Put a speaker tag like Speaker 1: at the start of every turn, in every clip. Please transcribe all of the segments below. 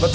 Speaker 1: Wat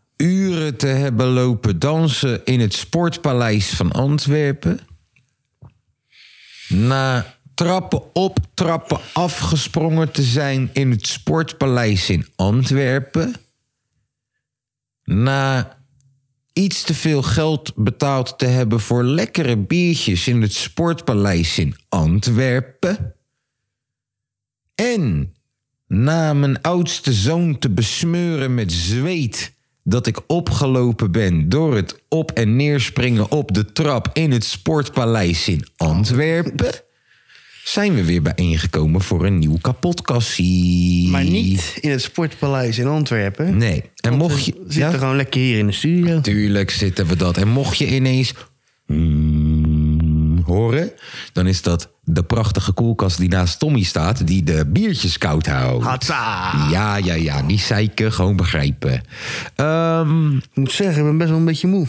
Speaker 2: uren te hebben lopen dansen in het Sportpaleis van Antwerpen. Na trappen op, trappen afgesprongen te zijn in het Sportpaleis in Antwerpen. Na iets te veel geld betaald te hebben voor lekkere biertjes in het Sportpaleis in Antwerpen. En na mijn oudste zoon te besmeuren met zweet dat ik opgelopen ben door het op en neerspringen op de trap in het sportpaleis in Antwerpen, zijn we weer bijeengekomen voor een nieuw kapotkassie.
Speaker 3: Maar niet in het Sportpaleis in Antwerpen. eh,
Speaker 2: Nee. En mocht je.
Speaker 3: Zit er gewoon lekker hier in de studio.
Speaker 2: Tuurlijk zitten we dat. En mocht je ineens mm, horen, dan is dat de prachtige koelkast die naast Tommy staat, die de biertjes koud houdt.
Speaker 3: Hatsa!
Speaker 2: Ja, ja, ja. Niet zeiken, gewoon begrijpen. Ehm,
Speaker 3: Ik moet zeggen, ik ben best wel een beetje moe.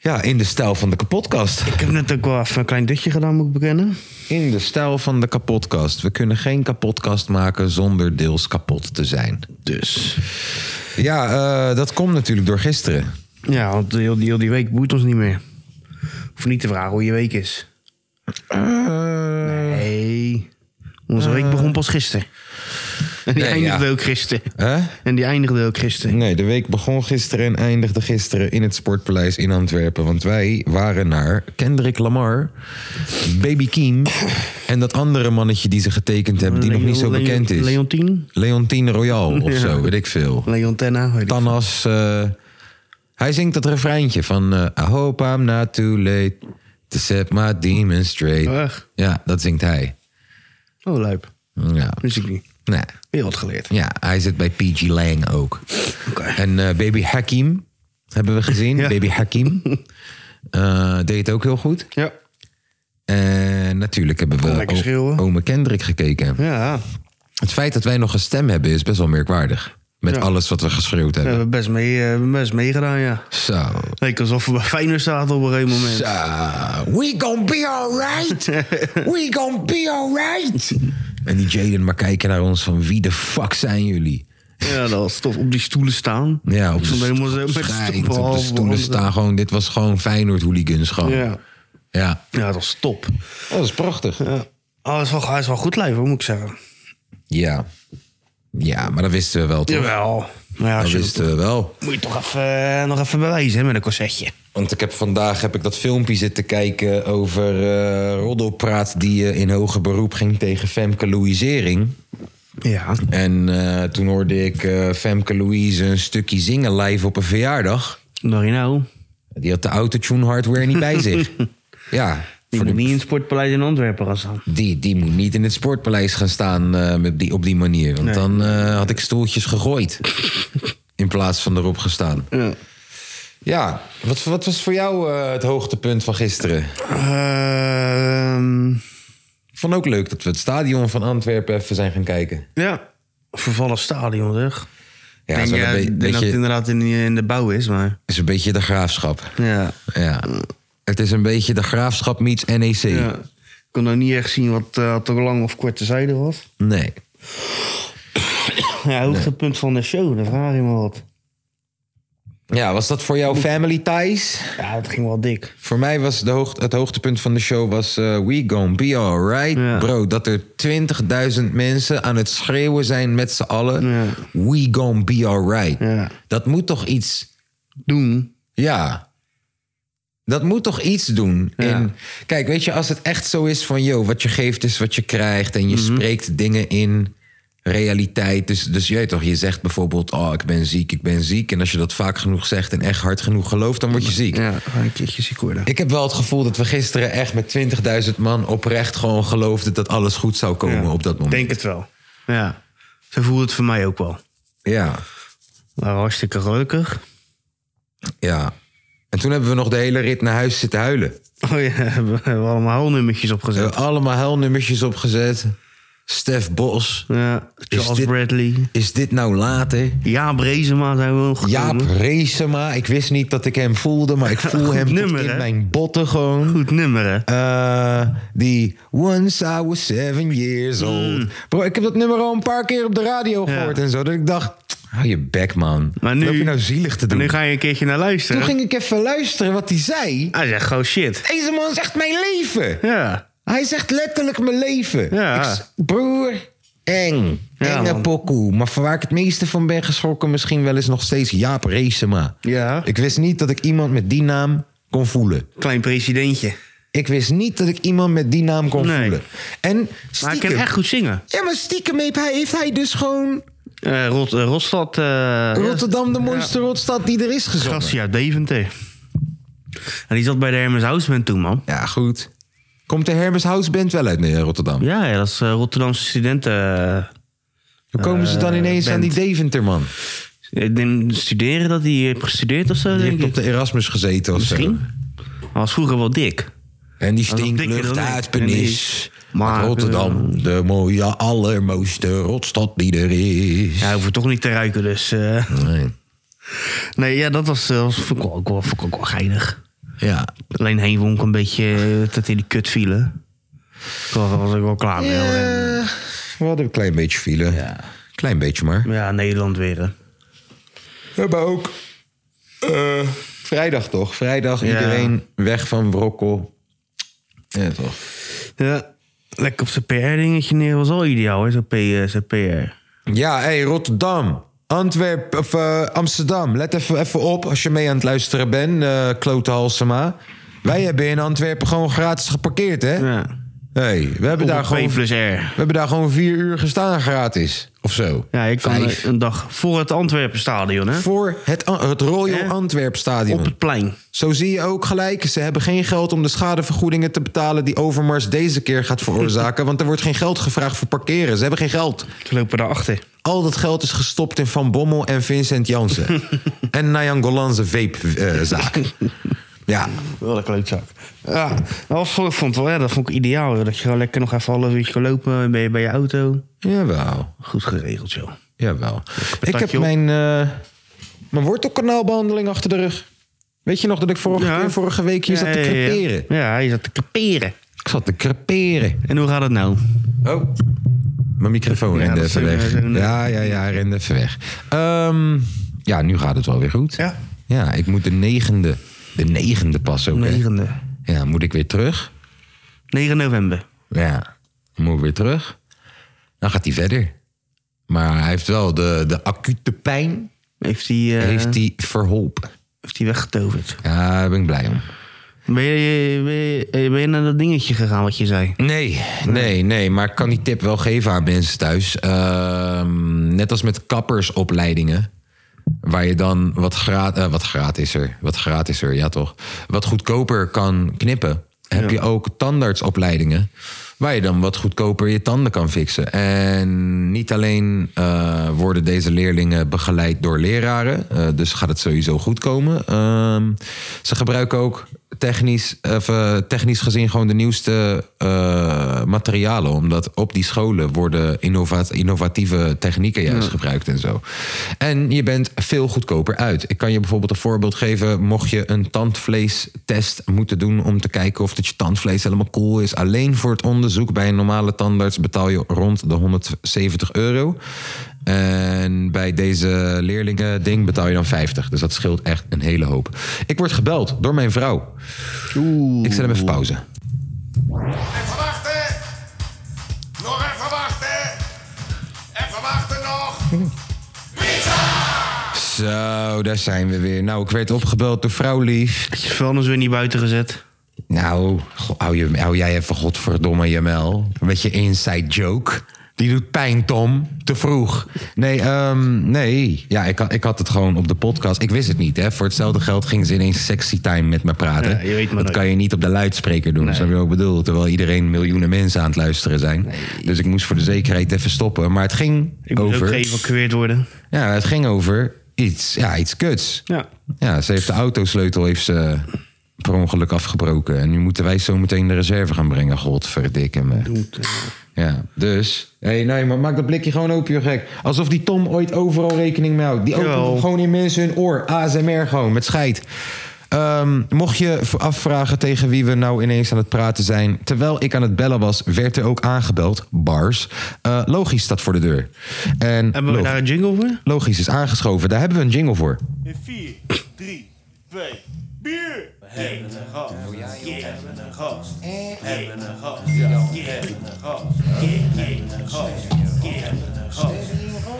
Speaker 2: ja, in de stijl van de kapotkast.
Speaker 3: Ik heb net ook wel even een klein dutje gedaan, moet ik bekennen.
Speaker 2: In de stijl van de kapotkast. We kunnen geen kapotkast maken zonder deels kapot te zijn.
Speaker 3: Dus.
Speaker 2: Ja, eh, dat komt natuurlijk door gisteren.
Speaker 3: Ja, want heel die, heel die week boeit ons niet meer. Hoef niet te vragen hoe je week is. Eh. Nee. Onze week begon pas gisteren. En die
Speaker 2: Nee,
Speaker 3: eindigde
Speaker 2: ja.
Speaker 3: ook gisteren.
Speaker 2: Hè?
Speaker 3: En die eindigde ook gisteren.
Speaker 2: Nee, de week begon gisteren en eindigde gisteren in het Sportpaleis in Antwerpen. Want wij waren naar Kendrick Lamar, Baby Keem en dat andere mannetje die ze getekend hebben, die nog niet zo
Speaker 3: Leon-
Speaker 2: bekend is.
Speaker 3: Leontien?
Speaker 2: Leontine Royal of
Speaker 3: Ja.
Speaker 2: zo, weet ik veel.
Speaker 3: Leontenna? weet ik
Speaker 2: Tannas. eh, hij zingt dat refreintje van eh, I hope I'm not too late to set my demons straight.
Speaker 3: Ach.
Speaker 2: Ja, dat zingt hij.
Speaker 3: veel. Oh, luip.
Speaker 2: Ja.
Speaker 3: Wist ik niet.
Speaker 2: Nee.
Speaker 3: Weer wat geleerd.
Speaker 2: Ja, hij zit bij PG Lang ook.
Speaker 3: Oké.
Speaker 2: En eh, Baby Hakim hebben we gezien.
Speaker 3: Ja.
Speaker 2: Baby Hakim eh, deed het ook heel goed.
Speaker 3: Ja.
Speaker 2: En natuurlijk hebben
Speaker 3: Kon
Speaker 2: we
Speaker 3: lekker schreeuwen.
Speaker 2: o- Ome Kendrick gekeken.
Speaker 3: Ja,
Speaker 2: Het feit dat wij nog een stem hebben is best wel merkwaardig. Met
Speaker 3: Ja.
Speaker 2: alles wat we geschreeuwd
Speaker 3: we
Speaker 2: hebben.
Speaker 3: hebben best, mee, eh, we hebben best meegedaan, ja.
Speaker 2: Zo.
Speaker 3: Leek alsof we bij Feyenoord zaten op een gegeven moment.
Speaker 2: Zo. We gonna be alright. We gonna be alright. En die Jaden maar kijken naar ons van wie de fuck zijn jullie?
Speaker 3: Ja, dat was tof. Op die stoelen staan.
Speaker 2: Ja, op
Speaker 3: Ik
Speaker 2: de,
Speaker 3: stond
Speaker 2: st-
Speaker 3: helemaal zo met de eh,
Speaker 2: schijnt,
Speaker 3: stoelen
Speaker 2: op de
Speaker 3: half
Speaker 2: stoelen
Speaker 3: onder.
Speaker 2: staan gewoon. Dit was gewoon Feyenoord hooligans gewoon.
Speaker 3: Ja.
Speaker 2: Ja.
Speaker 3: ja, dat was top.
Speaker 2: dat is prachtig.
Speaker 3: Oh, dat is wel, hij is wel goed lijf, hoor, moet ik zeggen.
Speaker 2: Ja. Ja, maar dat wisten we wel toch?
Speaker 3: Jawel. Maar ja,
Speaker 2: Dat
Speaker 3: als je-
Speaker 2: wisten we wel.
Speaker 3: moet je toch even, eh, nog even bewijzen hè, met een corsetje.
Speaker 2: Want ik heb vandaag heb ik dat filmpje zitten kijken over eh, roddelpraat die eh, in hoger beroep ging tegen Femke Louisering.
Speaker 3: Ja.
Speaker 2: En eh, toen hoorde ik eh, Femke Louise een stukje zingen live op een verjaardag.
Speaker 3: Nou, nou.
Speaker 2: Die had de autotune hardware niet bij zich. Ja,
Speaker 3: Die moet
Speaker 2: voor de-
Speaker 3: niet in het sportpaleis in Antwerpen gaan staan.
Speaker 2: die, die moet niet in het sportpaleis gaan staan eh, met die, op die manier. Want
Speaker 3: Nee.
Speaker 2: dan eh, had ik stoeltjes gegooid. in plaats van erop gestaan.
Speaker 3: Ja.
Speaker 2: Ja, wat, wat was voor jou eh, het hoogtepunt van gisteren?
Speaker 3: Ehm,
Speaker 2: Ik vond ook leuk dat we het stadion van Antwerpen even zijn gaan kijken.
Speaker 3: ja. Vervallen stadion, zeg.
Speaker 2: Ja,
Speaker 3: ik
Speaker 2: is,
Speaker 3: denk,
Speaker 2: wel
Speaker 3: ja,
Speaker 2: een be-
Speaker 3: ik denk dat het
Speaker 2: beetje,
Speaker 3: inderdaad in, in de bouw is, maar...
Speaker 2: is een beetje de graafschap.
Speaker 3: Ja.
Speaker 2: Ja. Het is een beetje de graafschap meets E NEC.
Speaker 3: Ja. Ik kon nou niet echt zien wat eh te lang of korte zijde was.
Speaker 2: Nee.
Speaker 3: Ja, hoogtepunt van de show, daar vraag je me wat.
Speaker 2: Ja, was dat voor jou Family Ties?
Speaker 3: Ja, dat ging wel dik.
Speaker 2: Voor mij was de hoog, het hoogtepunt van de show was eh, We Gon Be Alright.
Speaker 3: Ja.
Speaker 2: Bro, dat er 20.000 mensen aan het schreeuwen zijn met z'n allen.
Speaker 3: Ja.
Speaker 2: We Gon Be Alright.
Speaker 3: Ja.
Speaker 2: Dat moet toch iets
Speaker 3: Doen.
Speaker 2: Ja. Dat moet toch iets doen.
Speaker 3: Ja.
Speaker 2: In, kijk, weet je, als het echt zo is van... yo, wat je geeft is wat je krijgt... en je
Speaker 3: Mhm.
Speaker 2: spreekt dingen in realiteit. Dus, dus je weet toch, je zegt bijvoorbeeld... oh, ik ben ziek, ik ben ziek. En als je dat vaak genoeg zegt en echt hard genoeg gelooft... dan word je ziek.
Speaker 3: Ja, ga een keertje ziek worden.
Speaker 2: Ik heb wel het gevoel dat we gisteren echt met 20.000 man... oprecht gewoon geloofden dat alles goed zou komen
Speaker 3: Ja.
Speaker 2: op dat moment.
Speaker 3: Denk het wel. Ja. Zo voelde het voor mij ook wel.
Speaker 2: Ja.
Speaker 3: We waren hartstikke gelukkig.
Speaker 2: Ja. En toen hebben we nog de hele rit naar huis zitten huilen.
Speaker 3: Oh ja, we hebben allemaal holnummertjes
Speaker 2: We
Speaker 3: opgezet.
Speaker 2: hebben allemaal huilnummertjes opgezet. Stef Bos.
Speaker 3: Ja, Charles
Speaker 2: dit-
Speaker 3: Bradley.
Speaker 2: Is dit nou later?
Speaker 3: Ja, Brezema zijn we nog
Speaker 2: Jaap
Speaker 3: gekomen.
Speaker 2: Reesema. Ik wist niet dat ik hem voelde, maar ik voel hem tot
Speaker 3: Nummer,
Speaker 2: in
Speaker 3: hè?
Speaker 2: mijn botten gewoon.
Speaker 3: Goed nummer, hè?
Speaker 2: Eh, die Once I Was Seven
Speaker 3: Hmm.
Speaker 2: Years Old. Bro, ik heb dat nummer al een paar keer op de radio gehoord en zo. Dat ik dacht, hou je bek man.
Speaker 3: Maar
Speaker 2: Wat
Speaker 3: nu-
Speaker 2: heb je nou zielig te doen?
Speaker 3: Nu ga je een keertje naar
Speaker 2: Toen
Speaker 3: luisteren.
Speaker 2: ging ik even luisteren wat hij zei.
Speaker 3: Hij zegt gewoon shit.
Speaker 2: Deze man zegt mijn leven.
Speaker 3: Ja.
Speaker 2: Hij zegt letterlijk mijn leven.
Speaker 3: Ja.
Speaker 2: Ik s- broer, eng.
Speaker 3: Ja,
Speaker 2: Enge
Speaker 3: man.
Speaker 2: pokoe. Maar van waar ik het meeste van ben geschrokken... misschien wel eens nog steeds Jaap Reesema.
Speaker 3: Ja.
Speaker 2: Ik wist niet dat ik iemand met die naam kon voelen.
Speaker 3: Klein presidentje.
Speaker 2: Ik wist niet dat ik iemand met die naam kon
Speaker 3: Nee.
Speaker 2: voelen. En
Speaker 3: Maar hij
Speaker 2: stiekem...
Speaker 3: kan echt goed zingen.
Speaker 2: Ja, maar stiekem heeft hij, heeft hij dus gewoon...
Speaker 3: Eh Rot, eh, Rotstad. eh,
Speaker 2: Rotterdam, de mooiste rotstad die er is gezongen.
Speaker 3: Gastje uit Deventer. En die zat bij de Hermes Houseman toen, man.
Speaker 2: Ja, goed. Komt de Hermes House Band wel uit eh, Rotterdam?
Speaker 3: Ja, ja dat is eh, Rotterdamse studenten. eh,
Speaker 2: Hoe komen ze dan
Speaker 3: Eh,
Speaker 2: ineens aan die
Speaker 3: band.
Speaker 2: Deventer, man?
Speaker 3: ik denk studeren dat hij heeft gestudeerd of zo,
Speaker 2: Die
Speaker 3: denk
Speaker 2: heeft op
Speaker 3: ik.
Speaker 2: de Erasmus gezeten of zo.
Speaker 3: Misschien. Hij was vroeger wel dik.
Speaker 2: En die
Speaker 3: is dikker
Speaker 2: stinklucht
Speaker 3: dan ik.
Speaker 2: uit
Speaker 3: En die
Speaker 2: Penis.
Speaker 3: is-
Speaker 2: Maar
Speaker 3: Maar- eh,
Speaker 2: Rotterdam, de mooie, allermooiste rotstad die er is.
Speaker 3: Ja, hij hoeft het toch niet te ruiken, dus... eh,
Speaker 2: Nee.
Speaker 3: nee, ja, dat was, eh, was vond ik wel, ook wel, vond ik ook wel geinig.
Speaker 2: Ja.
Speaker 3: Alleen Heenwonk een beetje eh, dat hij die kut vielen. Daar was ik wel klaar mee. hoor.
Speaker 2: Eh, we hadden een klein beetje file. Klein beetje maar.
Speaker 3: Ja, Nederland weer. hè.
Speaker 2: We hebben ook eh, vrijdag toch? Vrijdag
Speaker 3: Ja.
Speaker 2: iedereen weg van Brokkel. Ja, toch?
Speaker 3: Ja, lekker op zijn PR-dingetje neer was al ideaal, hè, zo'n PR. Zo PR.
Speaker 2: Ja, hé, hey, Rotterdam. Antwerpen, of eh, Amsterdam. Let even, even op als je mee aan het luisteren bent, eh klote Halsema. Wij hebben in Antwerpen gewoon gratis geparkeerd, hè?
Speaker 3: Ja.
Speaker 2: hey, we hebben daar
Speaker 3: Daar
Speaker 2: gewoon...
Speaker 3: plus R.
Speaker 2: We hebben daar gewoon vier uur gestaan gratis. Of zo.
Speaker 3: Ja, ik kan
Speaker 2: Vijf.
Speaker 3: eh, een dag voor het Antwerpenstadion, hè?
Speaker 2: Voor het, An- het Royal
Speaker 3: Eh?
Speaker 2: Antwerp Stadion.
Speaker 3: Op het plein.
Speaker 2: Zo zie je ook gelijk, ze hebben geen geld om de schadevergoedingen te betalen... die Overmars deze keer gaat veroorzaken. want er wordt geen geld gevraagd voor parkeren. Ze hebben geen geld.
Speaker 3: Ze lopen daarachter.
Speaker 2: Al dat geld is gestopt in Van Bommel en Vincent Jansen. en Nayan Golan's vape-zaak. ja,
Speaker 3: Wel een klootzak. Ja, dat was, ik vond het wel, ja, dat vond ik ideaal. joh. Dat je gewoon lekker nog even een half uurtje kan lopen. Dan ben je bij je auto.
Speaker 2: jawel.
Speaker 3: Goed geregeld, joh.
Speaker 2: Jawel. Ik heb
Speaker 3: patatje op.
Speaker 2: mijn, eh mijn wortelkanaalbehandeling achter de rug. Weet je nog dat ik vorige,
Speaker 3: Ja.
Speaker 2: keer, vorige week hier zat te creperen?
Speaker 3: Ja, ja, je zat te creperen.
Speaker 2: Ik zat te creperen.
Speaker 3: En hoe gaat het nou?
Speaker 2: Oh. Mijn
Speaker 3: Ja,
Speaker 2: microfoon rende
Speaker 3: dat
Speaker 2: even
Speaker 3: zullen we
Speaker 2: weg.
Speaker 3: zo doen.
Speaker 2: Ja, ja, ja, hij rende even weg. Ehm, ja, nu gaat het wel weer goed.
Speaker 3: Ja.
Speaker 2: Ja, ik moet de negende, de negende pas ook. hè.
Speaker 3: 9e.
Speaker 2: Ja, moet ik weer terug?
Speaker 3: 9 november.
Speaker 2: Ja, moet ik weer terug. Dan gaat hij verder. Maar hij heeft wel de, de acute pijn
Speaker 3: Heeft hij, eh
Speaker 2: heeft hij verholpen.
Speaker 3: heeft hij weggetoverd.
Speaker 2: Ja, daar ben ik blij om.
Speaker 3: Ben je, ben, je, eh, ben je naar dat dingetje gegaan wat je zei?
Speaker 2: Nee, nee, nee. Maar ik kan die tip wel geven aan mensen thuis. Ehm, net als met kappersopleidingen. Waar je dan wat, gra eh, wat gratiser, wat gratiser, ja toch. Wat goedkoper kan knippen. Heb je ook tandartsopleidingen. Waar je dan wat goedkoper je tanden kan fixen. En niet alleen eh, worden deze leerlingen begeleid door leraren. eh, dus gaat het sowieso goed komen. Ehm, ze gebruiken ook technisch, of, eh, technisch gezien gewoon de nieuwste eh, materialen. Omdat op die scholen worden innova- innovatieve technieken juist gebruikt en zo. En je bent veel goedkoper uit. Ik kan je bijvoorbeeld een voorbeeld geven. Mocht je een tandvleestest moeten doen om te kijken of dat je tandvlees helemaal cool is. Alleen voor het onderzoek bij een normale tandarts betaal je rond de 170 euro. En bij deze leerlingen ding betaal je dan 50. Dus dat scheelt echt een hele hoop. Ik word gebeld door mijn vrouw. Ik zet hem even pauze.
Speaker 4: Even wachten. Nog even wachten. Even wachten nog.
Speaker 2: Zo, daar zijn we weer. Nou, ik werd opgebeld door vrouwlief.
Speaker 3: Is je vuilnis weer niet buiten gezet?
Speaker 2: Nou, go- hou, je, hou jij even godverdomme Jamel. Met je inside joke. Die doet pijn, Tom. Te vroeg. Nee, ehm, nee. Ja, ik, had- ik had het gewoon op de podcast. Ik wist het niet, hè. Voor hetzelfde geld gingen ze ineens sexy time met me praten.
Speaker 3: Ja, je weet maar
Speaker 2: dat
Speaker 3: nooit.
Speaker 2: kan je niet op de luidspreker doen. Snap je wat ik bedoel? Terwijl iedereen miljoenen mensen aan het luisteren zijn. Dus ik moest voor de zekerheid even stoppen. Maar het ging
Speaker 3: Ik moet
Speaker 2: over...
Speaker 3: ook geëvacueerd worden.
Speaker 2: Ja, het ging over iets, ja, iets kuts.
Speaker 3: Ja.
Speaker 2: Ja, ze heeft de autosleutel heeft ze eh, per ongeluk afgebroken. En nu moeten wij zo meteen de reserve gaan brengen. God, verdikken me. Ja, dus. hey, nee, maar maak dat blikje gewoon open, joh, gek. Alsof die Tom ooit overal rekening mee houdt. Die opent
Speaker 3: Jawel.
Speaker 2: gewoon in mensen hun oor. ASMR gewoon, met scheid. Ehm, mocht je v- afvragen tegen wie we nou ineens aan het praten zijn... terwijl ik aan het bellen was, werd er ook aangebeld. Bars. Eh, logisch staat voor de deur. En
Speaker 3: Hebben we
Speaker 2: logisch-
Speaker 3: daar een jingle voor?
Speaker 2: logisch is aangeschoven. Daar hebben we een jingle voor.
Speaker 4: In 4, 3, 2, bier! We hebben een gast. We hebben een gast. We hebben een gast. We hebben een gast. We hebben een gast. We hebben een gast.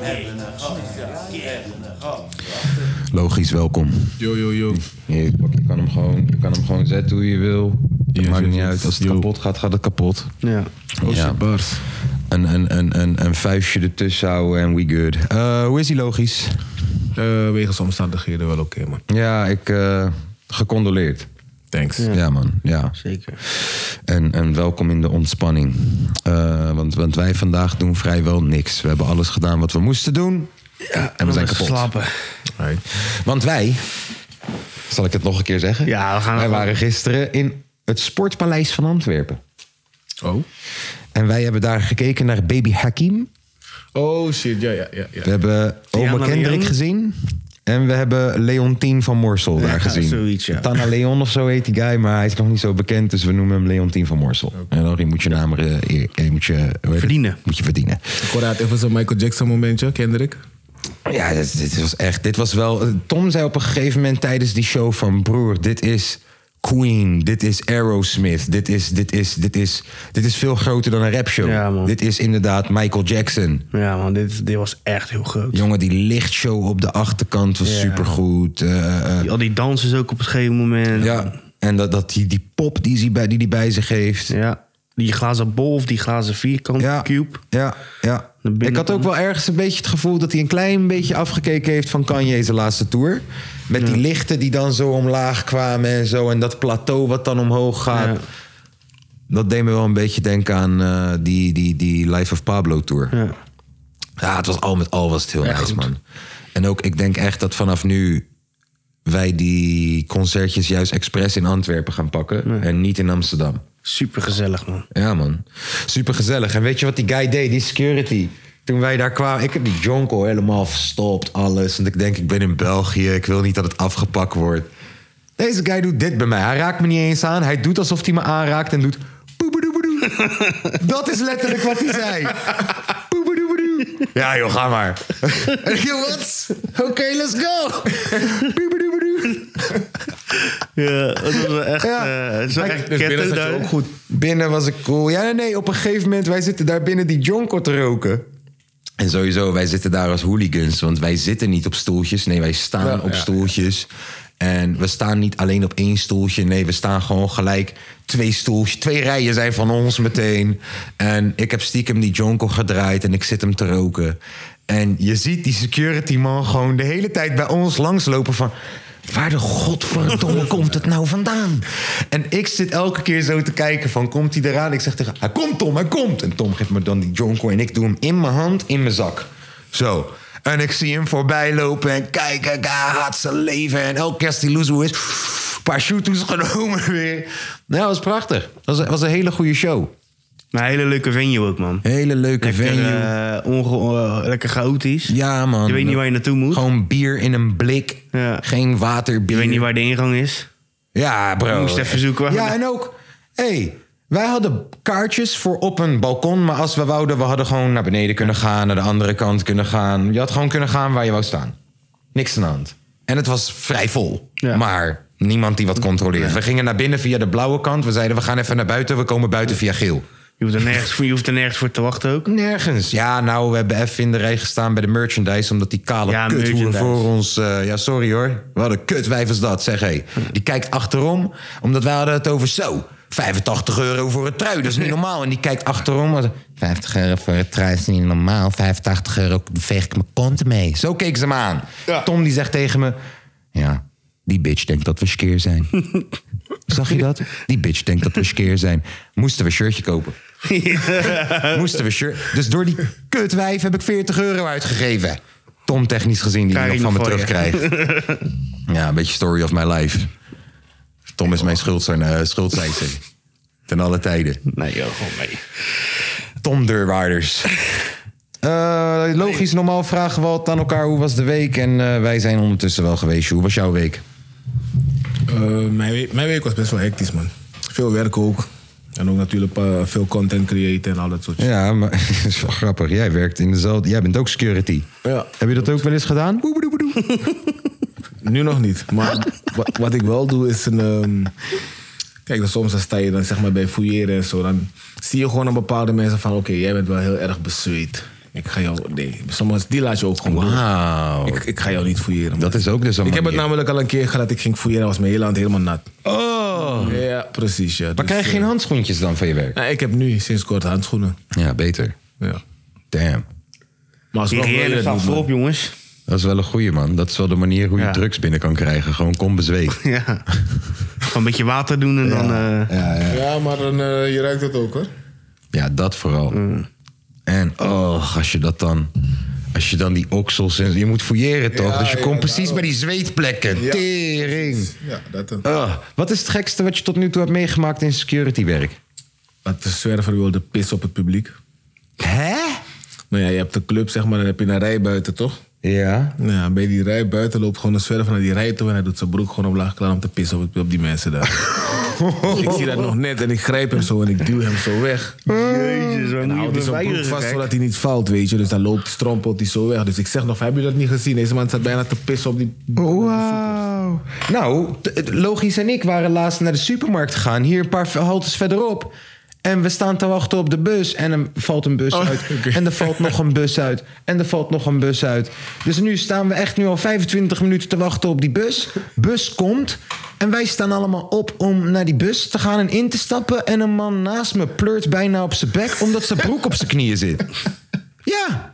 Speaker 4: We hebben een gast. We hebben een gast.
Speaker 2: Logisch, welkom.
Speaker 5: Yo, yo, yo.
Speaker 2: Je, je kan hem gewoon, je kan hem gewoon zetten hoe je wil. Het
Speaker 5: Yes,
Speaker 2: maakt
Speaker 5: yes,
Speaker 2: niet
Speaker 5: yes.
Speaker 2: uit. Als het
Speaker 5: Yo.
Speaker 2: kapot gaat, gaat het kapot.
Speaker 3: Ja.
Speaker 5: Oh,
Speaker 2: Ja.
Speaker 5: shit, bars.
Speaker 2: Een, een, een, een, een vuistje ertussen houden en we good. Eh, hoe is die logisch?
Speaker 5: Eh, wegens omstandigheden wel oké, man.
Speaker 2: Ja, ik... eh, gecondoleerd.
Speaker 5: Thanks.
Speaker 2: Ja. man. Ja.
Speaker 3: Zeker.
Speaker 2: En, en welkom in de ontspanning. Eh, want, want wij vandaag doen vrijwel niks. We hebben alles gedaan wat we moesten doen. en we zijn kapot.
Speaker 3: Slapen.
Speaker 5: Alright.
Speaker 2: Want wij, zal ik het nog een keer zeggen?
Speaker 3: Ja, we gaan-
Speaker 2: wij waren gisteren in het Sportpaleis van Antwerpen.
Speaker 5: Oh.
Speaker 2: En wij hebben daar gekeken naar Baby Hakim.
Speaker 5: Oh, shit. Ja, ja, ja.
Speaker 2: We
Speaker 5: ja.
Speaker 2: hebben Oma
Speaker 3: Diana
Speaker 2: Kendrick
Speaker 3: Leon.
Speaker 2: gezien. En we hebben Leontien van Morsel daar gezien.
Speaker 3: zoiets, ja.
Speaker 2: Tana Leon of zo heet die guy, maar hij is nog niet zo bekend. Dus we noemen hem Leontien van Morsel. En dan moet je naam eh, eer- eh, moet je, hoe heet het?
Speaker 3: Verdienen.
Speaker 2: Moet je verdienen.
Speaker 5: Ik hoorde het even zo'n Michael Jackson momentje, Kendrick.
Speaker 2: Ja, dit, dit was echt. Dit was wel. Tom zei op een gegeven moment tijdens die show van broer, dit is Queen, dit is Aerosmith, dit is, dit is, dit is, dit is veel groter dan een rapshow.
Speaker 3: Ja, man.
Speaker 2: dit is inderdaad Michael Jackson.
Speaker 3: Ja, man, dit, dit was echt heel groot.
Speaker 2: Jongen, die lichtshow op de achterkant was
Speaker 3: Ja.
Speaker 2: supergoed. Eh, eh,
Speaker 3: Al die dansers ook op een gegeven moment.
Speaker 2: ja, en dat, dat die, die pop die hij bij, die die bij zich heeft.
Speaker 3: Ja. Die glazen bol of die glazen vierkant
Speaker 2: Ja,
Speaker 3: cube.
Speaker 2: ja, ja.
Speaker 3: De binnenkant.
Speaker 2: Ik had ook wel ergens een beetje het gevoel dat hij een klein beetje afgekeken heeft van Kanye's laatste tour. Met die lichten die dan zo omlaag kwamen en zo. En dat plateau wat dan omhoog gaat.
Speaker 3: Ja.
Speaker 2: Dat deed me wel een beetje denken aan eh, die, die, die Life of Pablo tour. Ja.
Speaker 3: Ja.
Speaker 2: het was al met al was het heel nice, man. En ook, ik denk echt dat vanaf nu wij die concertjes juist expres in Antwerpen gaan pakken. En niet in Amsterdam.
Speaker 3: Super gezellig, man.
Speaker 2: Ja, man. Super gezellig. En weet je wat die guy deed? Die security. Toen wij daar kwamen, ik heb die jonko helemaal verstopt, alles. Want ik denk, ik ben in België, ik wil niet dat het afgepakt wordt. Deze guy doet dit bij mij. Hij raakt me niet eens aan. Hij doet alsof hij me aanraakt en doet... poepedoepedoe. Dat is letterlijk wat hij zei. Poepedoepedoe. Ja joh, ga maar. En ik, joh, wat? Oké, let's go. Poepedoepedoe.
Speaker 3: Ja, dat was wel echt,
Speaker 2: Ja.
Speaker 3: eh, het is wel echt
Speaker 5: Dus binnen
Speaker 3: ketten
Speaker 5: zat je
Speaker 3: daar.
Speaker 5: ook goed.
Speaker 2: Binnen was ik cool. Ja, nee, nee. Op een gegeven moment, wij zitten daar binnen die jonko te roken. En sowieso, wij zitten daar als hooligans. Want wij zitten niet op stoeltjes. Nee, wij staan
Speaker 5: Ja,
Speaker 2: op
Speaker 5: ja.
Speaker 2: stoeltjes. En we staan niet alleen op één stoeltje. Nee, we staan gewoon gelijk twee stoeltjes. Twee rijen zijn van ons meteen. En ik heb stiekem die jonko gedraaid en ik zit hem te roken. En je ziet die security man gewoon de hele tijd bij ons langslopen van... Waar de godverdomme komt het nou vandaan? En ik zit elke keer zo te kijken van, komt hij eraan? Ik zeg tegen hij komt Tom, hij komt. En Tom geeft me dan die jonko en ik doe hem in mijn hand, in mijn zak. Zo. En ik zie hem voorbij lopen en kijk, kijk, hij haat zijn leven. En elke keer als die loezoe is, parachutes genomen weer. Nou, dat was prachtig. Dat was, was een hele goede show.
Speaker 3: Maar een hele leuke venue ook, man.
Speaker 2: Hele leuke
Speaker 3: Lekker,
Speaker 2: venue.
Speaker 3: eh, onge- eh, lekker chaotisch.
Speaker 2: ja, man.
Speaker 3: Je weet niet waar je naartoe moet.
Speaker 2: Gewoon bier in een blik.
Speaker 3: Ja.
Speaker 2: Geen waterbier.
Speaker 3: Je weet niet waar de ingang is.
Speaker 2: Ja, bro.
Speaker 3: Je moest even zoeken waar-
Speaker 2: Ja, en ook, hey, wij hadden kaartjes voor op een balkon. Maar als we wouden, we hadden gewoon naar beneden kunnen gaan, naar de andere kant kunnen gaan. Je had gewoon kunnen gaan waar je wou staan. Niks aan de hand. En het was vrij vol.
Speaker 3: Ja.
Speaker 2: Maar niemand die wat controleert. We gingen naar binnen via de blauwe kant. We zeiden, we gaan even naar buiten. We komen buiten via geel.
Speaker 3: Je hoeft er nergens, voor- je hoeft er nergens voor te wachten ook.
Speaker 2: Nergens. Ja, nou, we hebben even in de rij gestaan bij de merchandise... omdat die kale
Speaker 3: Ja,
Speaker 2: kuthoer
Speaker 3: merchandise.
Speaker 2: voor ons... eh, ja, sorry hoor. Wat een kutwijf is dat, zeg hé. Die kijkt achterom, omdat wij hadden het over zo... 85 euro voor een trui, dat is niet normaal. En die kijkt achterom. als- 50 euro voor een trui is niet normaal. 85 euro veeg ik mijn kont mee. Zo keek ze me aan. Tom die zegt tegen me... Ja, die bitch denkt dat we skeer zijn. Zag je dat? Die bitch denkt dat we skeer zijn. Moesten we een shirtje kopen. Moesten we shirt. Dus door die kutwijf heb ik 40 euro uitgegeven. Tom technisch gezien die hij nog
Speaker 3: Krijg
Speaker 2: van me
Speaker 3: je nog van
Speaker 2: terugkrijgt. ja, een beetje story of my life. Tom is mijn schuld, zijn, eh, schuldeiser. Ten alle tijden.
Speaker 3: Nee, joh, gewoon mee.
Speaker 2: Tom Deurwaarders. Eh, logisch, normaal vragen we altijd aan elkaar hoe was de week. En eh, wij zijn ondertussen wel geweest. Hoe was jouw week?
Speaker 5: Eh, mijn, week, mijn week was best wel hectisch, man. Veel werk ook. En ook natuurlijk eh, veel content creëren en al dat soort shit.
Speaker 2: Ja, maar dat is wel grappig. Jij werkt in dezelfde... Jij bent ook security.
Speaker 5: Ja.
Speaker 2: Heb je dat ook wel eens gedaan? Boebedoebedoe.
Speaker 5: Nu nog niet. Maar wat, wat ik wel doe is een. ehm, kijk, dan soms dan sta je dan zeg maar bij fouilleren en zo. Dan zie je gewoon aan bepaalde mensen van: oké, jij bent wel heel erg bezweet. Ik ga jou. Nee, soms die laat je ook gewoon. doen.
Speaker 2: Wauw.
Speaker 5: Ik, ik ga jou niet fouilleren.
Speaker 2: Dat
Speaker 5: man.
Speaker 2: is ook dus een
Speaker 5: Ik heb het
Speaker 2: manier.
Speaker 5: namelijk al een keer gehad dat ik ging fouilleren, was mijn hele hand helemaal nat.
Speaker 2: Oh.
Speaker 5: Ja, precies. Ja. Dus, eh, nou,
Speaker 2: Maar krijg je geen handschoentjes dan van je werk?
Speaker 5: ik heb nu sinds kort handschoenen.
Speaker 2: Ja, beter.
Speaker 5: Ja.
Speaker 2: Damn.
Speaker 5: Maar alsnog wil je
Speaker 3: Hygiëne
Speaker 5: dat
Speaker 3: staat
Speaker 5: niet, man.
Speaker 3: voorop, jongens.
Speaker 2: Dat is wel een goeie, man. Dat is wel de manier hoe je
Speaker 3: Ja.
Speaker 2: drugs binnen kan krijgen. Gewoon kom bezweet.
Speaker 3: Ja. Gewoon een beetje water doen en dan... eh,
Speaker 5: Ja, maar dan, eh, je ruikt het ook hoor.
Speaker 2: Ja, dat vooral. En oh, als je dat dan... Als je dan die oksels en... Je moet fouilleren toch?
Speaker 5: Ja,
Speaker 2: dus je
Speaker 5: ja,
Speaker 2: komt precies
Speaker 5: daarom.
Speaker 2: bij die zweetplekken.
Speaker 5: Ja.
Speaker 2: Tering.
Speaker 5: Ja, dat dan.
Speaker 2: Ah, wat is het gekste wat je tot nu toe hebt meegemaakt in securitywerk?
Speaker 5: Dat de zwerver wilde pissen op het publiek.
Speaker 2: Hè?
Speaker 5: Nou ja, je hebt de club, zeg maar, dan heb je een rij buiten, toch?
Speaker 2: Ja.
Speaker 5: Nou ja, bij die rij buiten loopt gewoon een zwerver naar die rij toe... en hij doet zijn broek gewoon omlaag klaar om te pissen op, het- op die mensen daar. ik zie dat nog net en ik grijp hem zo en ik duw hem zo weg. Nou,
Speaker 3: Jezus, wat
Speaker 5: Dan houdt hij zo'n broek vast zodat hij niet valt, weet je. Dus dan loopt, strompelt hij zo weg. Dus ik zeg nog, hebben jullie dat niet gezien? Deze man staat bijna te pissen op die...
Speaker 2: Wauw. Nou, t- t- Logisch en ik waren laatst naar de supermarkt gegaan. Hier een paar haltes verderop. En we staan te wachten op de bus. En er valt een bus uit. En er valt nog een bus uit. En er valt nog een bus uit. Dus nu staan we echt nu al 25 minuten te wachten op die bus. Bus komt. En wij staan allemaal op om naar die bus te gaan en in te stappen. En een man naast me pleurt bijna op zijn bek. Omdat zijn broek op zijn knieën zit. Ja.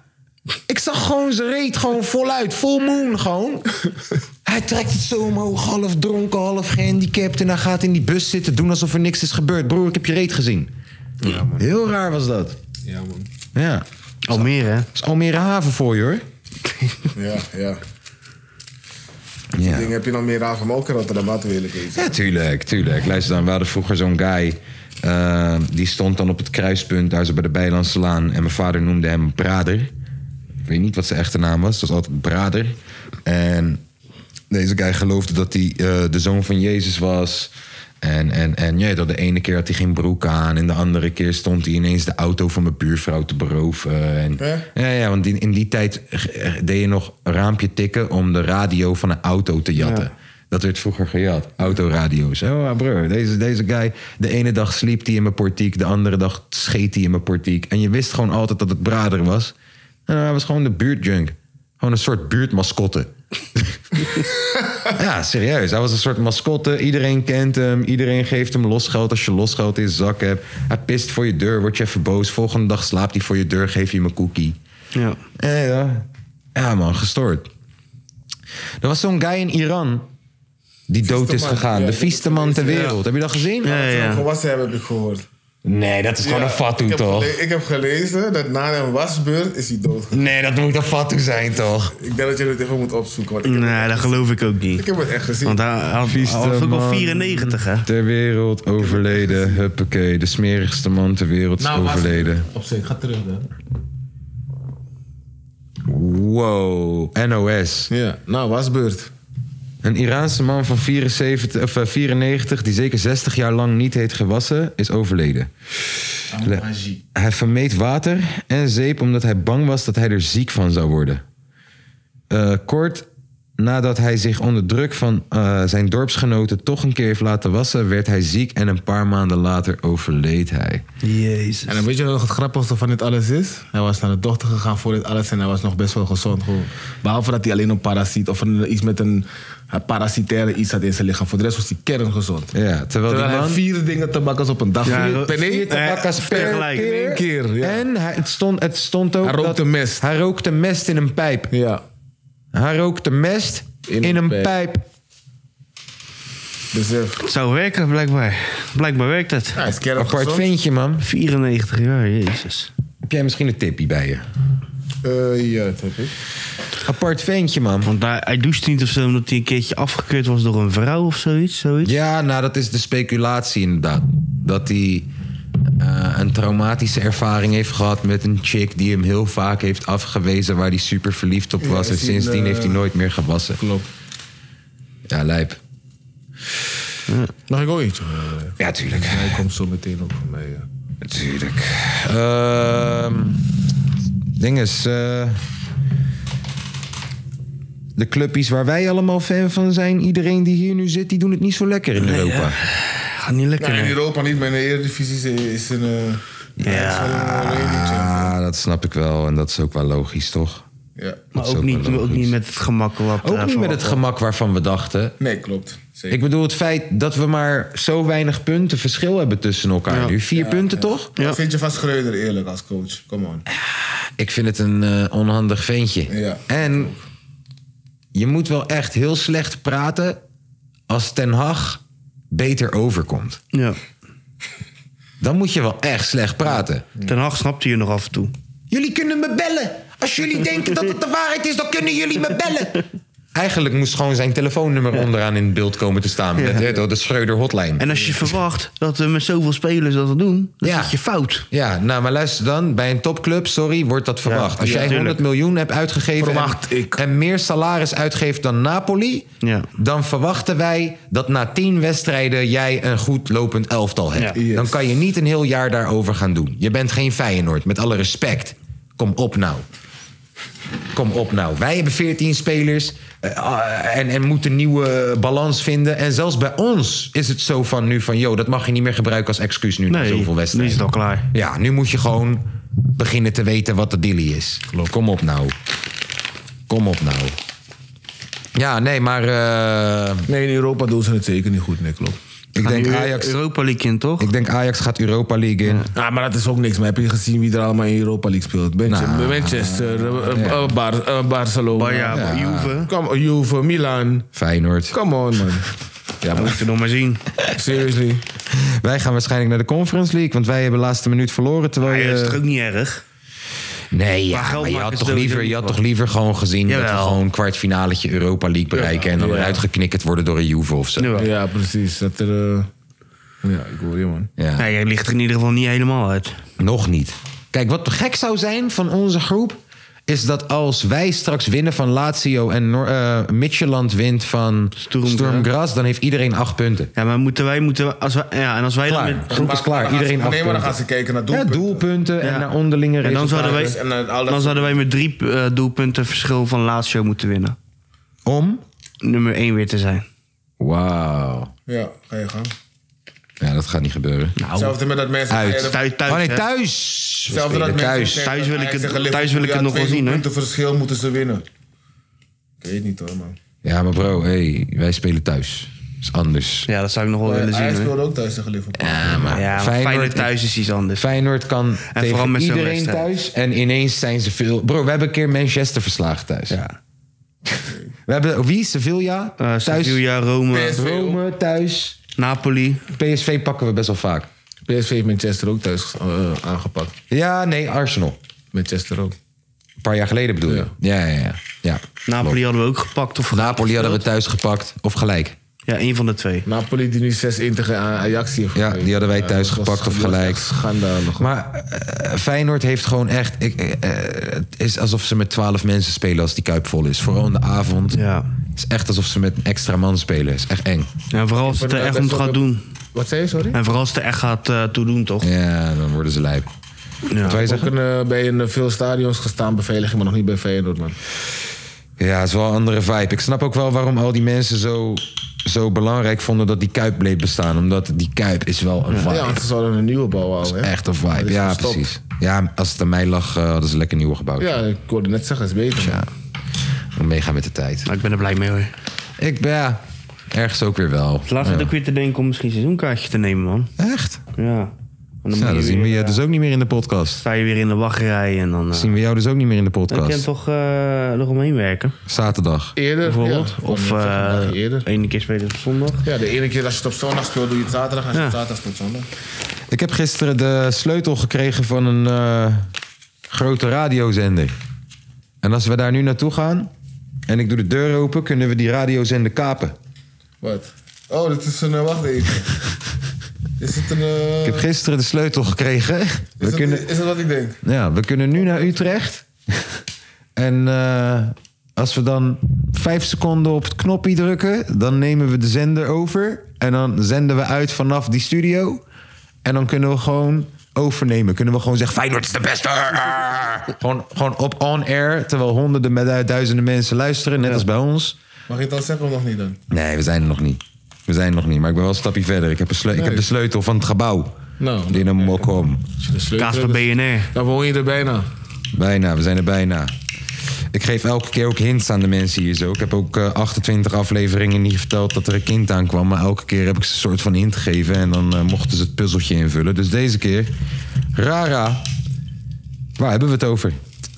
Speaker 2: Ik zag gewoon zijn reet gewoon voluit. Full moon gewoon. Hij trekt het zo omhoog, half dronken, half gehandicapt. En hij gaat in die bus zitten, doen alsof er niks is gebeurd. Broer, ik heb je reet gezien. Heel raar was dat.
Speaker 5: Ja, man.
Speaker 2: Ja. Dat
Speaker 3: Almere, Oh, hè?
Speaker 2: is Almere Haven voor je, hoor.
Speaker 5: Ja, ja.
Speaker 2: Ja.
Speaker 5: heb je nog meer raar van ook in Rotterdam, laten we eerlijk even.
Speaker 2: Ja, tuurlijk, tuurlijk. Luister dan, we hadden vroeger zo'n guy. eh, die stond dan op het kruispunt, daar zo bij de Bijlandse Laan. En mijn vader noemde hem Brader. Ik weet niet wat zijn echte naam was, dat was altijd Brader. En deze guy geloofde dat hij eh, de zoon van Jezus was. En, en, en ja, dat de ene keer had hij geen broek aan. En de andere keer stond hij ineens de auto van mijn buurvrouw te beroven. En,
Speaker 5: Hè?
Speaker 2: ja, ja, want in, in die tijd eh, deed je nog een raampje tikken om de radio van een auto te jatten. Dat werd vroeger gejat. Autoradio's. Oh, maar broer, deze, deze guy. De ene dag sliep hij in mijn portiek. De andere dag scheet hij in mijn portiek. En je wist gewoon altijd dat het brader was. En hij was gewoon de buurtjunk. Gewoon een soort buurtmascotte. ja, serieus. Hij was een soort mascotte. Iedereen kent hem. Iedereen geeft hem losgeld als je losgeld in zijn zak hebt. Hij pist voor je deur. Word je even boos. Volgende dag slaapt hij voor je deur. Geef je hem een cookie.
Speaker 3: Ja.
Speaker 2: Ja, ja. ja man, gestoord. Er was zo'n guy in Iran die dood is
Speaker 5: man,
Speaker 2: gegaan.
Speaker 5: ja,
Speaker 2: de
Speaker 5: ik heb
Speaker 2: vieste
Speaker 5: het
Speaker 2: man ter
Speaker 5: gelezen,
Speaker 2: wereld. Heb je dat gezien?
Speaker 3: Ja, ja.
Speaker 5: Gewassen hebben, heb ik gehoord.
Speaker 2: Nee, dat is gewoon een fatu toch?
Speaker 5: ik heb gelezen dat na een wasbeurt is hij dood.
Speaker 2: Nee, dat moet een fatu zijn toch?
Speaker 5: Ik denk dat je het even moet opzoeken. Want ik, heb,
Speaker 3: Nee, dat geloof ik ook niet.
Speaker 5: ik heb het echt gezien.
Speaker 3: Want hij had, hij was ook al 94, hè?
Speaker 2: Ter wereld overleden. Huppakee, de smerigste man ter wereld is
Speaker 5: Nou,
Speaker 3: Nou,
Speaker 2: overleden.
Speaker 5: Op zich, ga terug dan.
Speaker 2: Wow, NOS.
Speaker 5: Ja, nou, wasbeurt.
Speaker 2: Een Iraanse man van 74, of eh, 94, die zeker 60 jaar lang niet heeft gewassen, is overleden. Le- hij vermeed water en zeep omdat hij bang was dat hij er ziek van zou worden. Eh, kort nadat hij zich onder druk van eh, zijn dorpsgenoten toch een keer heeft laten wassen, werd hij ziek en een paar maanden later overleed hij.
Speaker 5: En dan weet je wat het grappigste van dit alles is? Hij was naar de dochter gegaan voor dit alles en hij was nog best wel gezond. Gewoon. Behalve dat hij alleen een parasiet of een, iets met een, een parasitaire iets had in zijn lichaam. Voor de rest was hij kerngezond.
Speaker 2: Ja, terwijl,
Speaker 5: Terwijl
Speaker 2: die
Speaker 5: hij
Speaker 2: man...
Speaker 5: vier dingen tabakkers op een dag.
Speaker 3: Ja,
Speaker 5: vier,
Speaker 3: ro-
Speaker 5: nee,
Speaker 3: vier
Speaker 2: tabakkas
Speaker 3: Eh,
Speaker 2: per
Speaker 3: tegelijk.
Speaker 2: keer.
Speaker 5: één keer. Ja.
Speaker 2: En hij, het, stond, het stond ook
Speaker 5: Hij rookte
Speaker 2: dat-
Speaker 5: mest.
Speaker 2: Hij rookte mest in een pijp.
Speaker 5: ja.
Speaker 2: Hij rookte mest in,
Speaker 5: In
Speaker 2: een,
Speaker 5: een
Speaker 2: pijp.
Speaker 5: pijp. Besef.
Speaker 3: Het zou werken, blijkbaar. Blijkbaar werkt het.
Speaker 5: Dus, eh, Hij is
Speaker 2: Apart
Speaker 5: kerngezond.
Speaker 2: ventje, man.
Speaker 3: 94 jaar, jezus.
Speaker 2: Heb jij misschien een tipje bij je?
Speaker 5: Eh ja, dat heb ik.
Speaker 2: Apart ventje, man.
Speaker 3: Want daar, hij doucht niet of zo, omdat hij een keertje afgekeurd was door een vrouw of zoiets. zoiets.
Speaker 2: Ja, nou, dat is de speculatie inderdaad. Dat hij eh, een traumatische ervaring heeft gehad met een chick die hem heel vaak heeft afgewezen, waar hij super verliefd op
Speaker 5: Ja,
Speaker 2: was.
Speaker 5: is die
Speaker 2: en sindsdien
Speaker 5: een,
Speaker 2: heeft hij
Speaker 5: eh,
Speaker 2: nooit meer gewassen.
Speaker 5: Klopt.
Speaker 2: Ja, lijp.
Speaker 5: Mag ik ook iets?
Speaker 2: Ja, tuurlijk.
Speaker 5: Eh, Hij komt zo meteen ook van mij. ja.
Speaker 2: Tuurlijk. Ehm ding is. eh, de clubjes waar wij allemaal fan van zijn, iedereen die hier nu zit, die doen het niet zo lekker in Europa.
Speaker 3: Gaat niet lekker.
Speaker 5: Nou, in
Speaker 3: hè?
Speaker 5: Europa niet, maar in de Eredivisie is, is een... eh,
Speaker 3: Ja.
Speaker 5: is wel een eh, redelijk, ja.
Speaker 2: Ah, dat snap ik wel. En dat is ook wel logisch, toch?
Speaker 5: Ja.
Speaker 3: Maar
Speaker 2: Dat is
Speaker 3: ook
Speaker 2: ook
Speaker 3: niet,
Speaker 2: wel
Speaker 3: ook
Speaker 2: logisch.
Speaker 3: niet met het gemak wat...
Speaker 2: Ook
Speaker 3: eh,
Speaker 2: niet
Speaker 3: van-
Speaker 2: met het gemak waarvan we dachten.
Speaker 5: Nee, klopt. Zeker.
Speaker 2: Ik bedoel het feit dat we maar zo weinig punten verschil hebben tussen elkaar nu. Vier punten, toch?
Speaker 5: Wat vind je van Schreuder eerlijk als coach? Come on.
Speaker 2: Ik vind het een eh, onhandig ventje.
Speaker 5: Ja.
Speaker 2: En je moet wel echt heel slecht praten als Ten Hag beter overkomt.
Speaker 3: Ja.
Speaker 2: Dan moet je wel echt slecht praten.
Speaker 3: Ten Hag snapte je nog af en toe.
Speaker 2: Jullie kunnen me bellen. Als jullie denken dat het de waarheid is, dan kunnen jullie me bellen. Eigenlijk moest gewoon zijn telefoonnummer onderaan in het beeld komen te staan. Met, hè, de Schreuder hotline.
Speaker 3: En als je verwacht dat we met zoveel spelers dat doen, dan
Speaker 2: Ja.
Speaker 3: zit je fout.
Speaker 2: Ja, nou, maar luister dan. Bij een topclub, sorry, wordt dat verwacht. Als
Speaker 3: ja,
Speaker 2: jij
Speaker 3: tuurlijk.
Speaker 2: 100 miljoen hebt uitgegeven...
Speaker 5: Verwacht
Speaker 2: en,
Speaker 5: ik.
Speaker 2: en meer salaris uitgeeft dan Napoli...
Speaker 3: Ja.
Speaker 2: dan verwachten wij dat na 10 wedstrijden... jij een goed lopend elftal hebt.
Speaker 3: Ja.
Speaker 5: Yes.
Speaker 2: Dan kan je niet een heel jaar daarover gaan doen. Je bent geen Feyenoord, met alle respect. Kom op nou. Kom op nou. Wij hebben 14 spelers eh, ah, en, en moeten nieuwe balans vinden. En zelfs bij ons is het zo van nu van... joh, dat mag je niet meer gebruiken als excuus nu na
Speaker 3: Nee,
Speaker 2: zoveel
Speaker 3: nu
Speaker 2: wedstrijden.
Speaker 3: is het al klaar.
Speaker 2: Ja, nu moet je gewoon beginnen te weten wat de dilly is. Kom op nou. Kom op nou. Ja, nee, maar eh,
Speaker 5: Nee, in Europa doen ze het zeker niet goed. Nee, klopt.
Speaker 2: ik,
Speaker 3: Gaan
Speaker 2: denk
Speaker 3: die Eu-
Speaker 2: Ajax,
Speaker 3: Europa League in, toch?
Speaker 2: ik denk Ajax gaat Europa League in.
Speaker 5: Ah, maar dat is ook niks. Maar heb je gezien wie er allemaal in Europa League speelt? Bench-
Speaker 2: Nou,
Speaker 5: Manchester, eh, eh, eh, Bar- eh, Barcelona.
Speaker 3: Maar Oh, ja,
Speaker 2: Ja.
Speaker 3: Juve.
Speaker 5: Come on, Juve, Milan.
Speaker 2: Feyenoord.
Speaker 5: Come on, man.
Speaker 3: Ja, moeten we nog maar zien.
Speaker 5: Seriously.
Speaker 2: Wij gaan waarschijnlijk naar de Conference League, want wij hebben laatste minuut verloren. Terwijl
Speaker 3: Maar ja, dat is toch
Speaker 2: je...
Speaker 3: ook niet erg?
Speaker 2: Nee, ja,
Speaker 3: Maar geld
Speaker 2: maar je
Speaker 3: maken
Speaker 2: had,
Speaker 3: is
Speaker 2: toch
Speaker 3: sowieso
Speaker 2: liever, je
Speaker 3: niet
Speaker 2: had
Speaker 3: wat.
Speaker 2: toch liever gewoon gezien dat we
Speaker 3: Jawel.
Speaker 2: gewoon kwartfinaletje Europa League bereiken en dan
Speaker 5: Ja.
Speaker 2: eruit geknikkerd worden door een Juve of zo.
Speaker 3: Nu wel.
Speaker 5: Ja, precies. Dat er... eh, Ja, ik hoor je, man.
Speaker 2: Ja.
Speaker 3: Nee, jij ligt er in ieder geval niet helemaal uit.
Speaker 2: Nog niet. Kijk, wat gek zou zijn van onze groep... is dat als wij straks winnen van Lazio... en Noor- eh, Midtjylland wint van
Speaker 3: Sturm
Speaker 2: Sturm,
Speaker 3: Graz.
Speaker 2: Graz... dan heeft iedereen acht punten.
Speaker 3: Ja, maar moeten wij... Moeten wij als wij ja, en als wij
Speaker 2: Klaar.
Speaker 3: dan met-
Speaker 2: De groep is klaar.
Speaker 5: Maar dan gaan
Speaker 2: Iedereen
Speaker 5: ze-
Speaker 2: acht
Speaker 5: Nee, maar dan
Speaker 2: punten.
Speaker 5: gaan ze kijken naar
Speaker 2: Ja,
Speaker 5: doelpunten.
Speaker 2: doelpunten en
Speaker 3: Ja.
Speaker 2: naar onderlinge
Speaker 3: En dan
Speaker 2: resultaten.
Speaker 3: zouden,
Speaker 5: Dus-
Speaker 3: wij,
Speaker 5: en dan al dat-
Speaker 3: dan zouden wij met drie eh, doelpunten verschil van Lazio moeten winnen.
Speaker 2: Om?
Speaker 3: Nummer één weer te zijn.
Speaker 2: Wauw.
Speaker 5: Ja, ga je
Speaker 3: Oh.
Speaker 5: gang.
Speaker 2: Ja, dat gaat niet gebeuren.
Speaker 5: Hetzelfde met dat mensen...
Speaker 2: Uit.
Speaker 5: zeiden-
Speaker 3: Thuis, thuis,
Speaker 2: oh nee,
Speaker 3: hè?
Speaker 2: thuis! We
Speaker 5: Hetzelfde dat
Speaker 2: spelen
Speaker 5: mensen
Speaker 2: thuis.
Speaker 5: zeggen,
Speaker 3: Thuis wil ik
Speaker 5: Ajax
Speaker 3: het-
Speaker 5: tegen Liverpool,
Speaker 3: thuis wil ik
Speaker 5: ja,
Speaker 3: het nog wel
Speaker 5: twee
Speaker 3: zien, hè?
Speaker 5: punten verschil moeten ze winnen. Ik weet niet hoor, man.
Speaker 2: Ja, maar bro, hey, wij spelen thuis. is anders.
Speaker 3: Ja, dat zou ik nog
Speaker 2: Eh,
Speaker 3: wel willen zien.
Speaker 5: Hij
Speaker 3: hoor.
Speaker 5: speelde ook thuis tegen Liverpool.
Speaker 2: Ja, maar
Speaker 3: Ja, maar Feyenoord thuis is iets anders.
Speaker 2: Feyenoord kan tegen
Speaker 3: vooral met zo'n
Speaker 2: iedereen
Speaker 3: wedstrijd.
Speaker 2: thuis. En ineens zijn ze veel... Bro, we hebben een keer Manchester verslagen thuis.
Speaker 3: Ja.
Speaker 2: We hebben wie? Sevilla?
Speaker 3: Eh,
Speaker 2: thuis.
Speaker 3: Sevilla, Rome,
Speaker 5: PSV.
Speaker 2: Rome, thuis.
Speaker 3: Napoli.
Speaker 2: PSV pakken we best wel vaak.
Speaker 5: PSV heeft Manchester ook thuis eh, aangepakt.
Speaker 2: Ja, nee, Arsenal.
Speaker 5: Manchester ook.
Speaker 2: Een paar jaar geleden bedoel je? Ja, ja, ja. ja.
Speaker 3: Napoli
Speaker 2: klopt.
Speaker 3: hadden we ook gepakt. Of
Speaker 2: Napoli hadden we thuis gepakt. Of gelijk.
Speaker 3: Ja, één van de twee.
Speaker 5: Napoli die nu 6-1 tegen A- Ajax heeft
Speaker 2: Ja,
Speaker 5: gegooid.
Speaker 2: die hadden wij thuis
Speaker 5: dat was-
Speaker 2: gepakt of
Speaker 5: dat was
Speaker 2: gelijk.
Speaker 5: echt Schandalig.
Speaker 2: Maar eh, Feyenoord heeft gewoon echt... Ik, eh, eh, het is alsof ze met twaalf mensen spelen als die Kuip vol is. Vooral in de avond.
Speaker 3: Ja.
Speaker 2: Het is echt alsof ze met een extra man spelen. Het is echt eng.
Speaker 3: En vooral als het er echt om gaat doen.
Speaker 5: Wat zei je, sorry?
Speaker 3: En vooral als het er echt gaat eh, toe doen, toch?
Speaker 2: Ja, dan worden ze lijp. Wat wou je
Speaker 5: Ik heb
Speaker 2: zeggen?
Speaker 5: ook een, eh, bij een, eh, veel stadions gestaan, beveiliging, maar nog niet bij Feyenoord, man.
Speaker 2: Ja, het is wel een andere vibe. Ik snap ook wel waarom al die mensen zo, zo belangrijk vonden dat die Kuip bleef bestaan. Omdat die Kuip is wel een vibe.
Speaker 5: Ja, want ze zouden een nieuwe bouwen al, hè?
Speaker 2: Echt een
Speaker 5: Dat
Speaker 2: vibe.
Speaker 5: is
Speaker 2: Ja,
Speaker 5: gestopt.
Speaker 2: precies. Ja, als het aan mij lag, eh, hadden ze lekker nieuwe gebouwd.
Speaker 5: Ja, ik hoorde net zeggen, het is beter.
Speaker 2: ja. We meegaan met de tijd.
Speaker 3: Maar ik ben er blij mee hoor.
Speaker 2: Ik ben ja, ergens ook weer wel.
Speaker 3: Het laatste
Speaker 2: Ja.
Speaker 3: ja. ook weer te denken om misschien een seizoenkaartje te nemen, man.
Speaker 2: Echt?
Speaker 3: Ja. En dan
Speaker 2: Ja, dan
Speaker 3: moet je
Speaker 2: zien
Speaker 3: weer,
Speaker 2: we je dus ook niet meer in de podcast.
Speaker 3: sta je weer in de wachtrij en dan... eh
Speaker 2: Zien we jou dus ook niet meer in de
Speaker 3: dan kan je
Speaker 2: podcast.
Speaker 3: toch eh, eromheen werken,
Speaker 2: Zaterdag.
Speaker 5: Eerder,
Speaker 3: bijvoorbeeld.
Speaker 5: ja.
Speaker 3: of
Speaker 5: Gewoon, eh,
Speaker 3: eh
Speaker 5: vandaag eerder.
Speaker 3: ene keer spelen op zondag.
Speaker 5: Ja, de ene keer als je het op zondag speelt, doe je het zaterdag. Als je
Speaker 3: Ja.
Speaker 5: het zaterdag speelt, zondag.
Speaker 2: Ik heb gisteren de sleutel gekregen van een eh, grote radiozender. En als we daar nu naartoe gaan, en ik doe de deur open, kunnen we die radiozender kapen.
Speaker 6: Wat? Oh, dit is een... eh, wacht even. Is het een... eh,
Speaker 2: Ik heb gisteren de sleutel gekregen.
Speaker 6: is,
Speaker 2: We
Speaker 6: het,
Speaker 2: kunnen,
Speaker 6: is het wat ik denk?
Speaker 2: ja, we kunnen nu naar Utrecht. En eh, als we dan vijf seconden op het knopje drukken, dan nemen we de zender over. En dan zenden we uit vanaf die studio. En dan kunnen we gewoon overnemen. Kunnen we gewoon zeggen, Feyenoord is de beste. gewoon, gewoon op on-air, terwijl honderden, met duizenden mensen luisteren. Net als bij ons.
Speaker 6: Mag je het al zeggen of nog niet dan?
Speaker 2: Nee, we zijn er nog niet. We zijn er nog niet, maar ik ben wel een stapje verder. Ik heb, een sleu- ik heb de sleutel van het gebouw.
Speaker 5: Nou,
Speaker 2: Die in een mok om.
Speaker 5: als je de sleutel
Speaker 3: Kaas van
Speaker 5: hebt,
Speaker 3: BNR.
Speaker 5: Dan woon je er bijna.
Speaker 2: Bijna, we zijn er bijna. Ik geef elke keer ook hints aan de mensen hier zo. Ik heb ook eh, 28 afleveringen niet verteld dat er een kind aankwam. Maar elke keer heb ik ze een soort van hint gegeven. En dan eh, mochten ze het puzzeltje invullen. Dus deze keer, Rara. Waar hebben we het over?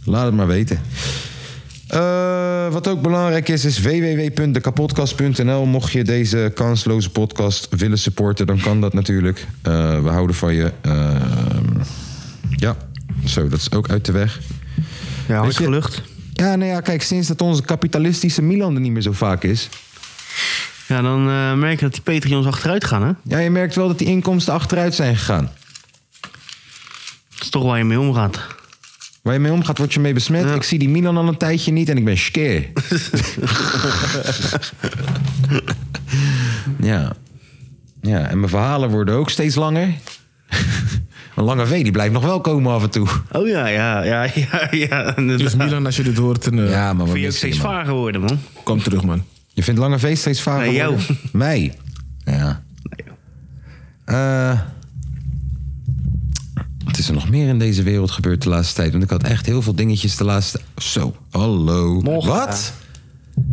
Speaker 2: Laat het maar weten. Eh, wat ook belangrijk is, is www.dekapotkast.nl. Mocht je deze kansloze podcast willen supporten, dan kan dat natuurlijk. Eh, we houden van je. Ehm, ja, zo, dat is ook uit de weg.
Speaker 3: Ja,
Speaker 2: Weet
Speaker 3: hard
Speaker 2: je-
Speaker 3: gelucht.
Speaker 2: Ja, nou ja, kijk, sinds dat onze kapitalistische Milan er niet meer zo vaak is.
Speaker 3: Ja, dan eh, merk je dat die Patreons achteruit gaan, hè?
Speaker 2: Ja, je merkt wel dat die inkomsten achteruit zijn gegaan.
Speaker 3: Dat is toch waar je mee omgaat.
Speaker 2: Waar je mee omgaat, word je mee besmet. Ik zie die Milan al een tijdje niet en ik ben skeer. ja. Ja, en mijn verhalen worden ook steeds langer. Een lange V, die blijft nog wel komen af en toe.
Speaker 3: Oh ja, ja, ja, ja, ja.
Speaker 5: Dus
Speaker 3: inderdaad.
Speaker 5: Milan, als je dit hoort, dan, eh,
Speaker 2: Ja, maar wat
Speaker 3: Vind je ook
Speaker 2: mis je,
Speaker 3: steeds
Speaker 2: man?
Speaker 3: vaar geworden, man?
Speaker 5: kom terug, man.
Speaker 2: Je vindt Lange V steeds vaker
Speaker 3: Nee, jou.
Speaker 2: worden? Mij? Ja. Eh, wat is er nog meer in deze wereld gebeurd de laatste tijd? Want ik had echt heel veel dingetjes de laatste... Zo, hallo. Wat?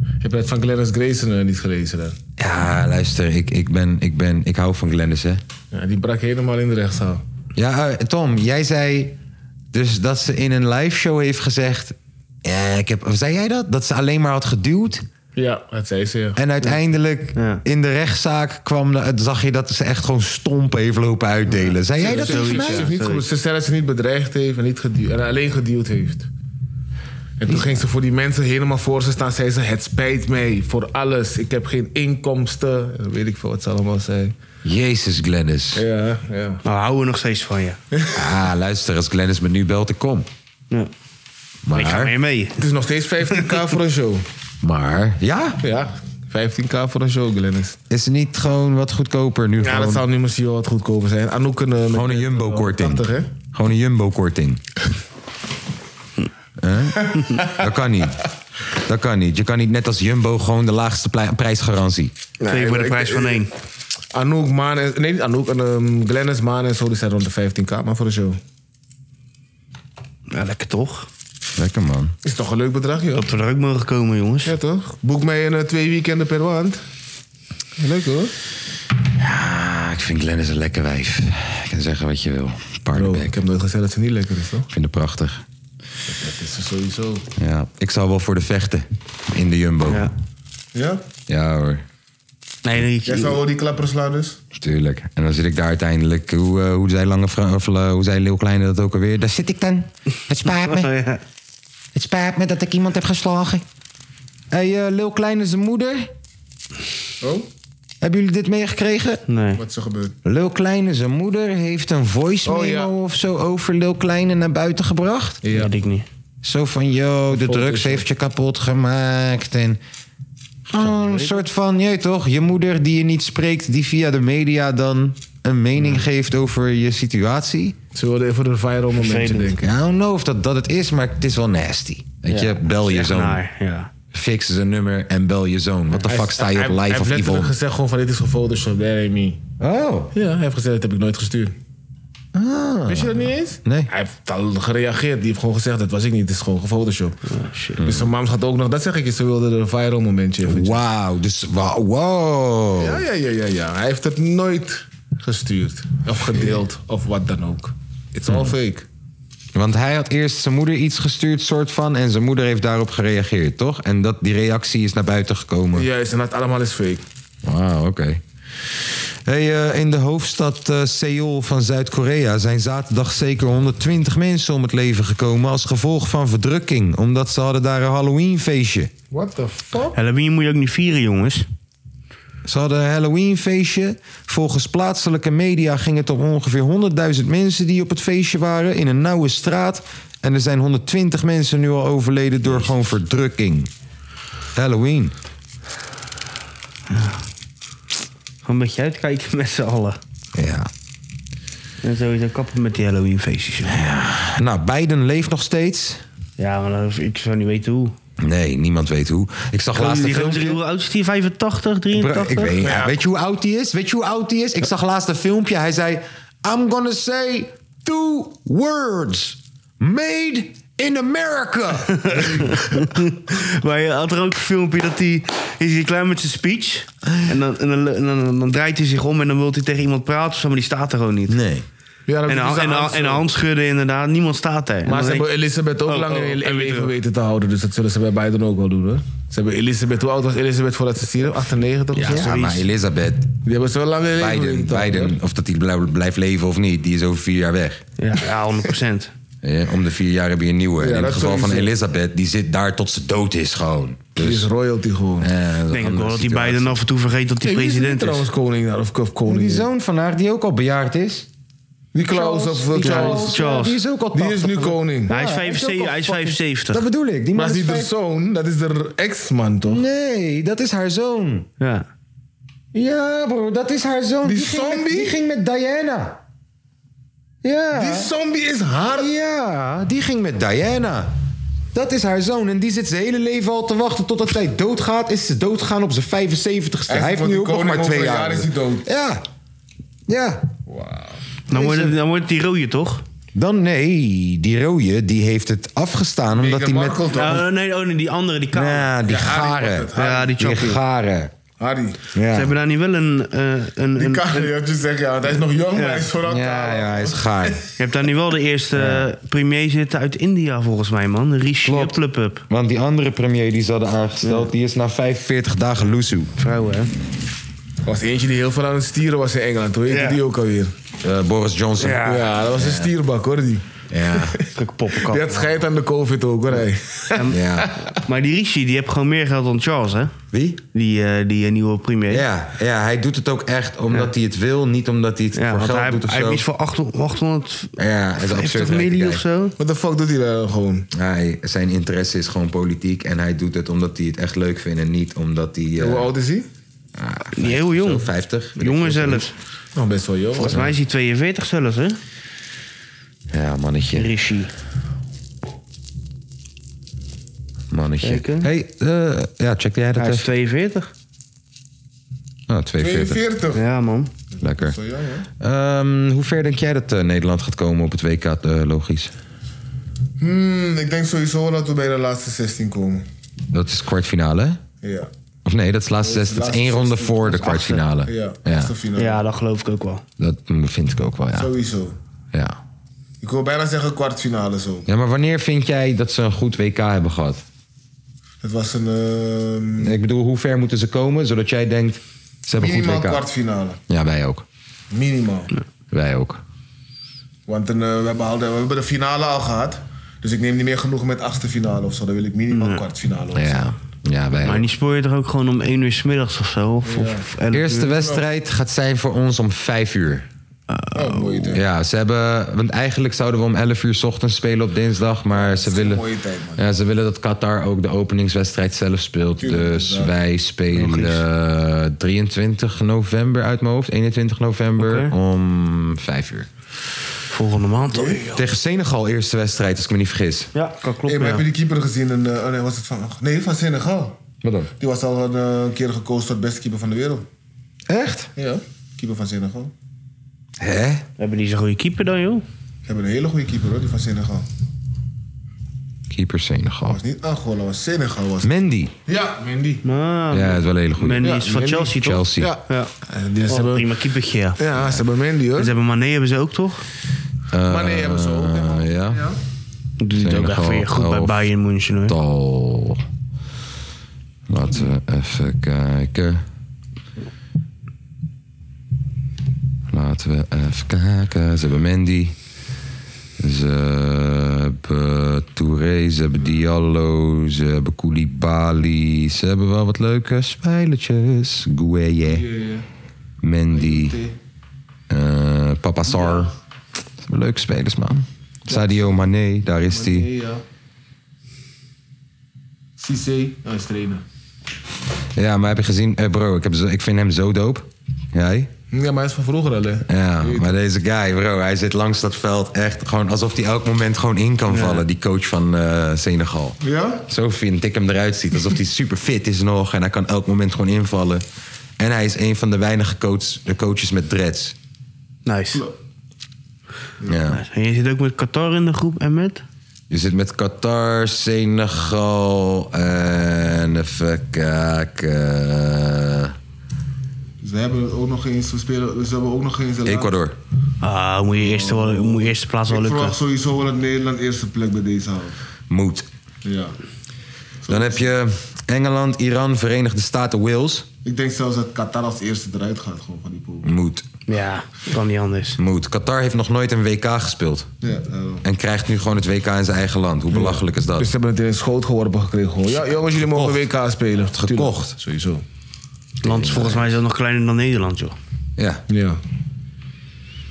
Speaker 5: Heb je het van Clarence Grayson eh, niet gelezen dan?
Speaker 2: Ja, luister, ik, ik, ben, ik, ben, ik hou van Glennis, hè.
Speaker 5: Ja, die brak helemaal in de rechtszaal.
Speaker 2: Ja, eh, Tom, jij zei dus dat ze in een live show heeft gezegd... Ja, ik heb, zei jij dat? Dat ze alleen maar had geduwd?
Speaker 5: Ja, dat zei ze, ja.
Speaker 2: En uiteindelijk
Speaker 3: Ja.
Speaker 2: in de rechtszaak kwam, de- zag je dat ze echt gewoon stomp even lopen uitdelen. Zei jij dat
Speaker 5: Ze-
Speaker 2: tegen
Speaker 5: ze-
Speaker 2: mij?
Speaker 5: Ze, heeft niet
Speaker 3: Sorry.
Speaker 5: ge- ze zei dat ze niet bedreigd heeft en, niet gedu- en alleen geduwd heeft. En toen ging ze voor die mensen helemaal voor ze staan. Zei ze, het spijt mij voor alles. Ik heb geen inkomsten. En dan weet ik veel wat ze allemaal zei.
Speaker 2: Jezus, Glennis.
Speaker 5: Ja, ja.
Speaker 3: Nou, we houden nog steeds van je.
Speaker 2: Ah, luister, als Glennis me nu belt, ik kom.
Speaker 3: Ja. Ik ga
Speaker 2: Maar,
Speaker 3: mee mee.
Speaker 5: Het is nog steeds 15k voor een show.
Speaker 2: maar, ja,
Speaker 5: Ja, 15k voor een show, Glennis.
Speaker 2: is het niet gewoon wat goedkoper nu?
Speaker 5: Ja,
Speaker 2: gewoon,
Speaker 5: dat zou nu misschien wel wat goedkoper zijn. Anouk een... eh, met-
Speaker 2: gewoon een jumbo-korting.
Speaker 5: 80, hè?
Speaker 2: Gewoon een jumbo-korting. Huh? Dat kan niet. Dat kan niet. Je kan niet net als Jumbo gewoon de laagste plei- prijsgarantie.
Speaker 3: Twee voor de
Speaker 5: ik-
Speaker 3: prijs van één.
Speaker 5: Anouk, Maan en... Nee, niet Anouk. En, ehm, Glennis, Maan en zo, die zijn rond de 15k, maar voor een show.
Speaker 3: Ja, lekker toch?
Speaker 2: Lekker, man.
Speaker 5: Is toch een leuk bedrag, joh.
Speaker 3: Dat we er ook mogen komen, jongens.
Speaker 5: Ja, toch? Boek mij een, eh, twee weekenden per maand. Leuk, hoor.
Speaker 2: Ah, ik vind Glennis een lekker wijf. Ik kan zeggen wat je wil.
Speaker 5: Bro,
Speaker 2: Paardenbek.
Speaker 5: ik heb nooit gezegd dat ze niet lekker is, toch?
Speaker 2: Ik vind het prachtig.
Speaker 5: Dat is ze sowieso.
Speaker 2: Ja, ik zou wel voor de vechten in de Jumbo. Ja,
Speaker 3: Ja.
Speaker 6: Ja?
Speaker 2: hoor,
Speaker 3: Nee, nee,
Speaker 6: Jij zou wel die klappers slaan dus?
Speaker 2: tuurlijk. En dan zit ik daar uiteindelijk, hoe, eh, hoe zei Lange Fra- of, eh, hoe zei Leeuw Kleine dat ook alweer? Daar zit ik dan. Het spaat me.
Speaker 3: Oh, ja.
Speaker 2: Het spijt me dat ik iemand heb geslagen. Hé, hey, eh, Leeuw Kleine zijn moeder.
Speaker 6: Oh?
Speaker 2: Hebben jullie dit meegekregen?
Speaker 3: Nee.
Speaker 6: Wat is er gebeurd?
Speaker 2: Lil Kleine zijn moeder heeft een voice memo
Speaker 5: Oh, ja.
Speaker 2: of zo over Lil Kleine naar buiten gebracht.
Speaker 3: Ja. Weet ik niet.
Speaker 2: Zo van, yo, de drugs heeft je kapot gemaakt. En gewoon een soort van, je weet toch, je moeder die je niet spreekt... die via de media dan een mening geeft over je situatie.
Speaker 5: Ze wilden even een viral momentje
Speaker 3: Vervelend.
Speaker 5: denken.
Speaker 2: Ik don't know of dat, dat het is, maar het is wel nasty. Weet je, bel je zoon,
Speaker 3: Naar, ja.
Speaker 2: fix zijn nummer en bel je zoon. Wat de fuck sta je
Speaker 5: Hij-
Speaker 2: op
Speaker 5: hij
Speaker 2: live
Speaker 5: heeft
Speaker 2: of
Speaker 5: letterlijk
Speaker 2: evil?
Speaker 5: gezegd gewoon van dit is gefotoshopt, dat ain't me.
Speaker 2: Oh,
Speaker 5: Ja, hij heeft gezegd dat heb ik nooit gestuurd. Wist je dat niet eens?
Speaker 2: Nee.
Speaker 5: Hij heeft al gereageerd. Die heeft gewoon gezegd dat was ik niet. Het is gewoon gefotoshopt.
Speaker 3: Oh,
Speaker 5: Dus zijn mams had ook nog... Dat zeg ik je, ze wilde er een viral momentje eventjes.
Speaker 2: wauw. Dus, wa- wow.
Speaker 5: Ja, ja, ja, ja, ja. Hij heeft het nooit gestuurd. Of gedeeld. of wat dan ook. It's
Speaker 3: Hm.
Speaker 5: all fake.
Speaker 2: Want hij had eerst zijn moeder iets gestuurd, soort van. En zijn moeder heeft daarop gereageerd, toch? En dat, die reactie is naar buiten gekomen.
Speaker 5: Juist, en dat allemaal is fake.
Speaker 2: Wauw, oké. Hey, eh, in de hoofdstad eh, Seoul van Zuid-Korea zijn zaterdag zeker 120 mensen om het leven gekomen als gevolg van verdrukking, omdat ze hadden daar een Halloweenfeestje.
Speaker 6: What the fuck?
Speaker 3: Halloween moet je ook niet vieren, jongens.
Speaker 2: Ze hadden een Halloweenfeestje. Volgens plaatselijke media ging het om ongeveer 100.000 mensen die op het feestje waren in een nauwe straat. En er zijn 120 mensen nu al overleden door gewoon verdrukking. Halloween.
Speaker 3: Gewoon een beetje uitkijken met z'n allen.
Speaker 2: Ja.
Speaker 3: En sowieso kappen met die Halloween-feestjes. joh.
Speaker 2: Nou, Biden leeft nog steeds.
Speaker 3: Ja, maar dan- ik zou niet weten hoe.
Speaker 2: Nee, niemand weet hoe. Ik zag laatst een
Speaker 3: Die gozer,
Speaker 2: filmpje.
Speaker 3: Hoe oud is die? 85,
Speaker 2: Bro,
Speaker 3: 83?
Speaker 2: Ik weet, ja, weet je hoe oud die is? Weet je hoe oud die is? Ik zag laatst een filmpje. Hij zei: I'm gonna say two words. Made in America.
Speaker 3: Maar je had er ook een filmpje dat hij... Is hij klaar met zijn speech? En dan, en dan, en dan, dan draait hij zich om en dan wil hij tegen iemand praten. of zo, Maar die staat er gewoon niet.
Speaker 2: Nee.
Speaker 5: Ja, dat
Speaker 3: En,
Speaker 5: is
Speaker 3: een- en, een- en een hand schudden inderdaad. Niemand staat daar. En
Speaker 5: Maar
Speaker 3: dan
Speaker 5: ze
Speaker 3: denk
Speaker 5: hebben
Speaker 3: ik-
Speaker 5: Elisabeth ook
Speaker 3: Oh,
Speaker 5: lang in
Speaker 3: oh, en
Speaker 5: leven
Speaker 3: weten
Speaker 5: weten,
Speaker 3: we.
Speaker 5: te houden. Dus dat zullen ze bij Biden ook wel doen hoor. Ze hebben Elisabeth, hoe oud was Elisabeth voordat ze stierf? 98 of
Speaker 2: Ja,
Speaker 5: zo?
Speaker 2: maar Elizabeth,
Speaker 5: Die hebben ze wel lang in leven
Speaker 2: Biden,
Speaker 5: weten te houden,
Speaker 2: Biden, of dat hij blij- blijft leven of niet, die is over vier jaar weg.
Speaker 3: Ja, ja, 100%.
Speaker 2: Eh, Om de vier jaar heb je een nieuwe. En in
Speaker 6: dat
Speaker 2: het geval van
Speaker 6: sowieso.
Speaker 2: Elizabeth, die zit daar tot ze dood is gewoon.
Speaker 3: dus.
Speaker 2: Dus,
Speaker 5: hoor. Die is royalty gewoon.
Speaker 2: eh, dat is een
Speaker 3: Ik denk ook wel
Speaker 2: andere
Speaker 3: dat die
Speaker 2: situatie.
Speaker 3: Biden af en toe vergeet dat hij
Speaker 5: Hey, wie die
Speaker 3: president is.
Speaker 5: trouwens koning daar? Of, of koning?
Speaker 2: Die zoon van haar, die ook al bejaard is.
Speaker 6: Die Klaus of eh,
Speaker 2: die
Speaker 6: Charles.
Speaker 2: Charles,
Speaker 3: Charles.
Speaker 2: Die is ook al
Speaker 6: Die is
Speaker 2: 80.
Speaker 6: nu koning.
Speaker 3: Hij is
Speaker 2: Ja, hij is ook
Speaker 3: 75.
Speaker 2: al
Speaker 3: Hij is
Speaker 2: fucking-
Speaker 3: 75.
Speaker 2: Dat bedoel ik. Die
Speaker 5: Maar
Speaker 2: man
Speaker 5: is niet
Speaker 2: is
Speaker 5: de
Speaker 2: vijf-
Speaker 5: zoon, dat is de ex-man toch?
Speaker 2: Nee, dat is haar zoon.
Speaker 3: Ja.
Speaker 2: Ja, bro, dat is haar zoon.
Speaker 6: Die
Speaker 2: Ging met,
Speaker 6: zombie?
Speaker 2: die ging met Diana. Ja.
Speaker 6: Die zombie is haar.
Speaker 2: Ja, die ging met Diana. Dat is haar zoon en die zit zijn hele leven al te wachten totdat zij doodgaat. Is ze doodgaan op zijn 75ste.
Speaker 6: Hij
Speaker 2: Hij heeft
Speaker 6: wordt
Speaker 2: nu
Speaker 6: de
Speaker 2: ook nog
Speaker 6: koning
Speaker 2: maar
Speaker 6: over
Speaker 2: twee
Speaker 6: een
Speaker 2: jaar.
Speaker 6: jaar is hij dood.
Speaker 2: Ja. Ja.
Speaker 3: Dan wordt, het, dan wordt het die rode, toch?
Speaker 2: Dan nee, die rode die heeft het afgestaan omdat hij
Speaker 6: Meghan
Speaker 2: met...
Speaker 6: Markle toch?
Speaker 3: Oh, nee, oh, nee, die andere, die kale.
Speaker 2: Ja, die
Speaker 6: Harry
Speaker 2: garen.
Speaker 6: wordt het,
Speaker 3: Harry. Ja, die choppie.
Speaker 2: garen.
Speaker 6: Harry.
Speaker 2: Ja.
Speaker 3: Ze hebben daar niet wel een... eh, een,
Speaker 6: Die
Speaker 3: een
Speaker 6: kan je had je zeggen, ja, want hij is nog jong, maar hij is vooral
Speaker 2: ja, ja, hij is gaar.
Speaker 3: je hebt daar nu wel de eerste eh, premier zitten uit India, volgens mij, man. Rishi
Speaker 2: Klopt.
Speaker 3: Plupup.
Speaker 2: Want die andere premier die ze hadden aangesteld, die is na 45 dagen loesoe.
Speaker 3: Vrouwen, hè?
Speaker 5: Er was eentje die heel veel aan het stieren was in Engeland. Hoe heette
Speaker 3: Ja.
Speaker 5: die ook alweer?
Speaker 2: Eh, Boris Johnson.
Speaker 5: Ja, dat was een stierbak hoor die.
Speaker 2: Ja.
Speaker 3: Drukke poppenkap.
Speaker 5: Die had scheid aan de covid ook hoor. hij.
Speaker 2: ja.
Speaker 3: Maar die Rishi, die heeft gewoon meer geld dan Charles, hè?
Speaker 2: Wie?
Speaker 3: Die, eh, die eh, nieuwe premier.
Speaker 2: Ja, ja, hij doet het ook echt omdat hij het wil, niet omdat hij het
Speaker 3: Ja,
Speaker 2: voor
Speaker 3: want
Speaker 2: geld
Speaker 3: hij,
Speaker 2: doet of
Speaker 3: hij
Speaker 2: zo.
Speaker 3: heeft iets van 800, 800
Speaker 2: Ja, het is absurd.
Speaker 3: familie
Speaker 2: eigenlijk,
Speaker 3: of zo.
Speaker 5: Wat de fuck doet hij daar dan gewoon?
Speaker 2: ja. Hij, zijn interesse is gewoon politiek en hij doet het omdat hij het echt leuk vindt en niet omdat hij... eh,
Speaker 5: Hoe oud is hij?
Speaker 2: ah, 50
Speaker 3: Die heel
Speaker 2: of zo,
Speaker 3: jong.
Speaker 2: 50. weet ik
Speaker 3: Jongen
Speaker 2: veel.
Speaker 3: zelfs.
Speaker 5: Nog best wel jong.
Speaker 3: Volgens mij is hij 42 zelfs, hè?
Speaker 2: Ja, mannetje.
Speaker 3: Rishi.
Speaker 2: Mannetje.
Speaker 3: Kijken.
Speaker 2: hey, eh, ja, check jij dat
Speaker 3: Hij is
Speaker 2: even?
Speaker 3: 42.
Speaker 2: Oh, 42.
Speaker 6: 42.
Speaker 3: Ja, man.
Speaker 2: Lekker.
Speaker 6: Zo jong, hè?
Speaker 2: Ehm, hoe ver denk jij dat eh, Nederland gaat komen op het WK, eh, logisch?
Speaker 6: Hmm, ik denk sowieso dat we bij de laatste 16 komen.
Speaker 2: Dat is kwartfinale, hè?
Speaker 6: Ja.
Speaker 2: Of nee, dat is laatste zes. Dat is één ronde voor de kwartfinale.
Speaker 6: Ja, dat
Speaker 2: ja,
Speaker 6: is de finale.
Speaker 3: Ja, dat geloof ik ook wel.
Speaker 2: dat vind ik ook wel, ja.
Speaker 6: Sowieso.
Speaker 2: ja.
Speaker 6: Ik wil bijna zeggen kwartfinale zo.
Speaker 2: Ja, maar wanneer vind jij dat ze een goed WK hebben gehad?
Speaker 6: Het was een ehm
Speaker 2: Ik bedoel, hoe ver moeten ze komen zodat jij denkt, ze hebben een
Speaker 6: minimaal
Speaker 2: goed WK?
Speaker 6: kwartfinale.
Speaker 2: Ja, wij ook.
Speaker 6: Minimaal.
Speaker 2: Wij ook.
Speaker 6: Want een, eh, we, hebben al de, we hebben de finale al gehad. Dus ik neem niet meer genoeg met achtste finale of zo. Dan wil ik minimaal kwartfinale. of zo.
Speaker 2: Ja, ja wij
Speaker 3: Maar
Speaker 2: ook.
Speaker 3: die spoor je toch ook gewoon om 1 uur s middags of zo? Of, of 11 uur?
Speaker 2: Eerste wedstrijd gaat zijn voor ons om vijf uur.
Speaker 6: Oh, mooie tijd.
Speaker 2: Ja, ze hebben... Want eigenlijk zouden we om 11 uur 's ochtends spelen op dinsdag. Maar ze
Speaker 6: een
Speaker 2: willen,
Speaker 6: mooie tijd, man.
Speaker 2: Ja, ze willen dat Qatar ook de openingswedstrijd zelf speelt.
Speaker 6: Tuurlijk,
Speaker 2: dus
Speaker 6: inderdaad.
Speaker 2: wij spelen eh, 23 november uit mijn hoofd. 21 november
Speaker 3: Oké.
Speaker 2: om 5 uur.
Speaker 3: Volgende maand toch?
Speaker 2: Tegen Senegal eerste wedstrijd, als ik me niet vergis.
Speaker 3: Ja, kan
Speaker 6: Hey,
Speaker 3: kloppen.
Speaker 6: maar
Speaker 3: ja.
Speaker 6: heb je die keeper gezien? En, eh, oh nee, was het van, nee, van Senegal.
Speaker 2: Wat dan?
Speaker 6: Die was al een eh, keer gekozen tot beste keeper van de wereld.
Speaker 2: Echt?
Speaker 6: Ja, keeper van Senegal.
Speaker 2: Hè?
Speaker 3: Hebben die zo'n goede keeper dan, joh?
Speaker 6: Ze hebben een hele goede keeper hoor, die van Senegal.
Speaker 2: Keeper Senegal.
Speaker 6: Was niet Angola, was Senegal. Was...
Speaker 2: Mendy.
Speaker 6: Ja, Mendy.
Speaker 3: Ah,
Speaker 2: Ja, dat is wel een hele goede.
Speaker 3: Mandy
Speaker 2: Ja,
Speaker 3: is van
Speaker 5: Mandy.
Speaker 3: Chelsea, toch?
Speaker 2: Chelsea.
Speaker 5: Ja.
Speaker 3: Ja.
Speaker 5: En die- ze
Speaker 3: Oh,
Speaker 5: hebben,
Speaker 3: prima keepertje, ja.
Speaker 5: ja, ze hebben Mandy hoor.
Speaker 3: Ze hebben Mané hebben ze ook, toch?
Speaker 5: Maar nee, hebben ze ook.
Speaker 2: Eh, ja.
Speaker 3: Die doet ook echt
Speaker 2: Senegal,
Speaker 3: weer goed bij
Speaker 2: elf.
Speaker 3: Bayern München, hoor.
Speaker 2: Tal. Laten we even kijken. Laten we even kijken. Ze hebben Mandy. Ze hebben Touré, ze hebben Diallo, ze hebben Koulibaly. Ze hebben wel wat leuke spijletjes. Gueye, Mandy, eh Papa Sar. Ze hebben Leuke spelers, man. Sadio Mane, daar is hij.
Speaker 5: Nee, ja. Cissé, hij is trainer.
Speaker 2: Ja, maar heb je gezien... eh, bro, ik, heb zo, ik vind hem zo dope. Jij?
Speaker 5: Ja, maar hij is van vroeger al, hè?
Speaker 2: Ja, maar deze guy, bro, hij zit langs dat veld echt gewoon alsof hij elk moment gewoon in kan vallen. Die coach van eh, Senegal.
Speaker 6: Ja?
Speaker 2: Zo vind ik hem eruit ziet. Alsof hij super fit is nog en hij kan elk moment gewoon invallen. En hij is een van de weinige coach, de coaches met dreads.
Speaker 3: Nice.
Speaker 2: Ja.
Speaker 3: nice. Ah, En je zit ook met Qatar in de groep en met?
Speaker 2: Je zit met Qatar, Senegal en even kijken.
Speaker 6: Ze hebben ook nog eens, we spelen, ze hebben ook nog eens... de laatste-
Speaker 2: Ecuador.
Speaker 3: Ah, moet je eerste, wel, moet je eerste plaats wel
Speaker 6: Ik
Speaker 3: lukken.
Speaker 6: verwacht sowieso wel dat Nederland eerste plek bij deze houdt.
Speaker 2: Moet.
Speaker 6: Ja.
Speaker 2: Dan heb je Engeland, Iran, Verenigde Staten, Wales.
Speaker 6: Ik denk zelfs dat Qatar als eerste eruit gaat gewoon van die pool.
Speaker 2: Moet.
Speaker 3: Ja, kan niet anders.
Speaker 2: Moet. Qatar heeft nog nooit een WK gespeeld.
Speaker 6: Ja, eh,
Speaker 2: En krijgt nu gewoon het WK in zijn eigen land. Hoe belachelijk is dat?
Speaker 5: Dus ze hebben het in een schoot geworpen gekregen. Gewoon. Ja, jongens, jullie mogen WK spelen.
Speaker 2: Gekocht.
Speaker 5: Tuurlijk, Sowieso.
Speaker 3: Het land is volgens mij zelfs nog kleiner dan Nederland, joh.
Speaker 2: Ja.
Speaker 5: Ja.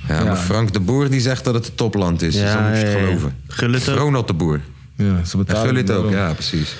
Speaker 2: ja, maar Frank de Boer die zegt dat het een topland is. dus
Speaker 3: Ja,
Speaker 2: dan moet je het
Speaker 3: ja, ja.
Speaker 2: geloven.
Speaker 3: Gullit ook.
Speaker 2: Ronald de Boer.
Speaker 5: ja ze
Speaker 2: En
Speaker 5: betalen
Speaker 2: Gullit
Speaker 5: wel.
Speaker 2: ook, ja precies.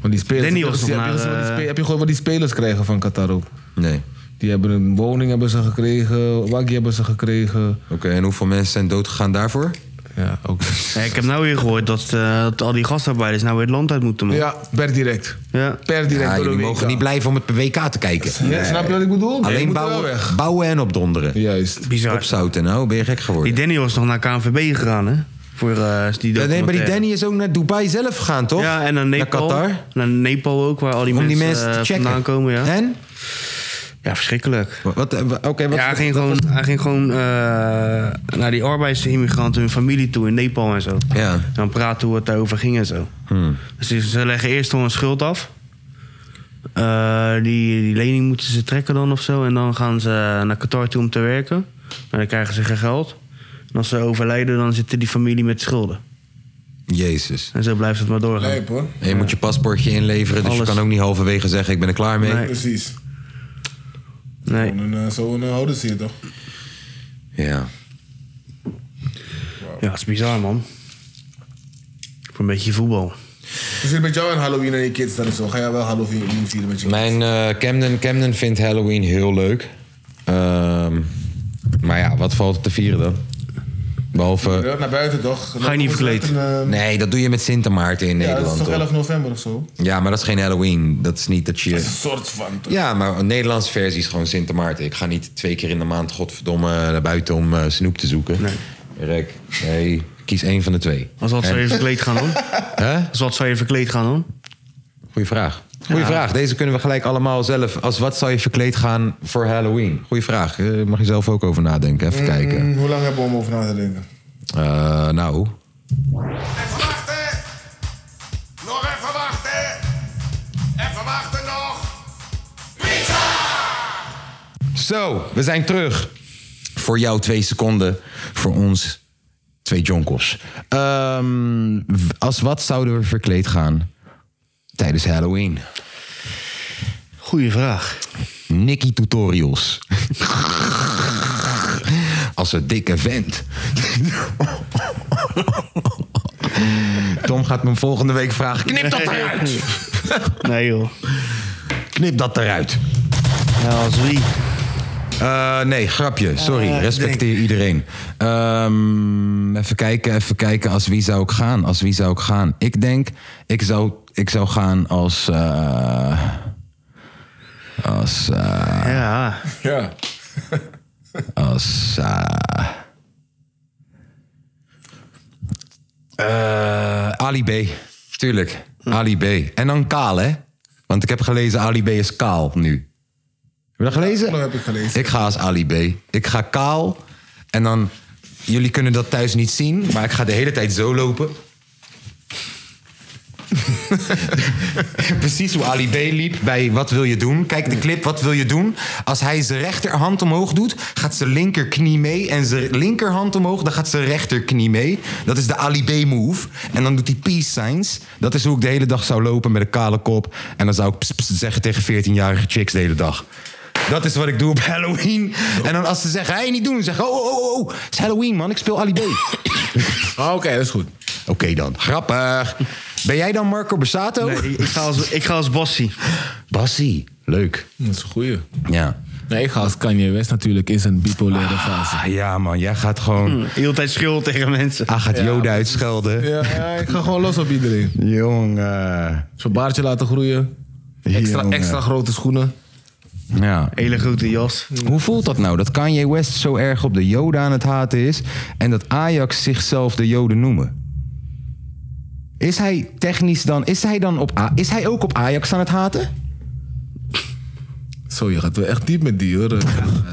Speaker 5: Want die spelers,
Speaker 3: Danny
Speaker 5: heb je
Speaker 3: was nog
Speaker 5: gezien- heb je
Speaker 3: naar,
Speaker 5: gezien wat die
Speaker 3: eh,
Speaker 5: spe- Heb je gewoon wat die spelers krijgen van Qatar ook?
Speaker 2: Nee.
Speaker 5: Die hebben een woning hebben ze gekregen, Waggy hebben ze gekregen.
Speaker 2: Oké, en hoeveel mensen zijn doodgegaan daarvoor?
Speaker 5: Ja, ook.
Speaker 3: Ja, ik heb nou weer gehoord dat, eh, dat al die gastarbeiders nou weer het land uit moeten, man. Ja.
Speaker 5: ja, per direct. Per direct
Speaker 2: Ja,
Speaker 5: door de
Speaker 2: jullie
Speaker 5: WK.
Speaker 2: mogen niet blijven om het WK te kijken.
Speaker 5: Ja, Snap je wat ik bedoel? Nee, je
Speaker 2: Alleen
Speaker 5: moet wel
Speaker 2: bouwen,
Speaker 5: weg.
Speaker 2: bouwen en opdonderen.
Speaker 5: Juist.
Speaker 3: Bizar.
Speaker 2: Opzouten, nou ben je gek geworden.
Speaker 3: Die Danny was nog naar KNVB gegaan, hè? Voor eh, die
Speaker 2: Ja, nee, maar die
Speaker 3: documentaire.
Speaker 2: Danny is ook naar Dubai zelf gegaan, toch?
Speaker 3: Ja, en naar Nepal.
Speaker 2: Naar Qatar.
Speaker 3: Naar Nepal ook, waar al die
Speaker 2: Om die
Speaker 3: mensen,
Speaker 2: mensen te
Speaker 3: eh,
Speaker 2: checken.
Speaker 3: vandaan komen, ja.
Speaker 2: En?
Speaker 3: Ja, verschrikkelijk.
Speaker 2: Wat, wat, eh, Oké, wat,
Speaker 3: Ja, hij ging gewoon, hij ging gewoon eh, naar die arbeidsimmigranten, hun familie toe in Nepal en zo.
Speaker 2: Ja.
Speaker 3: En dan praten hoe het daarover ging en zo. Dus ze- ze leggen eerst al een schuld af. Eh, die, die lening moeten ze trekken dan of zo. En dan gaan ze naar Qatar toe om te werken. En dan krijgen ze geen geld. En als ze overlijden, dan zitten die familie met schulden.
Speaker 2: Jezus.
Speaker 3: En zo blijft het maar doorgaan.
Speaker 6: Lijp hoor.
Speaker 2: En je moet je paspoortje inleveren, dus
Speaker 3: Alles.
Speaker 2: je kan ook niet halverwege zeggen ik ben er klaar mee.
Speaker 3: Nee.
Speaker 6: Precies.
Speaker 3: Nee.
Speaker 6: Gewoon een, eh, Zo'n eh, houden ze je toch?
Speaker 2: Ja.
Speaker 3: Ja, dat is bizar, man. Voor een beetje voetbal.
Speaker 6: Dus zit met jou en Halloween en je kids dan en zo. Ga jij wel Halloween vieren met je kids?
Speaker 2: Mijn eh, Camden, Camden vindt Halloween heel leuk. Ehm, maar ja, wat valt er te vieren dan? Behalve...
Speaker 6: Ja, naar buiten toch? Dan
Speaker 3: Ga je niet
Speaker 6: komen ze
Speaker 3: verkleed?
Speaker 6: met een, eh,
Speaker 2: Nee, dat doe je met Sint Maarten in
Speaker 6: Ja, dat is
Speaker 2: Nederland.
Speaker 6: toch
Speaker 2: toch?
Speaker 6: 11 november of zo?
Speaker 2: Ja, maar dat is geen Halloween. Dat is niet dat
Speaker 6: Een
Speaker 2: je...
Speaker 6: soort van toch?
Speaker 2: Ja, maar een Nederlandse versie is gewoon Sint Maarten. Ik ga niet twee keer in de maand, godverdomme, naar buiten om eh, snoep te zoeken. Nee. Rek, nee, kies één van de twee.
Speaker 3: Als wat zou je verkleed gaan dan?
Speaker 2: Hè?
Speaker 3: Als wat zou je verkleed gaan dan?
Speaker 2: Goeie vraag. Goeie vraag. Deze kunnen we gelijk allemaal zelf. Als wat zou je verkleed gaan voor Halloween? Goeie vraag. Eh, mag je zelf ook over nadenken. Even kijken.
Speaker 6: Mm, Hoe lang hebben we om over na te denken?
Speaker 2: Eh, nou.
Speaker 4: Even wachten! Nog even wachten! Even wachten nog!
Speaker 2: Zo, we zijn terug. Voor jou twee seconden. Voor ons twee jonkels. Ehm, w- als wat zouden we verkleed gaan tijdens Halloween?
Speaker 3: Goeie vraag.
Speaker 2: Nicky tutorials. Als een dikke vent. Tom gaat me volgende week vragen. Knip dat eruit!
Speaker 3: Nee joh.
Speaker 2: Knip dat eruit.
Speaker 3: Ja, als wie?
Speaker 2: Eh, nee, grapje. Sorry. Respecteer iedereen. Ehm, even kijken, even kijken. Als wie zou ik gaan? Als wie zou ik gaan? Ik denk, ik zou, ik zou gaan als... eh, als... eh,
Speaker 3: Ja.
Speaker 6: Ja.
Speaker 2: Als. eh, eh, Ali B. Tuurlijk.
Speaker 6: Hm.
Speaker 2: Ali B. En dan kaal, hè? Want ik heb gelezen, Ali B is kaal nu. Heb je dat gelezen?
Speaker 6: dat heb ik gelezen.
Speaker 2: Ik ga als Ali B. Ik ga kaal. En dan. Jullie kunnen dat thuis niet zien, maar ik ga de hele tijd zo lopen. Precies hoe Ali B liep bij Wat wil je doen? Kijk de clip, wat wil je doen? Als hij zijn rechterhand omhoog doet, gaat zijn linkerknie mee. En zijn linkerhand omhoog, dan gaat zijn rechterknie mee. Dat is de Ali B move. En dan doet hij peace signs. Dat is hoe ik de hele dag zou lopen met een kale kop. En dan zou ik ps, ps zeggen tegen 14-jarige chicks de hele dag. Dat is wat ik doe op Halloween. En dan als ze zeggen, hey, niet doen. Dan zeg ik, oh, oh, oh, oh, het is Halloween, man. Ik speel Ali B.
Speaker 5: Ah, Oké, dat is goed.
Speaker 2: Oké dan. Grappig. Ben jij dan Marco Borsato?
Speaker 3: Nee, ik, ik ga als, ik ga als Bossie.
Speaker 2: Bassie. Leuk.
Speaker 5: Dat is een goeie.
Speaker 2: Ja.
Speaker 5: Nee, ik ga als Kanye West natuurlijk in zijn bipolaire fase.
Speaker 2: Ah, ja, man. Jij gaat gewoon...
Speaker 3: Heel de tijd schil tegen mensen.
Speaker 2: Ah, gaat Joda uitschelden.
Speaker 5: Ja, ja, ik ga gewoon los op iedereen.
Speaker 2: Jongen.
Speaker 5: Zo'n baardje laten groeien. Extra,
Speaker 2: Jongen.
Speaker 5: extra grote schoenen.
Speaker 2: Ja.
Speaker 3: Hele grote jas.
Speaker 2: Hoe voelt dat nou? Dat Kanye West zo erg op de Joden aan het haten is... en dat Ajax zichzelf de Joden noemen. Is hij technisch dan... Is hij, dan op A- is hij ook op Ajax aan het haten?
Speaker 5: Zo, je gaat wel echt diep met die hoor. Ja, dat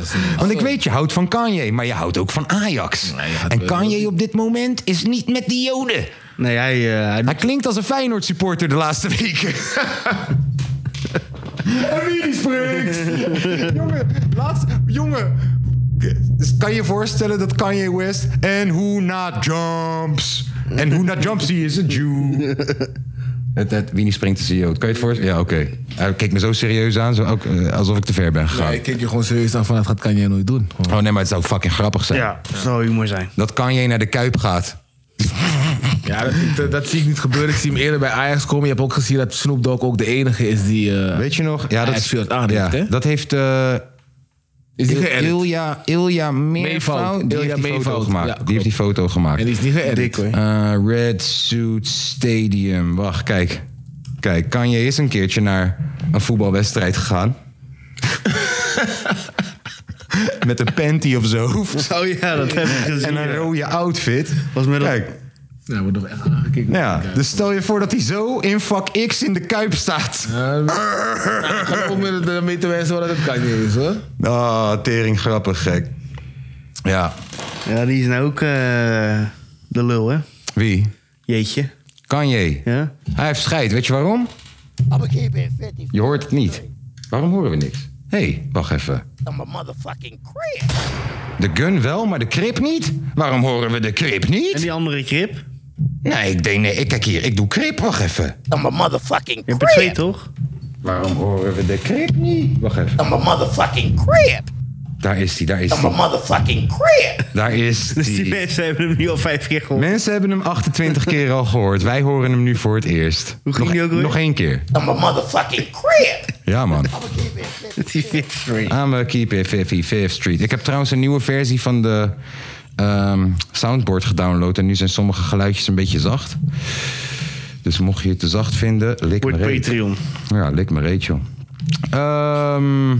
Speaker 5: is niet-
Speaker 2: Want ik weet, je houdt van Kanye, maar je houdt ook van Ajax.
Speaker 5: Nee, je gaat
Speaker 2: en
Speaker 5: wel-
Speaker 2: Kanye op dit moment is niet met de Joden.
Speaker 3: Nee, hij, eh, hij
Speaker 2: Hij klinkt als een Feyenoord supporter de laatste weken. en wie die spreekt? jongen, laatst, jongen. Kan je voorstellen dat Kanye West en Who Not Jumps... En Who Not Jumps, he is een Jew. Het, het, wie niet springt is een Jood. Kan je het voorstellen? Ja, oké. Hij keek me zo serieus aan, zo, ook, eh, alsof ik te ver ben gegaan.
Speaker 5: Nee, ik kijk je gewoon serieus aan van dat gaat Kanye nooit doen. Gewoon.
Speaker 2: Oh nee, maar het zou fucking grappig zijn.
Speaker 3: ja, zou humor zijn.
Speaker 2: Dat Kanye naar de Kuip gaat.
Speaker 5: Ja, dat, dat, dat zie ik niet gebeuren. Ik zie hem eerder bij Ajax komen. Je hebt ook gezien dat Snoop Dogg ook de enige is die... eh,
Speaker 2: Weet je nog? Ja, dat,
Speaker 5: Hij speelt aan,
Speaker 2: ja,
Speaker 5: hè?
Speaker 2: dat heeft eh,
Speaker 5: is die
Speaker 2: Il-
Speaker 5: geëdit.
Speaker 2: Ilja, Ilja Meervoud.
Speaker 5: Meervoud.
Speaker 2: Die
Speaker 5: Ilja
Speaker 2: heeft die foto
Speaker 5: Meervoud,
Speaker 2: gemaakt.
Speaker 5: ja,
Speaker 2: die heeft die foto gemaakt.
Speaker 5: En die is niet geëdit hoor.
Speaker 2: Eh, Red Suit Stadium. Wacht, kijk. Kijk, Kanye is een keertje naar een voetbalwedstrijd gegaan. Met een panty op zijn hoofd.
Speaker 3: Oh ja, dat heb ik gezien.
Speaker 2: En een
Speaker 3: ja.
Speaker 2: rode outfit.
Speaker 3: Was met dat-
Speaker 2: Kijk,
Speaker 5: Ja, wordt nog echt aangekeken.
Speaker 2: nou ja, dus stel je voor dat hij zo in vak X in de Kuip staat.
Speaker 5: Ja, dat- Ja, dat ook met ermee te wijzen dat het Kanye is hoor.
Speaker 2: Ah, tering grappig, gek. Ja,
Speaker 3: Ja, die is nou ook eh, de lul, hè?
Speaker 2: wie?
Speaker 3: Jeetje.
Speaker 2: Kanye.
Speaker 3: Ja?
Speaker 2: Hij heeft scheid, weet je waarom?
Speaker 7: I'm a keep it 50.
Speaker 2: Je hoort het niet. Waarom horen we niks? Hé, hey, wacht even.
Speaker 7: I'm a motherfucking crib.
Speaker 2: De gun wel, maar de krip niet? Waarom horen we de krip
Speaker 3: En
Speaker 2: niet?
Speaker 3: die andere krip? Je
Speaker 2: Nee, ik denk, nee, ik kijk hier, ik doe krip, wacht even.
Speaker 7: I'm a motherfucking
Speaker 3: hebt er twee,
Speaker 7: crib.
Speaker 3: toch?
Speaker 2: Waarom horen we de krip niet? Wacht even.
Speaker 7: I'm a motherfucking crib.
Speaker 2: Daar is hij, daar is
Speaker 7: I'm a
Speaker 2: hij.
Speaker 7: motherfucking crib.
Speaker 2: Daar is
Speaker 3: Dus die
Speaker 2: hij.
Speaker 3: mensen hebben hem nu al vijf keer gehoord.
Speaker 2: Mensen hebben hem 28 keer al gehoord. Wij horen hem nu voor het eerst.
Speaker 3: Hoe ging
Speaker 2: nog,
Speaker 3: die ook weer?
Speaker 2: nog één keer.
Speaker 7: I'm a motherfucking crib.
Speaker 2: Ja, man.
Speaker 3: Die victory.
Speaker 2: I'm a keep it 55th Street. Ik heb trouwens een nieuwe versie van de ehm, soundboard gedownload. En nu zijn sommige geluidjes een beetje zacht. Dus mocht je het te zacht vinden, lik me
Speaker 3: Wordt
Speaker 2: reet.
Speaker 3: Patreon.
Speaker 2: Ja, lik me reet, joh. Ehm,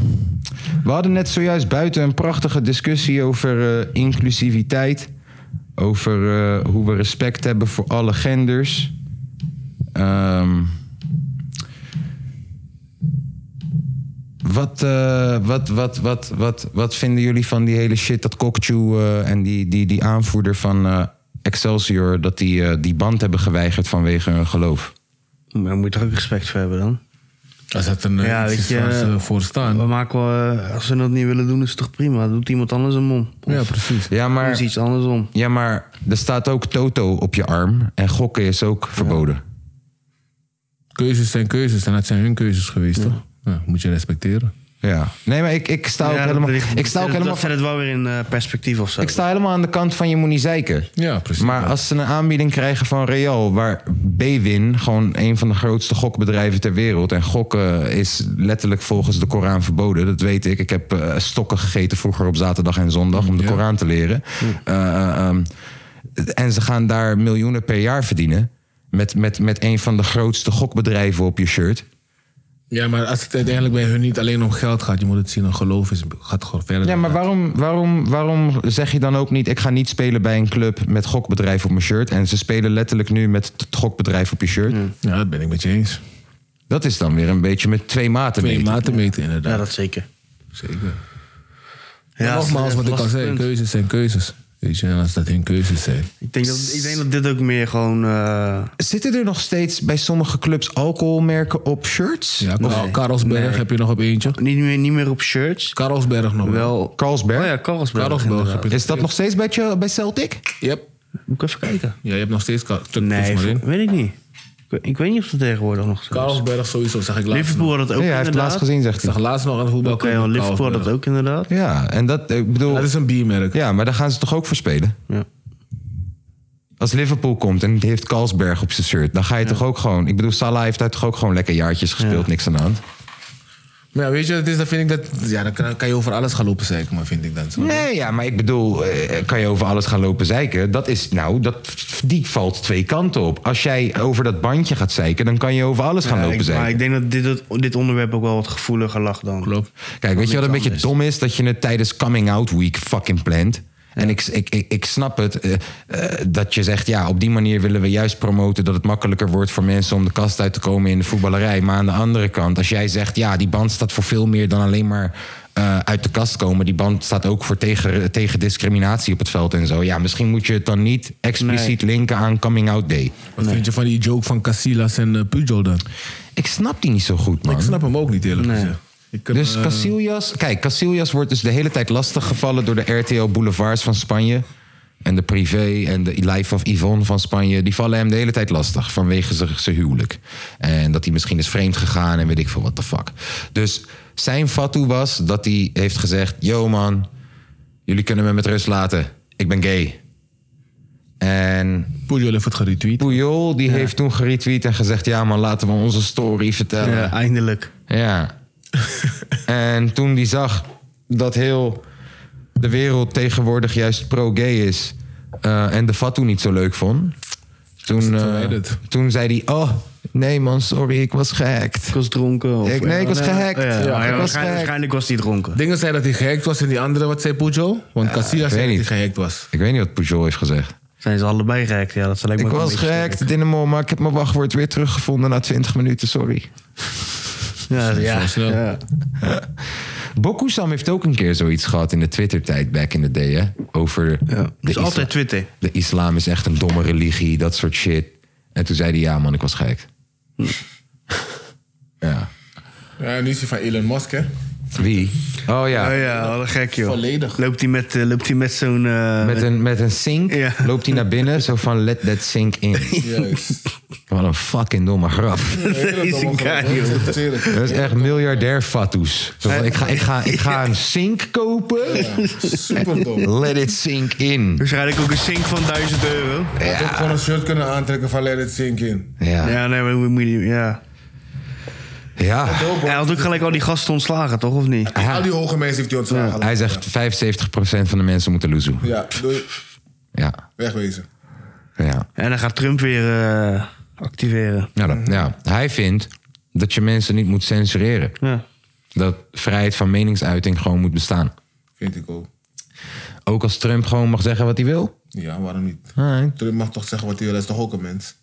Speaker 2: we hadden net zojuist buiten een prachtige discussie over eh, inclusiviteit. Over eh, hoe we respect hebben voor alle genders. Ehm Wat, eh, wat, wat, wat, wat, wat vinden jullie van die hele shit dat Kokchu eh, en die, die, die aanvoerder van eh, Excelsior... dat die eh, die band hebben geweigerd vanwege hun geloof?
Speaker 3: Maar daar moet je toch ook respect voor hebben dan?
Speaker 5: Als dat een eh,
Speaker 3: Ja,
Speaker 5: ja,
Speaker 3: weet je,
Speaker 5: voor
Speaker 3: We
Speaker 5: staan.
Speaker 3: maken wel, eh, als ze dat niet willen doen, is het toch prima. Doet iemand anders een mom. Of
Speaker 5: Ja, precies.
Speaker 2: Ja,
Speaker 3: doen ze
Speaker 2: maar,
Speaker 3: iets anders om.
Speaker 2: ja, maar er staat ook Toto op je arm en gokken is ook verboden.
Speaker 5: Keuzes zijn keuzes en dat zijn hun keuzes geweest toch? Ja, moet je respecteren.
Speaker 2: Ja. Nee, maar ik, ik sta ook
Speaker 3: Ja, dat
Speaker 2: helemaal...
Speaker 3: ligt-
Speaker 2: Ik sta ook
Speaker 3: dat
Speaker 2: helemaal...
Speaker 3: zet het wel weer in eh, perspectief of zo.
Speaker 2: Ik sta helemaal aan de kant van je moet niet zeiken.
Speaker 5: Ja, precies.
Speaker 2: Maar als ze een aanbieding krijgen van Real, waar Bwin, gewoon een van de grootste gokbedrijven ter wereld. En gokken is letterlijk volgens de Koran verboden. Dat weet ik. Ik heb eh, stokken gegeten vroeger op zaterdag en zondag om de
Speaker 5: Ja.
Speaker 2: Koran te leren. Eh, ehm, en ze gaan daar miljoenen per jaar verdienen. Met, met, met een van de grootste gokbedrijven op je shirt.
Speaker 5: Ja, maar als het uiteindelijk bij hun niet alleen om geld gaat, je moet het zien, een geloof is, gaat gewoon verder.
Speaker 2: Ja,
Speaker 5: dan
Speaker 2: maar
Speaker 5: dat.
Speaker 2: waarom, waarom, waarom zeg je dan ook niet... ik ga niet spelen bij een club met gokbedrijf op mijn shirt... en ze spelen letterlijk nu met het gokbedrijf op je shirt.
Speaker 5: Ja, dat ben ik met je eens.
Speaker 2: Dat is dan weer een beetje met twee maten
Speaker 5: Twee
Speaker 2: meten.
Speaker 5: maten meten,
Speaker 3: Ja,
Speaker 5: inderdaad.
Speaker 3: dat zeker.
Speaker 5: Zeker.
Speaker 3: Ja,
Speaker 5: Nogmaals, wat ik al zei, keuzes zijn keuzes. Weet je, en als dat hun keuzes zijn.
Speaker 3: Ik denk, dat, ik denk dat dit ook meer gewoon... eh,
Speaker 2: Zitten er nog steeds bij sommige clubs alcoholmerken op shirts?
Speaker 5: Ja, Karl- Karlsberg
Speaker 3: Nee.
Speaker 5: heb je nog op eentje.
Speaker 3: niet, meer, niet meer op shirts.
Speaker 5: Karlsberg nog wel.
Speaker 3: Wel...
Speaker 2: Carlsberg?
Speaker 3: Oh ja, Karlsberg.
Speaker 5: Karlsberg heb
Speaker 3: inderdaad.
Speaker 5: je.
Speaker 2: Is dat nog steeds bij, Ch- bij Celtic?
Speaker 5: Yep.
Speaker 3: Moet ik even kijken.
Speaker 5: Ja, je hebt nog steeds Kar- Tuk-
Speaker 3: Nee,
Speaker 5: Tuk maar in.
Speaker 3: weet ik niet. Ik, weet- ik weet niet of dat tegenwoordig nog zo is.
Speaker 5: Karlsberg sowieso, zag ik laatst.
Speaker 3: Liverpool
Speaker 5: nog.
Speaker 3: had dat ook
Speaker 2: ja, hij heeft het
Speaker 3: inderdaad.
Speaker 2: laatst gezien,
Speaker 5: Ik
Speaker 2: zag hij.
Speaker 5: zag laatst nog aan het voetbal.
Speaker 3: Oké, want Liverpool had dat ook inderdaad.
Speaker 2: Ja, en dat, ik bedoel...
Speaker 5: Dat is een biermerk.
Speaker 2: Ja, maar daar gaan ze toch ook voor spelen?
Speaker 3: Ja.
Speaker 2: Als Liverpool komt en die heeft Carlsberg op zijn shirt... dan ga je toch ook gewoon... Ik bedoel, Salah heeft daar toch ook gewoon lekker jaartjes gespeeld. Niks aan de hand.
Speaker 5: Maar ja, weet je, dat is, dan vind ik dat. Ja, dan kan, kan je over alles gaan lopen zeiken, maar vind ik dan zo.
Speaker 2: Nee, ja, maar ik bedoel, eh, kan je over alles gaan lopen zeiken? Dat is, nou, dat, die valt twee kanten op. Als jij over dat bandje gaat zeiken, dan kan je over alles gaan
Speaker 3: Ja,
Speaker 2: lopen
Speaker 3: Eh, ik- maar
Speaker 2: zeiken.
Speaker 3: ik denk dat dit, dit onderwerp ook wel wat gevoeliger lag dan.
Speaker 5: Klopt.
Speaker 2: Kijk, weet je wat een beetje
Speaker 3: anders.
Speaker 2: dom is? Dat je het tijdens coming out week fucking plant. En ik, ik, ik, ik snap het, eh, eh, dat je zegt, ja, op die manier willen we juist promoten dat het makkelijker wordt voor mensen om de kast uit te komen in de voetballerij. Maar aan de andere kant, als jij zegt, ja, die band staat voor veel meer dan alleen maar eh, uit de kast komen. Die band staat ook voor tegen, tegen discriminatie op het veld en zo. Ja, misschien moet je het dan niet expliciet linken aan coming out day.
Speaker 5: Wat vind je van die joke van Casillas en eh, Pujol dan?
Speaker 2: Ik snap die niet zo goed, man.
Speaker 5: Ik snap hem ook niet eerlijk
Speaker 3: Nee.
Speaker 5: gezegd. Ik heb,
Speaker 2: Dus
Speaker 5: eh,
Speaker 2: Casillas, kijk, Casillas wordt dus de hele tijd lastiggevallen door de RTL Boulevards van Spanje. En de privé en de Life of Yvonne van Spanje. Die vallen hem de hele tijd lastig vanwege zijn- zijn huwelijk. En dat hij misschien is vreemd gegaan en weet ik veel wat de fuck. Dus zijn fatu was dat hij heeft gezegd: Yo man, jullie kunnen me met rust laten. Ik ben gay. En
Speaker 5: Pujol heeft het geretweet.
Speaker 2: Puyol die heeft toen geretweet en gezegd: Ja man, laten we onze story vertellen.
Speaker 3: Ja, Eh, eindelijk.
Speaker 2: Ja. en toen die zag dat heel de wereld tegenwoordig juist pro-gay is... eh, en de Fatou niet zo leuk vond... toen, eh,
Speaker 5: verwijderd.
Speaker 2: toen zei hij... Oh, nee man, sorry, ik was gehackt.
Speaker 3: Ik was dronken. Of,
Speaker 2: Ik- nee, ik was gehackt.
Speaker 3: Ja,
Speaker 2: Ja, ik was
Speaker 3: waarschijnlijk,
Speaker 2: gehackt.
Speaker 3: waarschijnlijk was hij dronken.
Speaker 5: Dingen zei dat hij gehackt was en die andere, wat zei Pujol? Want Casillas
Speaker 2: ik weet
Speaker 5: zei dat
Speaker 2: niet.
Speaker 5: hij gehackt was.
Speaker 2: Ik weet niet wat Pujol heeft gezegd.
Speaker 3: Zijn ze allebei gehackt? Ja, dat zal lijkt
Speaker 2: Ik
Speaker 3: me ook een
Speaker 2: was
Speaker 3: beetje
Speaker 2: gehackt, Dynamo, maar ik heb mijn wachtwoord weer teruggevonden na 20 minuten, sorry.
Speaker 3: sterk. Ja, ja,
Speaker 5: Zo snel.
Speaker 3: ja.
Speaker 2: Bokusam heeft ook een keer zoiets gehad in de Twitter-tijd, back in the day, hè? Over
Speaker 3: Ja.
Speaker 2: de
Speaker 3: Dus
Speaker 2: isla-
Speaker 3: altijd Twitter.
Speaker 2: de islam is echt een domme religie, dat soort shit. En toen zei hij, ja man, ik was gek. ja.
Speaker 5: Ja, nu is hij van Elon Musk, hè?
Speaker 2: Wie? Oh ja,
Speaker 3: Oh ja, wat een gek joh.
Speaker 5: Volledig.
Speaker 3: Loopt hij met, eh, loopt hij met zo'n... eh,
Speaker 2: met een, met een sink
Speaker 3: Ja.
Speaker 2: loopt hij naar binnen, zo van let that sink in.
Speaker 5: Juist.
Speaker 2: Wat een fucking domme grap.
Speaker 3: Deze guy, joh.
Speaker 6: joh.
Speaker 2: Dat is echt miljardair fatoes. Zo van, Ik ga, ik, ga, ik ga een sink kopen.
Speaker 6: Super dom.
Speaker 2: Let it sink in.
Speaker 3: Waarschijnlijk ook een sink van 1000 euro.
Speaker 6: Had ook gewoon een shirt kunnen aantrekken van Let It Sink In.
Speaker 2: Ja.
Speaker 3: Ja, nee, maar hoe moet je... Ja.
Speaker 2: ja.
Speaker 3: Hij had ook gelijk al die gasten ontslagen, toch? Of niet?
Speaker 6: Al die hoge mensen heeft hij ontslagen.
Speaker 2: Hij zegt 75% van de mensen moeten loezoe.
Speaker 6: Ja, doei.
Speaker 2: Ja.
Speaker 6: Wegwezen.
Speaker 2: ja.
Speaker 3: En dan gaat Trump weer eh, activeren.
Speaker 2: Ja, dat- ja. Hij vindt dat je mensen niet moet censureren.
Speaker 3: Ja.
Speaker 2: Dat vrijheid van meningsuiting gewoon moet bestaan.
Speaker 6: Vind ik ook.
Speaker 2: Ook als Trump gewoon mag zeggen wat hij wil.
Speaker 6: Ja, waarom niet?
Speaker 2: Nee,
Speaker 6: Trump mag toch zeggen wat hij wil, hij is toch ook een mens?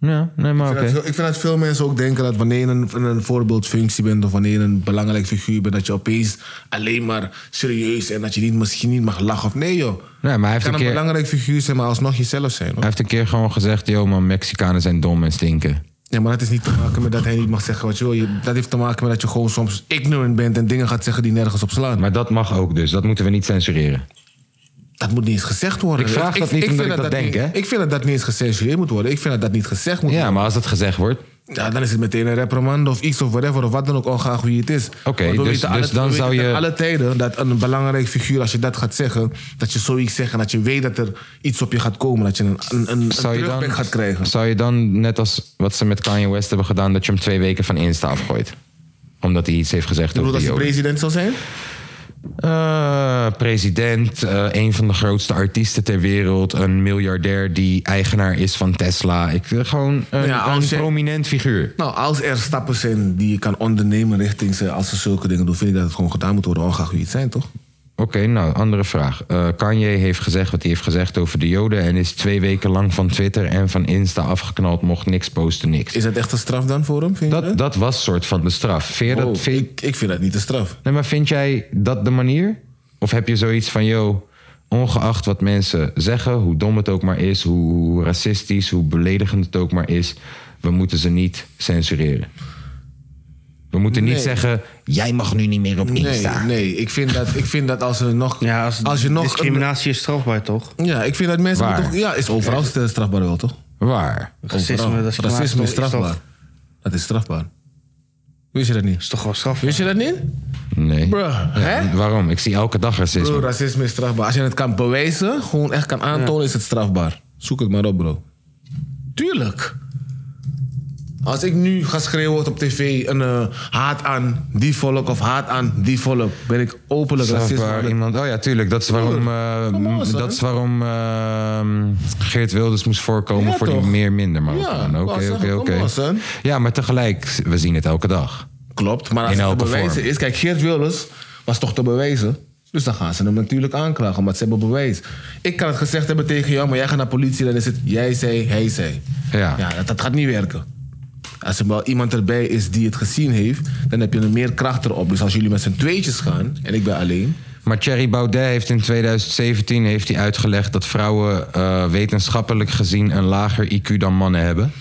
Speaker 2: Ah, ja, nee maar
Speaker 6: Ik
Speaker 2: oké.
Speaker 6: vind dat veel- Ik vind dat veel mensen ook denken dat wanneer je een, een voorbeeldfunctie bent of wanneer je een belangrijk figuur bent, dat je opeens alleen maar serieus en dat je niet, misschien niet mag lachen. Of nee, joh.
Speaker 2: Nee, maar hij
Speaker 6: Je
Speaker 2: heeft,
Speaker 6: kan
Speaker 2: een
Speaker 6: een
Speaker 2: keer, hij
Speaker 6: belangrijk figuur zijn, maar alsnog jezelf zijn. Hoor.
Speaker 2: heeft een keer gewoon gezegd... Yo man, Mexicanen zijn dom en stinken.
Speaker 6: Ja, maar dat is niet te maken met dat hij niet mag zeggen wat je wil. Je- Dat heeft te maken met dat je gewoon soms ignorant bent en dingen gaat zeggen die nergens op slaan.
Speaker 2: Maar dat mag ook dus. Dat moeten we niet censureren.
Speaker 6: Dat moet niet eens gezegd worden.
Speaker 2: Ik vraag dat niet
Speaker 6: vind
Speaker 2: omdat ik dat denk,
Speaker 6: niet-
Speaker 2: hè?
Speaker 6: Ik vind dat dat niet eens gecensureerd moet worden. Ik vind dat dat niet gezegd moet
Speaker 2: Ja,
Speaker 6: worden.
Speaker 2: maar als dat gezegd wordt...
Speaker 6: Ja, dan is het meteen een reprimand of iets of whatever. Of wat dan ook, ongeacht wie het is.
Speaker 2: Oké,
Speaker 6: Want we weten
Speaker 2: dus- dus
Speaker 6: alle-
Speaker 2: dan
Speaker 6: we
Speaker 2: zou
Speaker 6: weten
Speaker 2: je-
Speaker 6: ten alle tijden dat een belangrijk figuur, als je dat gaat zeggen... dat je zoiets zegt en dat je weet dat er iets op je gaat komen. Dat je een, een, een, een
Speaker 2: Zou je,
Speaker 6: terugpak
Speaker 2: dan,
Speaker 6: gaat krijgen.
Speaker 2: zou je dan, net als wat ze met Kanye West hebben gedaan... dat je hem twee weken van Insta afgooit? Omdat hij iets heeft gezegd
Speaker 6: Ik bedoel,
Speaker 2: over
Speaker 6: als
Speaker 2: de
Speaker 6: je
Speaker 2: Joden.
Speaker 6: president zou zijn?
Speaker 2: Eh, president, eh, een van de grootste artiesten ter wereld. Een miljardair die eigenaar is van Tesla. Ik wil gewoon een,
Speaker 6: Ja, als
Speaker 2: een
Speaker 6: je-
Speaker 2: prominent figuur.
Speaker 6: Nou, als er stappen zijn die je kan ondernemen richting ze... als ze zulke dingen doen, vind ik dat het gewoon gedaan moet worden. Ongeacht wie het zijn, toch?
Speaker 2: Oké, nou, andere vraag. Eh, Kanye heeft gezegd wat hij heeft gezegd over de Joden. En is twee weken lang van Twitter en van Insta afgeknald. Mocht niks posten, niks.
Speaker 6: Is dat echt een straf dan voor hem, vind je
Speaker 2: Dat, dat was soort van de straf. Vind je dat,
Speaker 6: Oh,
Speaker 2: vind-
Speaker 6: ik, ik vind dat niet een straf.
Speaker 2: Nee, maar vind jij dat de manier? Of heb je zoiets van, yo, Ongeacht wat mensen zeggen, hoe dom het ook maar is, hoe, hoe racistisch, hoe beledigend het ook maar is, we moeten ze niet censureren. We moeten niet zeggen, jij mag nu niet meer op
Speaker 5: Nee,
Speaker 2: Insta.
Speaker 5: nee. Ik vind dat, ik vind dat als er nog.
Speaker 3: Ja, als,
Speaker 5: als je nog. een-
Speaker 3: discriminatie is strafbaar, toch?
Speaker 5: ja, ik vind dat mensen.
Speaker 2: Waar?
Speaker 5: Toch, ja, is overal stra- strafbaar wel, toch?
Speaker 2: Waar?
Speaker 3: Racisme, dat is,
Speaker 5: Racisme is
Speaker 3: toch-
Speaker 5: strafbaar.
Speaker 3: Is toch,
Speaker 5: Dat is strafbaar. Wist je dat niet?
Speaker 3: is toch wel strafbaar?
Speaker 5: Wist je dat niet?
Speaker 2: Nee.
Speaker 5: Bruh, hè?
Speaker 2: Waarom? Ik zie elke dag
Speaker 5: Bro,
Speaker 2: racisme.
Speaker 5: racisme is strafbaar. Als je het kan bewijzen, gewoon echt kan aantonen, is het strafbaar. Zoek het maar op, bro. Tuurlijk. Als ik nu ga schreeuwen op tv een eh, haat aan die volk of haat aan die volk, ben ik openlijk racist.
Speaker 2: Strafbaar, iemand, oh ja, tuurlijk. Dat is waarom, eh,
Speaker 5: Kom on,
Speaker 2: m-
Speaker 5: son.
Speaker 2: dat is waarom eh, Geert Wilders moest voorkomen
Speaker 5: Ja,
Speaker 2: voor
Speaker 5: toch?
Speaker 2: die meer minder. Maar
Speaker 5: Ja, ik wou
Speaker 2: oké, oké,
Speaker 5: zeggen,
Speaker 2: oké.
Speaker 5: come on, son.
Speaker 2: Ja, maar tegelijk, we zien het elke dag.
Speaker 5: Klopt, maar als
Speaker 2: In
Speaker 5: het te
Speaker 2: elke
Speaker 5: bewijzen
Speaker 2: vorm.
Speaker 5: is, kijk, Geert Wilders was toch te bewijzen. Dus dan gaan ze hem natuurlijk aanklagen, omdat ze hebben bewijs. Ik kan het gezegd hebben tegen jou, maar jij gaat naar politie en dan is het jij zei, hij zei.
Speaker 2: Ja.
Speaker 5: Ja, dat, dat gaat niet werken. Als er wel iemand erbij is die het gezien heeft, dan heb je er meer kracht erop. Dus als jullie met z'n tweetjes gaan en ik ben alleen.
Speaker 2: Maar Thierry Baudet heeft in 2017 heeft hij uitgelegd dat vrouwen eh, wetenschappelijk gezien een lager IQ dan mannen hebben.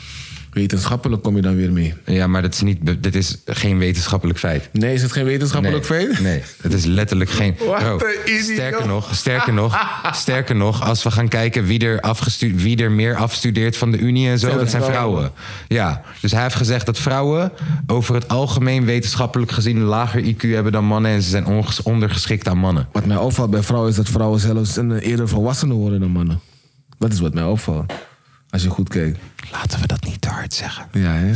Speaker 5: Wetenschappelijk kom je dan weer mee.
Speaker 2: Ja, maar dat is niet, be- dit is geen wetenschappelijk feit.
Speaker 5: Nee, is het geen wetenschappelijk
Speaker 2: nee,
Speaker 5: feit?
Speaker 2: Nee, het is letterlijk geen. Bro, sterker nog, sterker nog, sterker nog, als we gaan kijken wie er, afgestu- wie er meer afstudeert van de Unie en zo, dat zijn vrouwen. Ja, dus hij heeft gezegd dat vrouwen over het algemeen wetenschappelijk gezien een lager IQ hebben dan mannen en ze zijn onges- ondergeschikt aan mannen.
Speaker 5: Wat mij opvalt bij vrouwen is dat vrouwen zelfs een- eerder volwassenen worden dan mannen. Dat is wat mij opvalt. Als je goed kijkt.
Speaker 2: Laten we dat niet te hard zeggen.
Speaker 5: Ja, hè?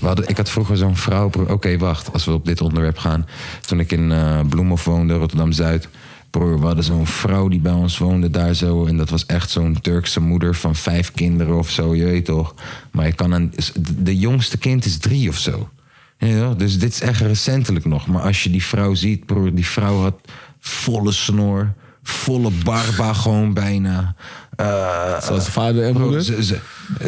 Speaker 2: We hadden, ik had vroeger zo'n vrouw. Oké, wacht. Als we op dit onderwerp gaan. Toen ik in eh Bloemhof woonde, Rotterdam Zuid. Broer, we hadden zo'n vrouw die bij ons woonde daar zo. En dat was echt zo'n Turkse moeder van vijf kinderen of zo. Je weet toch? Maar je kan een, de jongste kind is drie of zo. Ja, dus dit is echt recentelijk nog. Maar als je die vrouw ziet, broer, die vrouw had volle snor. Volle barba gewoon bijna. Eh,
Speaker 5: Zoals vader en
Speaker 2: Bro,
Speaker 5: moeder.
Speaker 2: ze, ze,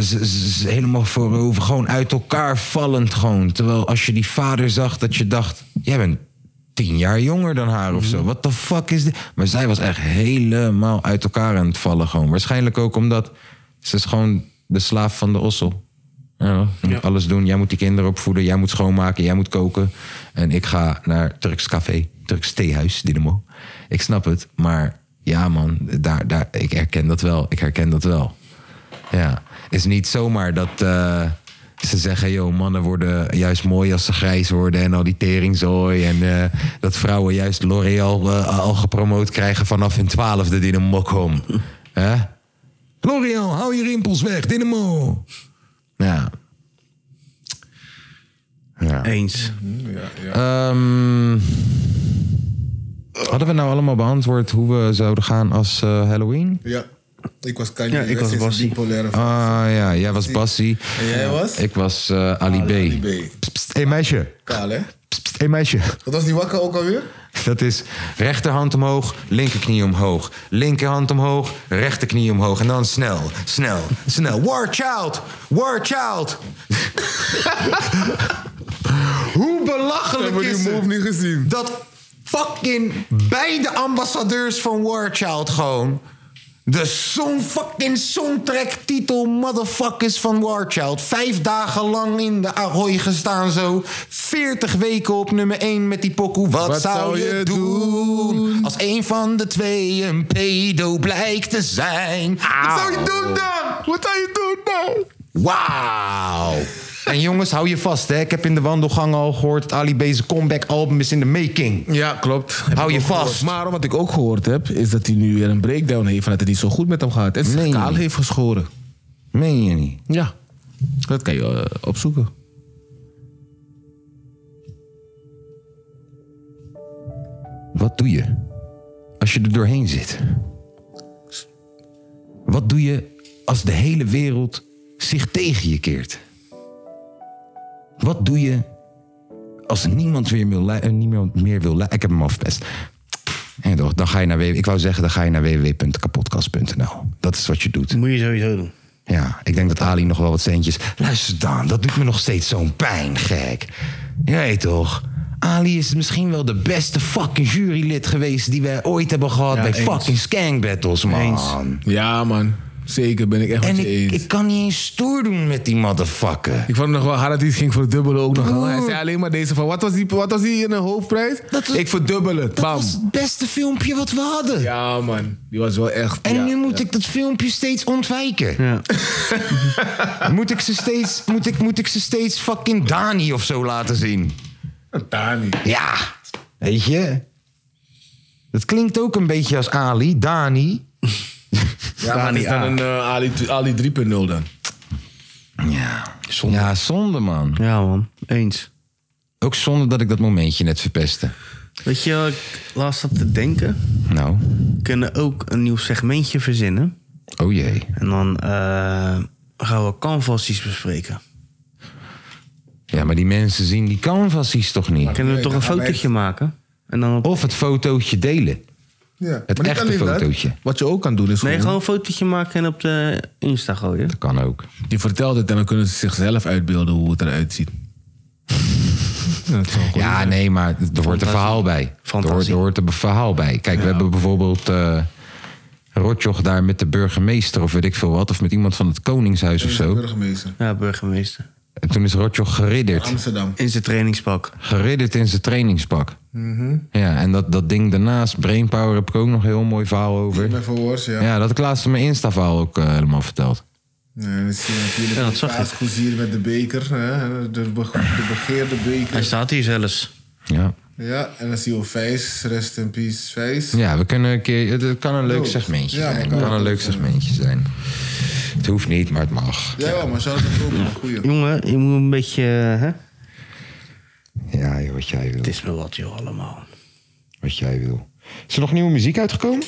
Speaker 2: ze- ze- ze helemaal voorover, gewoon uit elkaar vallend gewoon. Terwijl als je die vader zag, dat je dacht... jij bent tien jaar jonger dan haar of zo. What the fuck is dit? Maar zij was echt helemaal uit elkaar aan het vallen gewoon. Waarschijnlijk ook omdat ze is gewoon de slaaf van de ossel. Ja, je moet alles doen. Jij moet die kinderen opvoeden. Jij moet schoonmaken. Jij moet koken. En ik ga naar Turks café. Turks theehuis, Dynamo. Ik snap het. Maar ja man, daar, daar, ik herken dat wel. Ik herken dat wel. Ja, is niet zomaar dat eh, ze zeggen... joh, mannen worden juist mooi als ze grijs worden... en al die teringzooi. En eh, dat vrouwen juist L'Oreal eh, al gepromoot krijgen... vanaf hun twaalfde Dynamo.com. hè L'Oreal, hou je rimpels weg, Dynamo. Ja. ja.
Speaker 3: Eens.
Speaker 2: Ehm, hadden we nou allemaal beantwoord hoe we zouden gaan als eh, Halloween?
Speaker 8: Ja. Ik was Kanye.
Speaker 3: Ja, ik was
Speaker 8: West is
Speaker 3: Bassie.
Speaker 8: een bipolaire
Speaker 2: Ah ja, jij was Bassie.
Speaker 8: En jij was? Ah,
Speaker 2: Ik was eh, Ali B.
Speaker 8: Ali B.
Speaker 2: Pst, pst, hey meisje.
Speaker 8: Kaal, hè?
Speaker 2: Pst, pst, hey meisje.
Speaker 8: Wat was die wakker ook alweer?
Speaker 2: Dat is rechterhand omhoog, linkerknie omhoog. Linkerhand omhoog, rechterknie omhoog. En dan snel, snel, snel. War child, war child. Hoe belachelijk is het?
Speaker 8: niet gezien.
Speaker 2: dat fucking beide ambassadeurs van War Child gewoon. De song, fucking songtrack titel motherfuckers van War Child. Vijf dagen lang in de Ahoy gestaan zo. 40 weken op nummer 1 met die pokoe. Wat, zou je doen als een van de twee een pedo blijkt te zijn? Wat zou je doen dan? Wat zou je doen dan? Wauw. En jongens, hou je vast. Hè? Ik heb in de wandelgang al gehoord... dat Ali B's comeback album is in de making.
Speaker 5: Ja, klopt.
Speaker 2: Hou je vast.
Speaker 5: Gehoord. Maar wat ik ook gehoord heb, is dat hij nu weer een breakdown heeft. En dat het niet zo goed met hem gaat. En zijn
Speaker 2: Nee.
Speaker 5: kaal heeft geschoren.
Speaker 2: Meen je niet?
Speaker 5: Ja. Dat kan je eh, opzoeken.
Speaker 2: Wat doe je als je er doorheen zit? Wat doe je als de hele wereld zich tegen je keert? Wat doe je als niemand weer wil lu- eh, niemand meer wil lu- Ik heb hem afpest. En toch, dan ga je naar w- ik wou zeggen, dan ga je naar www.kapotkast.nl. Dat is wat je doet.
Speaker 3: Moet je sowieso doen.
Speaker 2: Ja, ik denk dat Ali nog wel wat centjes. Luister dan, dat doet me nog steeds zo'n pijn, gek. Je weet toch? Ali is misschien wel de beste fucking jurylid geweest die wij ooit hebben gehad bij
Speaker 5: eens.
Speaker 2: fucking Skank Battles, man.
Speaker 5: Ja, man. Zeker ben ik echt
Speaker 2: En
Speaker 5: met je
Speaker 2: ik,
Speaker 5: eens.
Speaker 2: ik kan niet eens stoer doen met die motherfucker.
Speaker 5: Ik vond het nog wel hard dat hij het ging verdubbelen ook nog. Hij zei alleen maar deze van, wat was die, wat was die in de hoofdprijs?
Speaker 2: Dat was-
Speaker 5: ik verdubbel het,
Speaker 2: Dat
Speaker 5: bam.
Speaker 2: was het beste filmpje wat we hadden.
Speaker 5: Ja man, die was wel echt...
Speaker 2: En
Speaker 5: ja,
Speaker 2: nu moet
Speaker 5: ja.
Speaker 2: ik dat filmpje steeds ontwijken.
Speaker 3: Ja.
Speaker 2: Moet ik ze steeds, moet ik, moet ik ze steeds fucking Dani of zo laten zien?
Speaker 5: Dani.
Speaker 2: Ja, weet je. Dat klinkt ook een beetje als Ali, Dani.
Speaker 5: Ja, maar dat is dan een eh, Ali, Ali 3.0 dan.
Speaker 2: Ja, zonde. Ja, zonde man.
Speaker 3: ja, man. Eens.
Speaker 2: Ook zonde dat ik dat momentje net verpestte.
Speaker 3: Weet je, wat ik laatst zat te denken.
Speaker 2: Nou,
Speaker 3: We kunnen ook een nieuw segmentje verzinnen.
Speaker 2: oh jee.
Speaker 3: En dan eh, gaan we canvassies bespreken.
Speaker 2: Ja, maar die mensen zien die canvassies toch niet?
Speaker 3: Kunnen we
Speaker 5: Nee,
Speaker 3: toch een
Speaker 5: dan gaan we
Speaker 3: fotootje maken? En dan op...
Speaker 2: Of het fotootje delen.
Speaker 5: Ja.
Speaker 2: Het echte fotootje.
Speaker 5: Wat je ook kan doen is
Speaker 3: Nee,
Speaker 5: gewoon-
Speaker 3: gewoon een fotootje maken en op de Insta gooien.
Speaker 2: Dat kan ook.
Speaker 5: Je vertelt het en dan kunnen ze zichzelf uitbeelden hoe het eruit ziet. dat zou goed
Speaker 2: Ja, nee, maar er hoort een
Speaker 3: Fantasie.
Speaker 2: verhaal bij. Er hoort,
Speaker 3: Fantasie.
Speaker 2: er hoort een verhaal bij. Kijk, we hebben bijvoorbeeld eh Rotjoch daar met de burgemeester of weet ik veel wat. Of met iemand van het Koningshuis of zo.
Speaker 5: Burgemeester.
Speaker 3: Ja, burgemeester.
Speaker 2: En toen is Rotjoch geridderd.
Speaker 5: Amsterdam.
Speaker 3: In zijn trainingspak.
Speaker 2: Geridderd in zijn trainingspak.
Speaker 5: Mhm.
Speaker 2: Ja, en dat, dat ding daarnaast, Brainpower, heb ik ook nog een heel mooi verhaal over.
Speaker 5: Even woord,
Speaker 2: Ja, dat had ik laatst in mijn Insta-verhaal ook eh, helemaal verteld.
Speaker 5: Nee, we zien natuurlijk
Speaker 3: Ja, dat
Speaker 5: de
Speaker 3: zag ik.
Speaker 5: kaasgoezier met de beker. Hè? De, be- de begeerde
Speaker 3: Hij
Speaker 5: beker.
Speaker 3: staat hier zelfs.
Speaker 2: Ja.
Speaker 5: Ja, en dan zie je Vijs. Rest in peace, Vijs.
Speaker 2: Ja, we kunnen een keer. Het, het kan een leuk
Speaker 5: Leuk.
Speaker 2: segmentje
Speaker 5: Oh. Ja,
Speaker 2: zijn.
Speaker 5: kan
Speaker 2: Het kan een
Speaker 5: ook
Speaker 2: leuk
Speaker 5: zijn.
Speaker 2: segmentje zijn. Het hoeft niet, maar het mag.
Speaker 5: Ja, maar zou dat ook een goeie.
Speaker 3: Jongen, je moet een beetje... Hè?
Speaker 2: Ja, joh, wat jij wil.
Speaker 3: Het is me wat, joh, allemaal.
Speaker 2: Wat jij wil. Is er nog nieuwe muziek uitgekomen?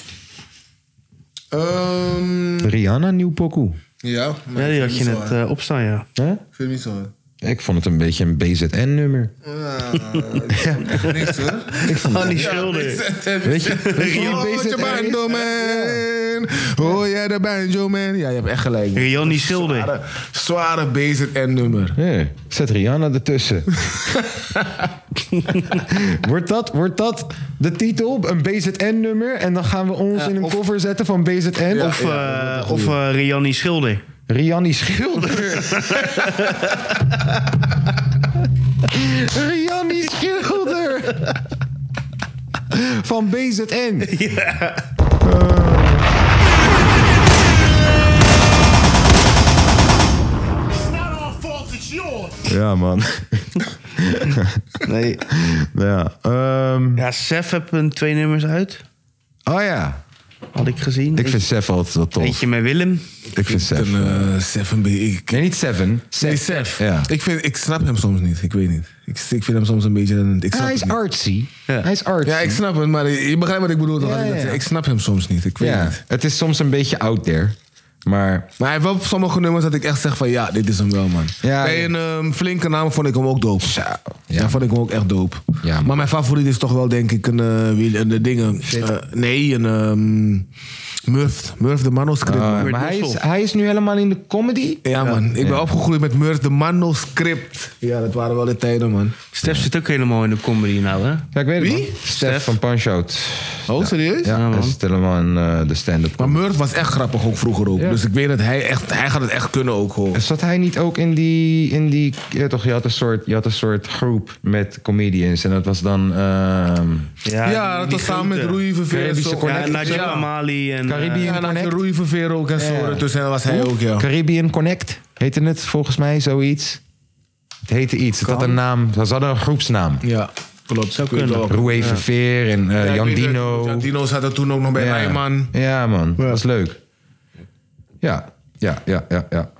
Speaker 5: Ehm,
Speaker 2: Rihanna, nieuw pokoe.
Speaker 5: ja, maar
Speaker 3: Ja,
Speaker 5: ik
Speaker 3: die
Speaker 5: vind
Speaker 3: had
Speaker 5: niet
Speaker 3: je
Speaker 5: zo
Speaker 3: net
Speaker 5: hard.
Speaker 3: eh, opstaan, ja.
Speaker 2: Hè?
Speaker 5: Ik vind het niet zo hard.
Speaker 2: Ik vond het een beetje een BZN-nummer.
Speaker 5: Ja, ik vond echt niks hoor.
Speaker 3: Oh, die schilder.
Speaker 2: Weet je? Weet je wie
Speaker 5: Oh,
Speaker 2: BZN
Speaker 5: je banjo man. Oh ja, de banjo man. Ja, je hebt echt gelijk.
Speaker 3: Rian die schilder.
Speaker 5: Zware, zware en nummer.
Speaker 2: Ja, zet Rihanna ertussen. wordt, dat, wordt dat de titel? Een BZN-nummer? En dan gaan we ons in een cover zetten van BZN?
Speaker 3: Of, eh of eh, Rian die schilder.
Speaker 2: Rianni Schilder. Rianni Schilder. Van BZN. Eh.
Speaker 4: It's not our fault, it's yours.
Speaker 2: Ja, man.
Speaker 3: Nee.
Speaker 2: Ja. ehm,
Speaker 3: Ja, Sef heeft een twee nummers uit.
Speaker 2: oh ja.
Speaker 3: Had ik gezien.
Speaker 2: Ik vind Sef altijd wel tof.
Speaker 3: Eentje met Willem.
Speaker 2: Ik vind Sef.
Speaker 5: eh, Een 7B. Ik,
Speaker 2: Nee, niet Seven. Sef.
Speaker 5: nee, Sef.
Speaker 2: Ja.
Speaker 5: Ik, vind, ik snap hem soms niet. Ik weet niet. Ik, ik vind hem soms een beetje... een- Ik snap
Speaker 2: Hij
Speaker 5: het
Speaker 2: is
Speaker 5: niet.
Speaker 2: artsy.
Speaker 3: Ja.
Speaker 2: Hij is artsy.
Speaker 5: Ja, ik snap het, maar je begrijpt wat ik bedoel. toch?
Speaker 2: Ja,
Speaker 5: Als ik,
Speaker 2: ja,
Speaker 5: dat
Speaker 2: ja.
Speaker 5: zeg. ik snap hem soms niet. Ik weet
Speaker 2: Ja,
Speaker 5: niet.
Speaker 2: Het is soms een beetje out there. Maar
Speaker 5: Maar hij heeft wel sommige nummers dat ik echt zeg van ja, dit is hem wel, man.
Speaker 2: Ja, ja.
Speaker 5: Bij een ehm, flinke naam vond ik hem ook dope. Ja, vond ik hem ook echt dope.
Speaker 2: Ja, man.
Speaker 5: maar mijn favoriet is toch wel, denk ik, een eh, wiel- een de dingen. eh, nee, een ehm Murph. Murph de Manuscript. man.
Speaker 2: eh, maar hij, is, hij is nu helemaal in de comedy.
Speaker 5: Ja, man. Ik ben opgegroeid met Murph de Manuscript. Ja, dat waren wel de tijden, man.
Speaker 3: Stef zit ook helemaal in de comedy nou, hè?
Speaker 2: Ja, ik weet het
Speaker 5: Wie?
Speaker 2: man. Stef van Punch Out.
Speaker 5: Oh, serieus?
Speaker 2: Ja,
Speaker 3: Ja,
Speaker 2: dat
Speaker 3: man.
Speaker 2: is helemaal een eh, de stand-up.
Speaker 5: Maar Murph was echt grappig ook vroeger ook. Dus ik weet dat hij echt, hij gaat het echt kunnen ook, hoor.
Speaker 2: Zat hij niet ook in die... In die ja, toch, je, had een soort, je had een soort groep met comedians. En dat was dan... ehm
Speaker 5: Ja,
Speaker 3: die-
Speaker 5: dat
Speaker 3: die
Speaker 5: was samen met
Speaker 3: grote.
Speaker 5: Rui Verveer.
Speaker 2: Caribische
Speaker 5: zo.
Speaker 3: Ja,
Speaker 2: Connect.
Speaker 3: Najib
Speaker 5: Ja.
Speaker 3: Amali en... eh,
Speaker 2: Caribbean
Speaker 5: Ja, en dan had je
Speaker 2: Connect.
Speaker 5: Rui Verveer ook en zo. Tussen was hij ook, ja.
Speaker 2: Caribbean Connect heette het volgens mij, zoiets. Het heette iets. Het had een naam. Ze hadden een groepsnaam.
Speaker 5: Ja, klopt. Zou
Speaker 3: kunnen.
Speaker 2: Roué Verveer en eh Jan Dino.
Speaker 5: Jan Dino zat er toen ook nog bij
Speaker 2: ja.
Speaker 5: Rijman.
Speaker 2: Ja, man. Dat is leuk. Ja, ja, ja, ja, ja.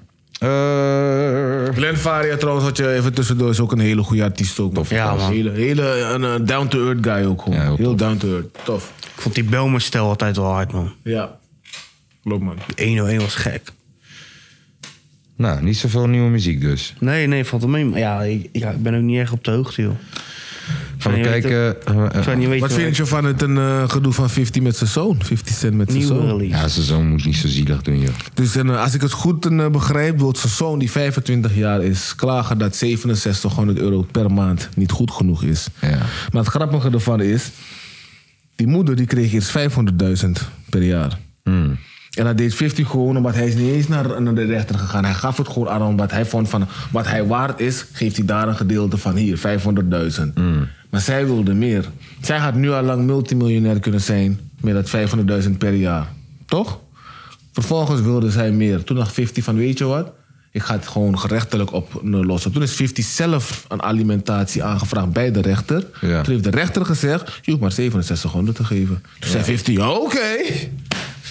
Speaker 2: Eh,
Speaker 5: Glenn Faria trouwens, had je even tussendoor, is ook een hele goede artiest ook. Tof.
Speaker 3: Ja, man.
Speaker 5: Hele, hele een, eh, down-to-earth guy ook gewoon.
Speaker 2: Ja, heel
Speaker 5: heel down-to-earth. Tof.
Speaker 3: Ik vond die Belmer-stijl altijd wel hard, man.
Speaker 5: Ja. Klopt, man.
Speaker 3: Die 101 was gek.
Speaker 2: nou, niet zoveel nieuwe muziek dus.
Speaker 3: Nee, nee, valt wel mee. Maar ja, ik, ja, ik ben ook niet erg op de hoogte, joh.
Speaker 2: Gaan we
Speaker 3: je weet
Speaker 2: kijken. eh, eh,
Speaker 3: Ik zou niet weten
Speaker 5: Wat vind je van het een, eh, gedoe van 50 met zijn zoon? 50 Cent met zijn
Speaker 3: Nieuwe
Speaker 5: zoon.
Speaker 3: release.
Speaker 2: eh, ja, zijn zoon moet niet zo zielig doen, joh.
Speaker 5: Dus en, eh, als ik het goed eh, begrijp, wil zijn zoon die 25 jaar is klagen dat 6700 euro per maand niet goed genoeg is.
Speaker 2: Ja.
Speaker 5: Maar het grappige ervan is, die moeder die kreeg eerst 500.000 per jaar. En dat deed 50 gewoon omdat hij is niet eens naar, naar de rechter gegaan. Hij gaf het gewoon aan hem, omdat hij vond van wat hij waard is, geeft hij daar een gedeelte van hier, 500.000. Maar zij wilde meer. Zij had nu al lang multimiljonair kunnen zijn met dat 500.000 per jaar. Toch? Vervolgens wilde zij meer. Toen dacht 50 van weet je wat? Ik ga het gewoon gerechtelijk op eh, lossen. Toen is 50 zelf een alimentatie aangevraagd bij de rechter.
Speaker 2: Ja.
Speaker 5: Toen heeft de rechter gezegd, je hoeft maar 6700 te geven. Toen zei 50, ja, oké.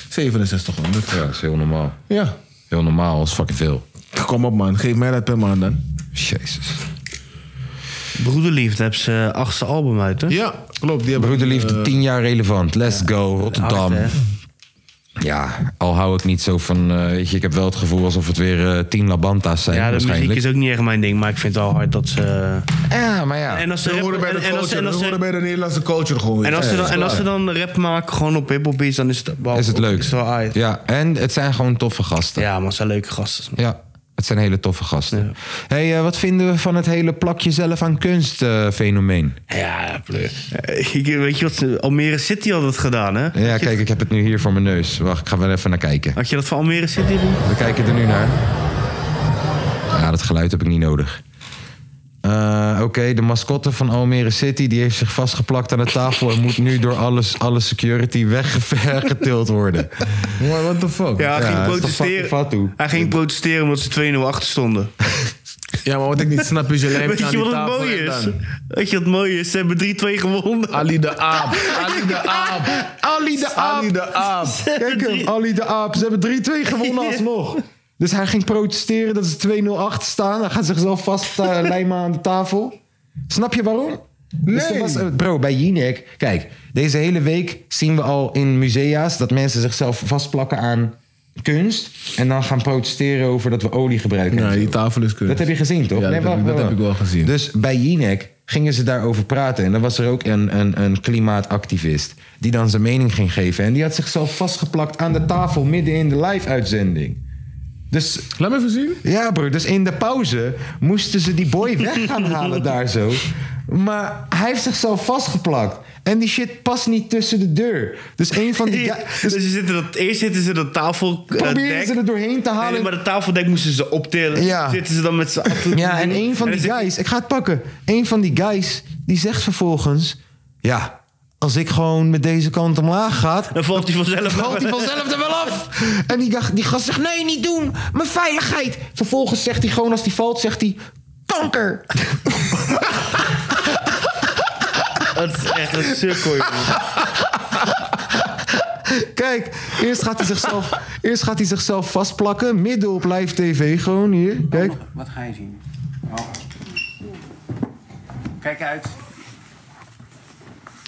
Speaker 5: 6700.
Speaker 2: Ja, dat is heel normaal.
Speaker 5: Ja.
Speaker 2: Heel normaal is fucking veel.
Speaker 5: Kom op man, geef mij dat per maand dan.
Speaker 2: Jezus.
Speaker 3: Broederliefde hebben ze achtste album uit, hè?
Speaker 5: Ja, klopt. Die hebben
Speaker 2: Broederliefde, 10 jaar relevant. Let's go, Rotterdam.
Speaker 3: Eh. Hard, hè?
Speaker 2: ja, al hou ik niet zo van... eh, weet je, ik heb wel het gevoel alsof het weer eh, 10 Labanta's zijn,
Speaker 3: Ja, de muziek
Speaker 2: waarschijnlijk.
Speaker 3: is ook niet echt mijn ding, maar ik vind het wel hard dat ze... eh,
Speaker 2: Ja, maar ja.
Speaker 3: En als ze
Speaker 5: Ze horen bij de
Speaker 3: en- en als ze-
Speaker 5: culture.
Speaker 3: en als
Speaker 5: Ze
Speaker 3: ze-
Speaker 5: horen bij de Nederlandse culture gewoon.
Speaker 3: En als,
Speaker 5: Ja,
Speaker 3: ze dan,
Speaker 5: dat is
Speaker 3: en als
Speaker 5: waar.
Speaker 3: ze dan rap maken gewoon op hip-hop beats, dan is het, wel-
Speaker 2: is het leuk.
Speaker 3: Is wel aardig. Ja.
Speaker 2: Ja, en het zijn gewoon toffe gasten. Ja.
Speaker 3: man, ze zijn leuke gasten.
Speaker 2: het zijn hele toffe gasten. hey, eh, wat vinden we van het hele plak jezelf aan kunst eh, fenomeen?
Speaker 3: Ja, pleur. Ik- Weet je wat, ze- Almere City had dat gedaan, hè? Had
Speaker 2: Ja,
Speaker 3: je-
Speaker 2: kijk, ik heb het nu hier voor mijn neus. Wacht, ik ga wel even naar kijken.
Speaker 3: Had je dat van Almere City doen?
Speaker 2: We kijken er nu naar. Ja, dat geluid heb ik niet nodig. Eh, Oké, de mascotte van Almere City die heeft zich vastgeplakt aan de tafel en moet nu door alles, alle security weggetild worden.
Speaker 5: Maar what the fuck?
Speaker 3: Ja, hij ging
Speaker 2: dat is toch
Speaker 3: protesteren.
Speaker 2: fucking Fatou?
Speaker 3: Hij ging protesteren omdat ze 2-0 achter stonden.
Speaker 5: Ja, maar wat ik niet snap is je lijf
Speaker 3: Weet
Speaker 5: aan
Speaker 3: je
Speaker 5: die
Speaker 3: wat het
Speaker 5: tafel
Speaker 3: mooie
Speaker 5: en
Speaker 3: is?
Speaker 5: dan-
Speaker 3: Weet je wat het mooie is? Ze hebben 3-2 gewonnen.
Speaker 5: Ali de aap. Ali de aap.
Speaker 2: Ali de Aap!
Speaker 5: Ali de aap.
Speaker 2: Kijk hem, Ali de Aap. Ze hebben 3-2 gewonnen alsnog. Dus hij ging protesteren dat ze 2-0 achter staan. Hij gaat zichzelf vastlijmen lijmen aan de tafel. Snap je waarom? Dus er was- bro, bij Jinek. Kijk, deze hele week zien we al in musea's dat mensen zichzelf vastplakken aan kunst. En dan gaan protesteren over dat we olie gebruiken. en
Speaker 5: Nee,
Speaker 2: zo.
Speaker 5: die tafel is kunst.
Speaker 2: Dat heb je gezien, toch?
Speaker 5: Ja, dat,
Speaker 2: wacht,
Speaker 5: heb, ik- dat
Speaker 2: wacht,
Speaker 5: heb ik wel
Speaker 2: wacht.
Speaker 5: gezien.
Speaker 2: Dus bij Jinek gingen ze daarover praten. En dan was er ook een, een, een klimaatactivist die dan zijn mening ging geven. En die had zichzelf vastgeplakt aan de tafel midden in de live-uitzending. Dus
Speaker 5: Laat me even zien.
Speaker 2: ja, broer. Dus in de pauze moesten ze die boy weg gaan halen daar zo. Maar hij heeft zichzelf vastgeplakt. En die shit past niet tussen de deur. Dus een van die...
Speaker 3: Ja,
Speaker 2: ga-
Speaker 3: dus
Speaker 2: Dus
Speaker 3: ze zitten dat, eerst zitten ze dat tafeldek.
Speaker 2: Proberen ze er doorheen te halen.
Speaker 3: Nee, maar dat tafeldek moesten ze optillen.
Speaker 2: Ja.
Speaker 3: Zitten ze dan met z'n achter-
Speaker 2: Ja, en een van
Speaker 3: dan
Speaker 2: die
Speaker 3: zit-
Speaker 2: guys, ik ga het pakken. Een van die guys, die zegt vervolgens: Ja, als ik gewoon met deze kant omlaag ga,
Speaker 3: Dan valt hij vanzelf
Speaker 2: valt hij vanzelf er wel af. En die, ga- die gast zegt: Nee, niet doen, mijn veiligheid. Vervolgens zegt hij gewoon: Als die valt, zegt hij: Kanker.
Speaker 3: Dat is echt een sukkel, joh.
Speaker 2: Kijk, eerst gaat hij zichzelf, eerst gaat hij zichzelf vastplakken, midden op live tv, gewoon hier. Kijk.
Speaker 9: Wat ga je zien? Oh. Kijk uit.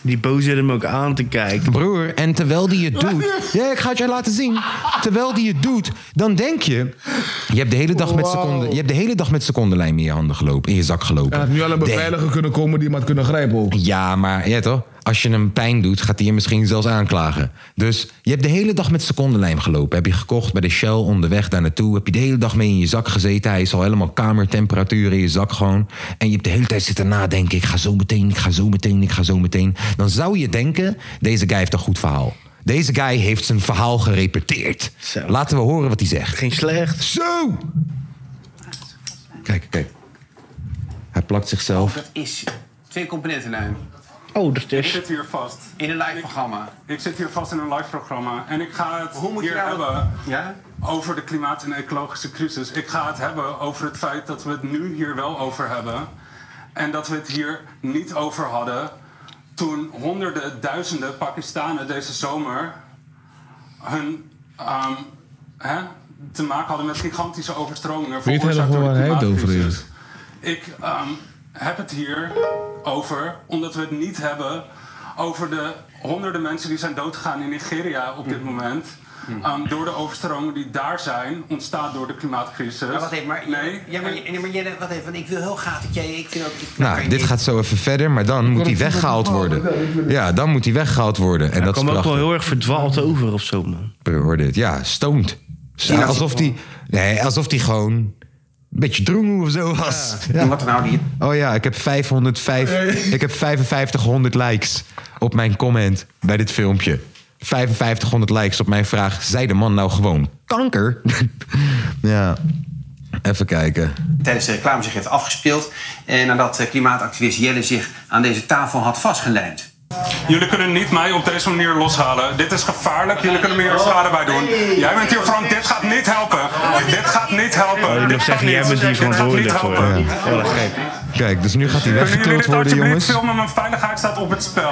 Speaker 3: Die boos zit hem ook aan te kijken.
Speaker 2: Broer, en terwijl die het doet. Ja, ik ga het je laten zien. Terwijl die het doet, dan denk je. Je hebt de hele dag met, seconden, je hebt de hele dag met secondenlijm in je handen gelopen. In je zak
Speaker 5: Er
Speaker 2: gelopen.
Speaker 5: had nu al een beveiliger kunnen komen die hem had kunnen grijpen ook.
Speaker 2: Ja, maar ja, toch? Als je hem pijn doet, gaat hij je misschien zelfs aanklagen. Dus je hebt de hele dag met secondenlijm gelopen. Heb je gekocht bij de Shell onderweg daar naartoe. Heb je de hele dag mee in je zak gezeten. Hij is al helemaal kamertemperatuur in je zak gewoon. En je hebt de hele tijd zitten nadenken. Ik ga zo meteen, ik ga zo meteen, ik ga zo meteen. Dan zou je denken, deze guy heeft een goed verhaal. Deze guy heeft zijn verhaal gerepeteerd.
Speaker 3: Zo.
Speaker 2: Laten we horen wat hij zegt.
Speaker 3: Geen slecht.
Speaker 2: Zo! Kijk, kijk. Hij plakt zichzelf.
Speaker 9: Dat is je. Twee componenten
Speaker 10: nou,
Speaker 9: lijn.
Speaker 3: Oh, dat
Speaker 11: Ik
Speaker 3: is...
Speaker 11: zit hier vast.
Speaker 9: In een live programma.
Speaker 11: Ik zit hier vast in een live programma en ik ga het
Speaker 9: Hoe moet je
Speaker 11: hier
Speaker 9: nou-
Speaker 11: hebben
Speaker 9: Ja?
Speaker 11: over de klimaat- en ecologische crisis. Ik ga het hebben over het feit dat we het nu hier wel over hebben en dat we het hier niet over hadden toen honderden, duizenden Pakistanen deze zomer hun ehm, hè, te maken hadden met gigantische overstromingen.
Speaker 5: Weet hij nog
Speaker 11: veroorzaakt
Speaker 5: wel
Speaker 11: door de
Speaker 5: waar hij het over
Speaker 11: klimaatcrisis.
Speaker 5: heeft?
Speaker 11: Ik ehm, heb het hier over, omdat we het
Speaker 10: Mhm.
Speaker 11: niet hebben over de honderden mensen die zijn doodgegaan in Nigeria op dit moment. ehm, door de overstromingen die daar zijn, ontstaat door de klimaatcrisis.
Speaker 10: Maar wat heeft, maar,
Speaker 11: nee,
Speaker 10: ja, maar, nee, maar jij, wat heeft, want ik wil heel graag dat jij, ik vind ook... Ik,
Speaker 2: Nou, dit gaat zo even verder, maar dan moet hij weggehaald worden. Ja, dan moet hij weggehaald worden. En
Speaker 3: Hij
Speaker 2: dat is
Speaker 3: kwam ook wel
Speaker 2: prachtig.
Speaker 3: heel erg verdwaald over of zo, man.
Speaker 2: Hoor dit. Ja, stoned. Ja, alsof hij nee, alsof hij gewoon een beetje droemoe of zo was. Ja.
Speaker 10: Wat er nou niet.
Speaker 2: Oh ja, ik heb 505, ik heb 5500 likes op mijn comment bij dit filmpje. 5500 likes op mijn vraag, zei de man nou gewoon kanker? ja, even kijken.
Speaker 10: tijdens de reclame zich heeft afgespeeld. En nadat eh, klimaatactivist Jelle zich aan deze tafel had vastgelijmd.
Speaker 11: Jullie kunnen niet mij op deze manier loshalen. Dit is gevaarlijk. Jullie kunnen me
Speaker 10: Oh,
Speaker 11: hier schade bij doen. Jij bent hier verantwoordelijk. Dit gaat niet helpen. Dit gaat niet helpen.
Speaker 3: Oh, Ik wil
Speaker 11: Dit gaat
Speaker 3: zeggen, jij
Speaker 11: niet.
Speaker 3: bent hier
Speaker 11: Dit gaat niet
Speaker 3: verantwoordelijk voor.
Speaker 11: helpen.
Speaker 3: Ja. Heel erg gek.
Speaker 2: Kijk, dus nu gaat hij
Speaker 11: Kunnen jullie
Speaker 2: weggetild
Speaker 11: dit
Speaker 2: worden,
Speaker 11: alsjeblieft
Speaker 2: jongens.
Speaker 11: filmen? Mijn veiligheid staat op het spel.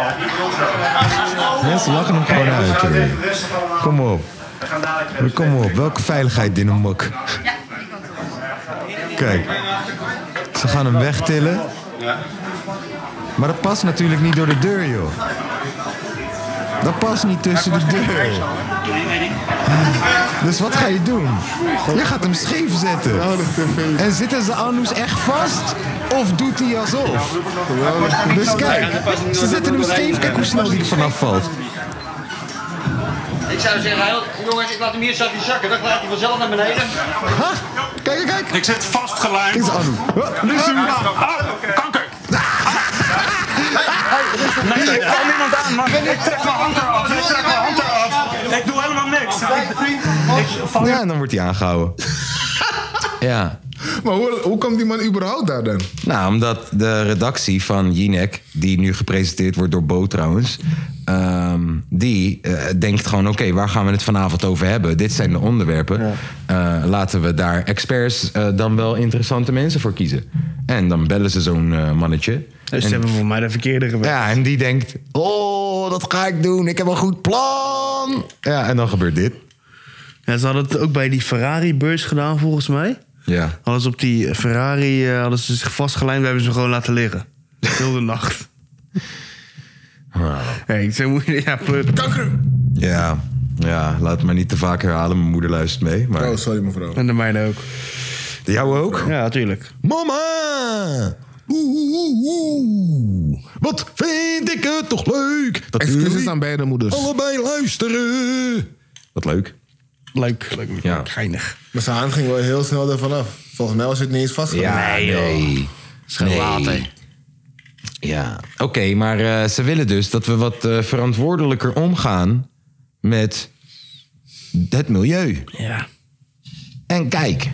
Speaker 2: Mensen lachen hem gewoon uit. hoor. Kom op. Kom op, welke veiligheid, Dinamok? Kijk, ze gaan hem wegtillen. Maar dat past natuurlijk niet door de deur, joh. Dat past niet tussen de deur. Dus wat ga je doen? Je gaat hem scheef zetten. En zitten ze Anus echt vast? Of doet hij alsof? Dus kijk, ze zetten hem scheef. Kijk hoe snel hij er vanaf valt.
Speaker 12: Ik zou zeggen, heel- jongens, ik laat hem hier zakken zakken. Dan gaat hij vanzelf naar beneden.
Speaker 2: Ha? Kijk, kijk, kijk.
Speaker 11: Ik zit
Speaker 2: Kijk
Speaker 3: Oh,
Speaker 11: vastgelijmd.
Speaker 2: eens Anu. Huh? Nu is hij-
Speaker 11: Ah, kanker. Nee, ik val niemand aan, man. Ik trek mijn hand eraf. Ik trek mijn hand eraf. Ik doe helemaal niks.
Speaker 3: oh
Speaker 2: Ja, en dan wordt hij aangehouden. ja.
Speaker 6: Maar hoe, hoe komt die man überhaupt daar dan?
Speaker 2: Nou, omdat de redactie van Jinek, die nu gepresenteerd wordt door Bo trouwens... ehm, die eh, denkt gewoon, oké, waar gaan we het vanavond over hebben? Dit zijn de onderwerpen. Eh, laten we daar experts eh, dan wel interessante mensen voor kiezen. En dan bellen ze zo'n eh, mannetje.
Speaker 3: Dus ze
Speaker 2: En-
Speaker 3: hebben voor mij de verkeerde gewerkt.
Speaker 2: ja, en die denkt, oh, dat ga ik doen. Ik heb een goed plan. Ja, en dan gebeurt dit.
Speaker 3: Ja, ze hadden het ook bij die Ferrari-beurs gedaan, volgens mij.
Speaker 2: Ja.
Speaker 3: Hadden ze op die Ferrari eh, hadden ze zich vastgelijmd en hebben ze hem gewoon laten liggen. Heel de nacht. Hey, ik zei, moet je- ja, kanker!
Speaker 2: Ja, ja, laat het maar niet te vaak herhalen. Mijn moeder luistert mee. Maar...
Speaker 6: Oh, sorry mevrouw.
Speaker 3: En de mijne ook.
Speaker 2: Jou ook?
Speaker 3: Ja, tuurlijk.
Speaker 2: Mama! Oeh, oeh, oeh. Wat vind ik het toch leuk dat
Speaker 6: Excuses
Speaker 2: jullie
Speaker 6: aan beide moeders.
Speaker 2: allebei luisteren. Wat leuk.
Speaker 3: Leuk. Leuk.
Speaker 2: Ja.
Speaker 3: Geinig.
Speaker 6: Maar zijn hand ging wel heel snel ervan af. Volgens mij was het niet eens vastgelegd.
Speaker 2: nee. Nee. Ja, oké, maar eh, ze willen dus dat we wat eh, verantwoordelijker omgaan met het milieu.
Speaker 3: Ja.
Speaker 2: En kijk,
Speaker 3: Ze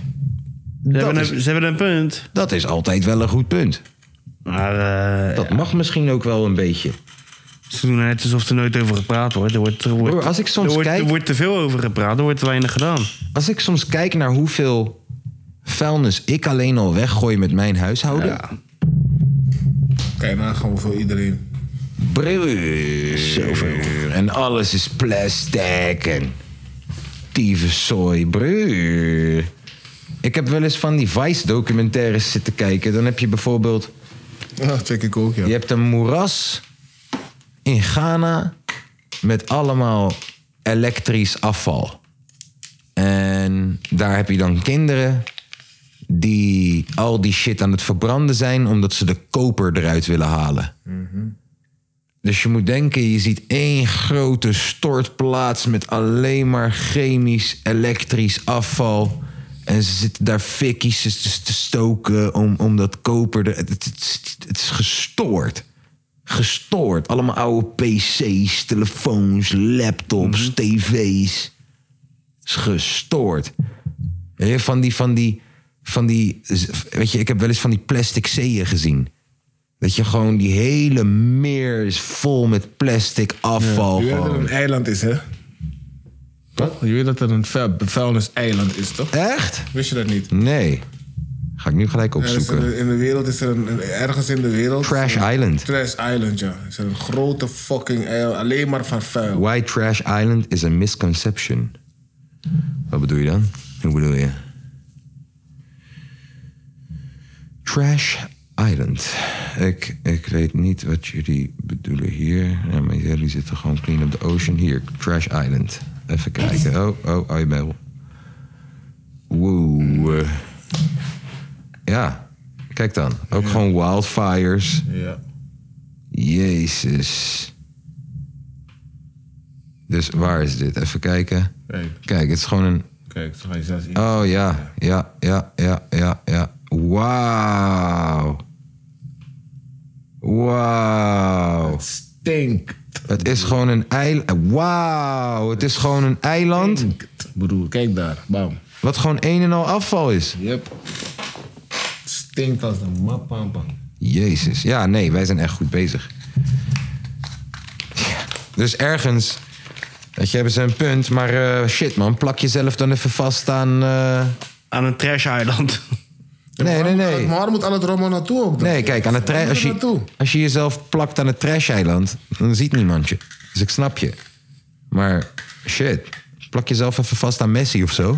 Speaker 2: dat
Speaker 3: hebben,
Speaker 2: is,
Speaker 3: een, ze hebben een punt.
Speaker 2: dat is altijd wel een goed punt.
Speaker 3: Maar eh,
Speaker 2: Dat mag misschien ook wel een beetje.
Speaker 3: ze doen net alsof er nooit over gepraat wordt. Er wordt, er wordt,
Speaker 2: Broer, als ik soms
Speaker 3: er wordt,
Speaker 2: kijk-
Speaker 3: Er wordt te veel over gepraat, er wordt te weinig gedaan.
Speaker 2: Als ik soms kijk naar hoeveel vuilnis ik alleen al weggooi met mijn huishouden.
Speaker 6: Kijk, nou gewoon voor iedereen.
Speaker 2: Broer. En alles is plastic en tyfuszooi, broer. Ik heb wel eens van die Vice-documentaires zitten kijken. Dan heb je bijvoorbeeld...
Speaker 6: Ja, check ik ook, ja.
Speaker 2: Je hebt een moeras in Ghana met allemaal elektrisch afval. En daar heb je dan kinderen die al die shit aan het verbranden zijn omdat ze de koper eruit willen halen. Dus je moet denken, je ziet één grote stortplaats met alleen maar chemisch, elektrisch afval. En ze zitten daar fikkies te- te stoken om, om dat koper... er- Het, het, het- het is gestoord. Gestoord. Allemaal oude pc's, telefoons, laptops, tv's. Het is gestoord. Weet je, Van die, van die, van die... Weet je, ik heb wel eens van die plastic zeeën gezien. Dat je gewoon die hele meer is vol met plastic afval.
Speaker 6: Je weet dat er
Speaker 5: Oh.
Speaker 2: gewoon.
Speaker 6: een eiland is, hè? Wat? Je weet dat er een vu- vuilnis-eiland is, toch?
Speaker 2: Echt?
Speaker 6: Wist je dat niet?
Speaker 2: Nee. Ga ik nu gelijk
Speaker 6: Ja, er is
Speaker 2: opzoeken.
Speaker 6: een- in de wereld is er een, een- ergens in de wereld.
Speaker 2: Trash
Speaker 6: is er een-
Speaker 2: Island.
Speaker 6: Trash Island, ja. Is er een grote fucking eiland, alleen maar van vuil.
Speaker 2: Why Trash Island is a misconception. Wat bedoel je dan? Hoe bedoel je? Trash Island. Ik, ik weet niet wat jullie bedoelen hier. Ja, maar jullie zitten gewoon clean op de ocean. Hier, Trash Island. Even kijken. Oh, oh, iMail. Wow. eh. Ja, kijk dan. Ook gewoon wildfires.
Speaker 5: Ja.
Speaker 2: Jezus. Dus waar is dit? Even kijken.
Speaker 5: Kijk.
Speaker 2: Kijk, het is gewoon een...
Speaker 5: Kijk, zo ga je zelfs
Speaker 2: Oh ja, ja, ja, ja, ja, ja. Wauw. Wauw. Het
Speaker 5: stinkt.
Speaker 2: Het is gewoon een eiland. Wauw, het is gewoon een eiland.
Speaker 5: broer, kijk daar. Bam.
Speaker 2: Wat gewoon een en al afval is.
Speaker 5: Yep. Stinkt als een mapampa.
Speaker 2: Jezus. Ja, nee, wij zijn echt goed bezig. Ja, Dus ergens, weet je, hebben ze een punt. Maar eh, shit man, plak jezelf dan even vast aan... eh,
Speaker 3: Aan een trash-eiland.
Speaker 2: Nee, nee, nee.
Speaker 5: Maar waarom moet al het rommel naartoe ook dan?
Speaker 2: Nee, kijk, aan het tra- als, je, als je jezelf plakt aan het trash-eiland, dan ziet niemand je. Dus ik snap je. Maar shit, plak jezelf even vast aan Messi of zo.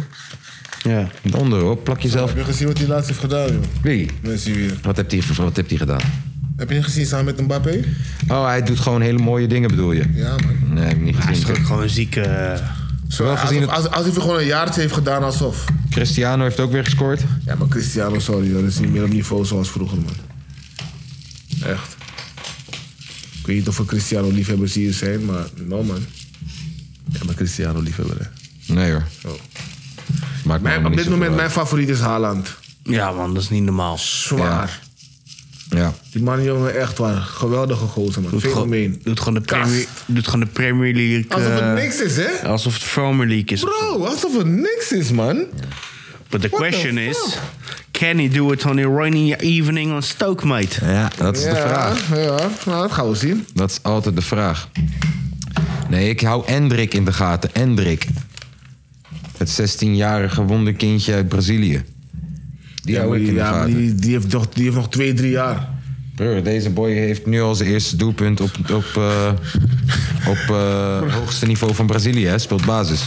Speaker 3: Ja.
Speaker 2: Onderop, plak jezelf.
Speaker 5: Heb je gezien wat hij laatst heeft gedaan, joh?
Speaker 2: Wie?
Speaker 5: Messi weer.
Speaker 2: Wat heeft hij wat heeft hij gedaan?
Speaker 5: Heb je niet gezien samen met Mbappé?
Speaker 2: Oh, hij doet gewoon hele mooie dingen, bedoel je?
Speaker 5: Ja, man.
Speaker 2: Nee, heb ik niet gezien. Hij is
Speaker 3: gewoon ziek.
Speaker 2: eh,
Speaker 5: Zo,
Speaker 2: gezien
Speaker 5: alsof,
Speaker 2: dat
Speaker 5: als, alsof hij gewoon een jaartje heeft gedaan alsof.
Speaker 2: Cristiano heeft ook weer gescoord.
Speaker 5: Ja, maar Cristiano, sorry, dat is niet meer op niveau zoals vroeger, man. Echt. Ik weet niet of er Cristiano-liefhebbers hier zijn, maar no, man. Ja, maar Cristiano-liefhebber, hè.
Speaker 2: Nee hoor. Maakt me
Speaker 5: Mijn-
Speaker 2: allemaal
Speaker 5: op
Speaker 2: niet
Speaker 5: dit
Speaker 2: zoveel
Speaker 5: moment, mijn
Speaker 2: uit.
Speaker 5: favoriet is Haaland.
Speaker 3: Ja, man, dat is niet normaal.
Speaker 5: Zwaar.
Speaker 2: Ja.
Speaker 5: Die man, jongen, echt waar. Geweldige gozer, man.
Speaker 3: Doet
Speaker 5: Fenomeen.
Speaker 3: gewoon, doet, gewoon de Premier, doet gewoon de Premier League.
Speaker 5: Alsof het
Speaker 3: eh,
Speaker 5: niks is, hè?
Speaker 3: Alsof het Premier League is.
Speaker 5: Bro, alsof het niks is, man.
Speaker 3: But the question is: can he do it on a rainy evening on Stoke, mate?
Speaker 2: Ja, dat is de
Speaker 5: Ja,
Speaker 2: vraag.
Speaker 5: Ja, nou, dat gaan we zien.
Speaker 2: Dat is altijd de vraag. Nee, ik hou Endrik in de gaten. Endrik. Het 16-jarige wonderkindje uit Brazilië. Die
Speaker 5: Ja,
Speaker 2: hou
Speaker 5: maar
Speaker 2: ik in
Speaker 5: die-
Speaker 2: de
Speaker 5: ja, maar
Speaker 2: gaten.
Speaker 5: die, die, heeft nog, die heeft nog twee, drie jaar.
Speaker 2: Broer, deze boy heeft nu al zijn eerste doelpunt op, op, eh, op eh, hoogste niveau van Brazilië. Hij speelt basis.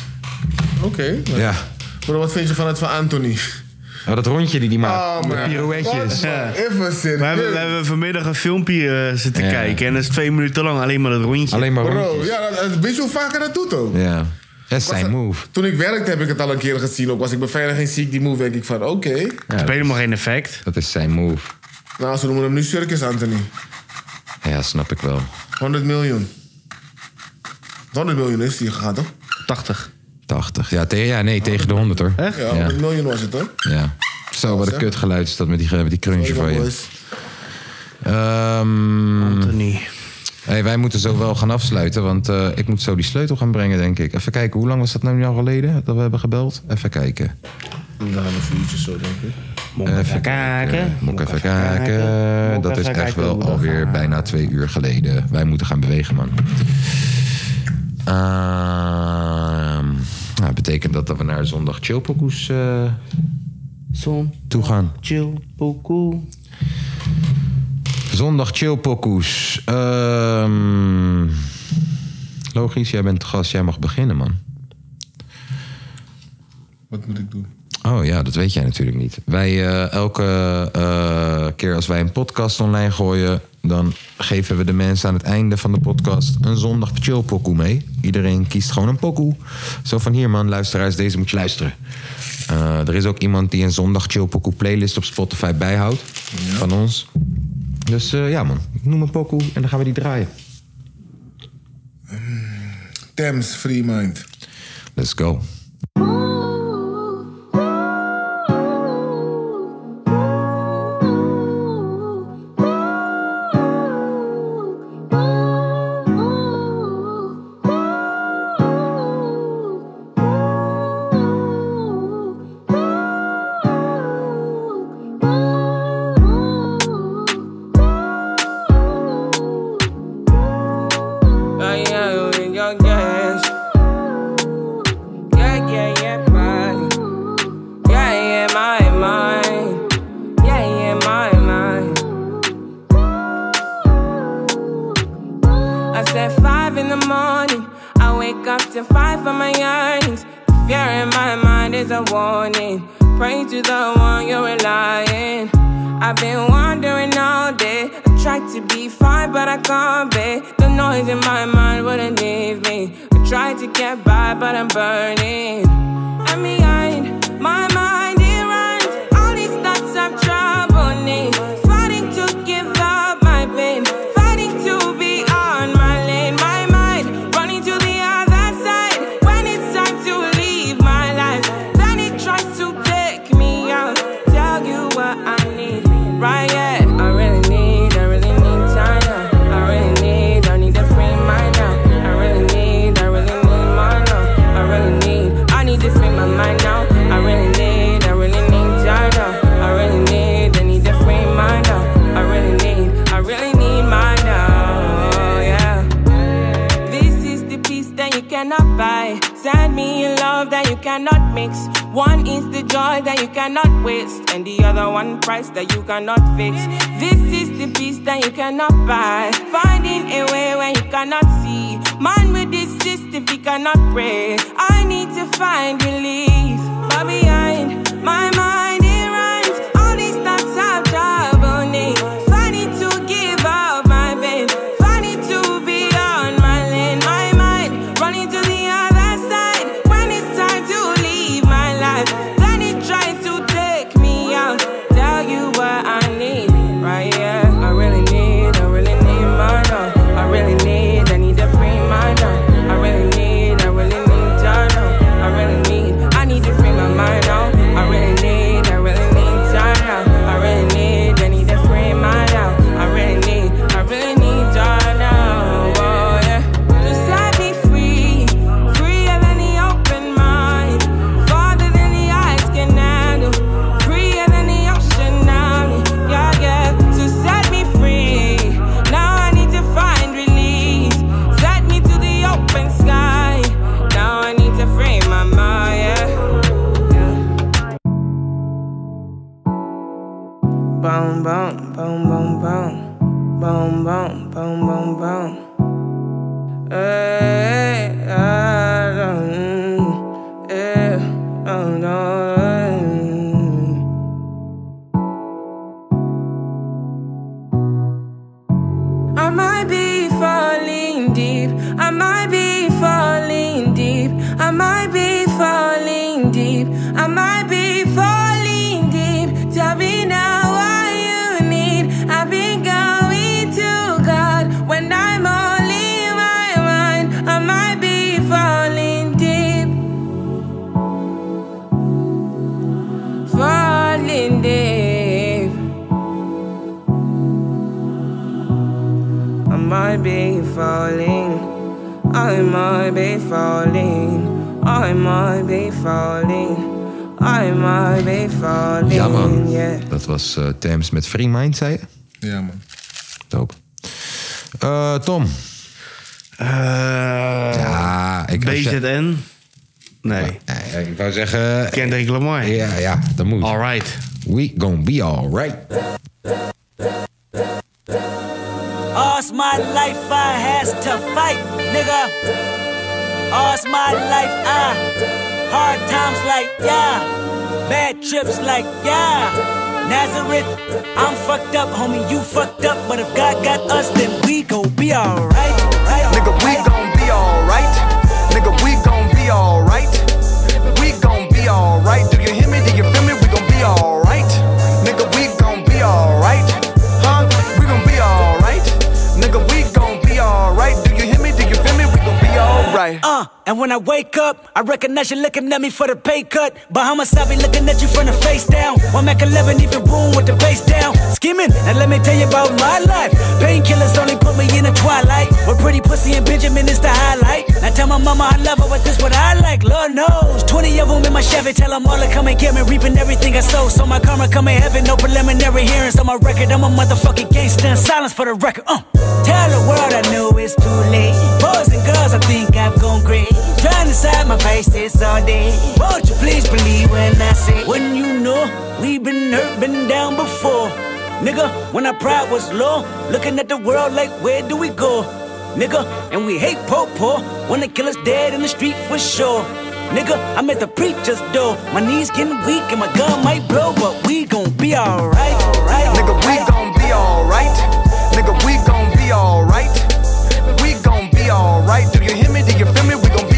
Speaker 5: Oké. nou.
Speaker 2: Ja.
Speaker 5: Bro, wat vind je van het van Anthony?
Speaker 2: Nou, dat rondje die die maakt.
Speaker 5: Oh,
Speaker 2: met
Speaker 5: man.
Speaker 2: pirouetjes.
Speaker 5: Wat, man? Even serieus.
Speaker 3: We hebben, we hebben vanmiddag een filmpje eh, zitten kijken en dat is twee minuten lang alleen maar dat rondje.
Speaker 2: Alleen maar
Speaker 5: Bro, ja, dat, dat, weet je hoe vaker dat doet ook?
Speaker 2: Ja. Dat is zijn move.
Speaker 5: Toen ik werkte heb ik het al een keer gezien. Ook was ik beveiliging zie ik die move. Denk ik van, oké.
Speaker 3: Het heeft helemaal geen effect.
Speaker 2: Dat is zijn move.
Speaker 5: Nou, ze noemen hem nu Circus Anthony.
Speaker 2: Ja, snap ik wel.
Speaker 5: 100 miljoen. 100 miljoen is die gegaan, toch?
Speaker 3: 80.
Speaker 2: 80. Ja, te- ja nee, tegen de 100 hoor.
Speaker 5: Ja, 100 miljoen was het, hoor.
Speaker 2: Ja. Zo, wat een
Speaker 5: Zeg.
Speaker 2: kutgeluid is dat met die, eh, met die crunch
Speaker 5: Sorry,
Speaker 2: van je.
Speaker 5: boys.
Speaker 2: Ehm
Speaker 3: Anthony.
Speaker 2: Hey, wij moeten zo wel gaan afsluiten, want eh, ik moet zo die sleutel gaan brengen, denk ik. Even kijken, hoe lang was dat nou al geleden dat we hebben gebeld? Even kijken.
Speaker 5: Een half uurtje zo, denk ik.
Speaker 2: even kijken. Moet ik even kijken.
Speaker 5: kijken.
Speaker 2: Dat is
Speaker 5: Even
Speaker 2: echt
Speaker 5: kijken hoe
Speaker 2: wel
Speaker 5: dat
Speaker 2: alweer bijna twee uur geleden. Wij moeten gaan bewegen, man. Ehm, nou, dat betekent dat, dat we naar zondag chillpokoes eh toe gaan.
Speaker 3: Chillpokoe.
Speaker 2: Zondag chillpokoes. Ehm, logisch, jij bent de gast, jij mag beginnen, man.
Speaker 5: Wat moet ik doen?
Speaker 2: Oh ja, dat weet jij natuurlijk niet. Wij, eh, elke eh, keer als wij een podcast online gooien... dan geven we de mensen aan het einde van de podcast een zondag chill pokoe mee. Iedereen kiest gewoon een pokoe. Zo van hier man, luisteraars, deze moet je luisteren. Eh, er is ook iemand die een zondag chill pokoe playlist op Spotify bijhoudt. Van ons. Dus eh, ja man, ik noem een pokoe en dan gaan we die draaien.
Speaker 5: Thames Free Mind.
Speaker 2: Let's go.
Speaker 13: I am in your games. Yeah, yeah, yeah, mine. Yeah, yeah, my mind. Yeah, yeah, my mind. I said five in the morning. I wake up to five for my yearnings. The fear in my mind is a warning. Pray to the one you're relying. I've been wandering all day. I tried to be fine, but I can't be. The noise in my mind wouldn't leave me. I Try to get by, but I'm burning. I'm behind my mind, it runs. All these thoughts of trouble need. Fighting to give up my pain. Fighting to be on my lane. My mind running to the other side. When it's time to leave my life, then it tries to take me out. Tell you what I need. Right, yeah. I really need, I really need time. now. I really need, I need to free my mind now. I really need, I really need mine now. I really need, I need to free my mind now. I really need, I really need time now. I really need, I need to free mine now. I really need, I really need mine now. Yeah. This is the peace that you cannot buy. Send me a love that you cannot mix. One is the joy that you cannot waste, and the other one price that you cannot fix. This is the peace that you cannot buy. Finding a way when you cannot see. Man with this system, he cannot pray. I need to find relief. But behind my mind, it runs. All these thoughts have trouble name. Finding to give up my pain. Finding to be on my lane. My mind running to the other side. When it's time to leave my life, then it tries to take me out. Tell you what I need, right? Yeah, I really need, I really need my love. I really need, I need a free mind now. I really need, I really need time now. I really need, I need to free my mind now. I really need, I really need time now. I really need, I need a free mind now. I really need, I really need time now. Oh yeah, just set me free, freer than the open mind, farther than the eyes can handle, freer than the ocean now. Yeah, yeah, so set me free. Now I need to find release. Set me to the open sky. Now I need to free my mind. Yeah. Boom, boom, boom, boom, boom. Boom, boom, boom, boom, boom. Hey, I don't, eh, oh, no, eh. I might be falling deep. I might be falling deep. I might be falling deep. I might be falling deep. Tell me now what you need. I've been going to God when I'm only in my mind. I might be falling deep. Falling deep. I might be falling. I might be falling. I might be falling. I might be falling.
Speaker 2: Ja, man.
Speaker 13: Yeah.
Speaker 2: Dat was eh Thames met Free Mind, zei je?
Speaker 5: Ja, man.
Speaker 2: Doop. Eh, Tom.
Speaker 3: Eh,
Speaker 2: ja, Ah, ik
Speaker 3: BZN? Nee.
Speaker 2: Ik wou zeggen... eh,
Speaker 3: Kendrick Lamar.
Speaker 2: Ja, ja, dat moet.
Speaker 3: Alright.
Speaker 2: We gon' be alright.
Speaker 14: All's my life I has to fight, nigga. All's my life I hard times like yeah, bad trips like yeah. Nazareth, I'm fucked up, homie. You fucked up, but if God got us, then we gon' be alright.
Speaker 15: Nigga, we gon' be alright. Nigga, we gon' be alright. We gon' be alright. Do you hear me? Do you feel me? We gon' be alright. Nigga, we gon' be alright. Huh? We gon' be alright. Nigga, we gon' be alright. Do you hear me? Do you feel me? We gon' be alright.
Speaker 14: Uh, and when I wake up, I recognize you looking at me for the pay cut. Bahamas, I be looking at you from the face down. One Mac 11, even room with the face down. Skimming, and let me tell you about my life. Painkillers only put me in the twilight. With pretty pussy and Benjamin is the highlight. Now tell my mama I love her, but this what I like. Lord knows. 20 of them in my Chevy, tell them all to come and get me. Reaping everything I sow, so my karma come in heaven. No preliminary hearings on my record. I'm a motherfucking gangster. Silence for the record. Uh, tell the world I know it's too late. Boys and girls, I think I've gone crazy. Trying to side my faces all day. Won't you please believe when I say, when you know we've been hurt, been down before. Nigga, when our pride was low, looking at the world like, where do we go? Nigga, and we hate po po. Wanna kill us dead in the street for sure. Nigga, I'm at the preacher's door. My knees getting weak and my gun might blow, but we gon' be alright.
Speaker 15: Nigga, we gon' be alright. Nigga, we gon' be alright. We gon' be alright. Do you hear me? Do you feel me? We gon'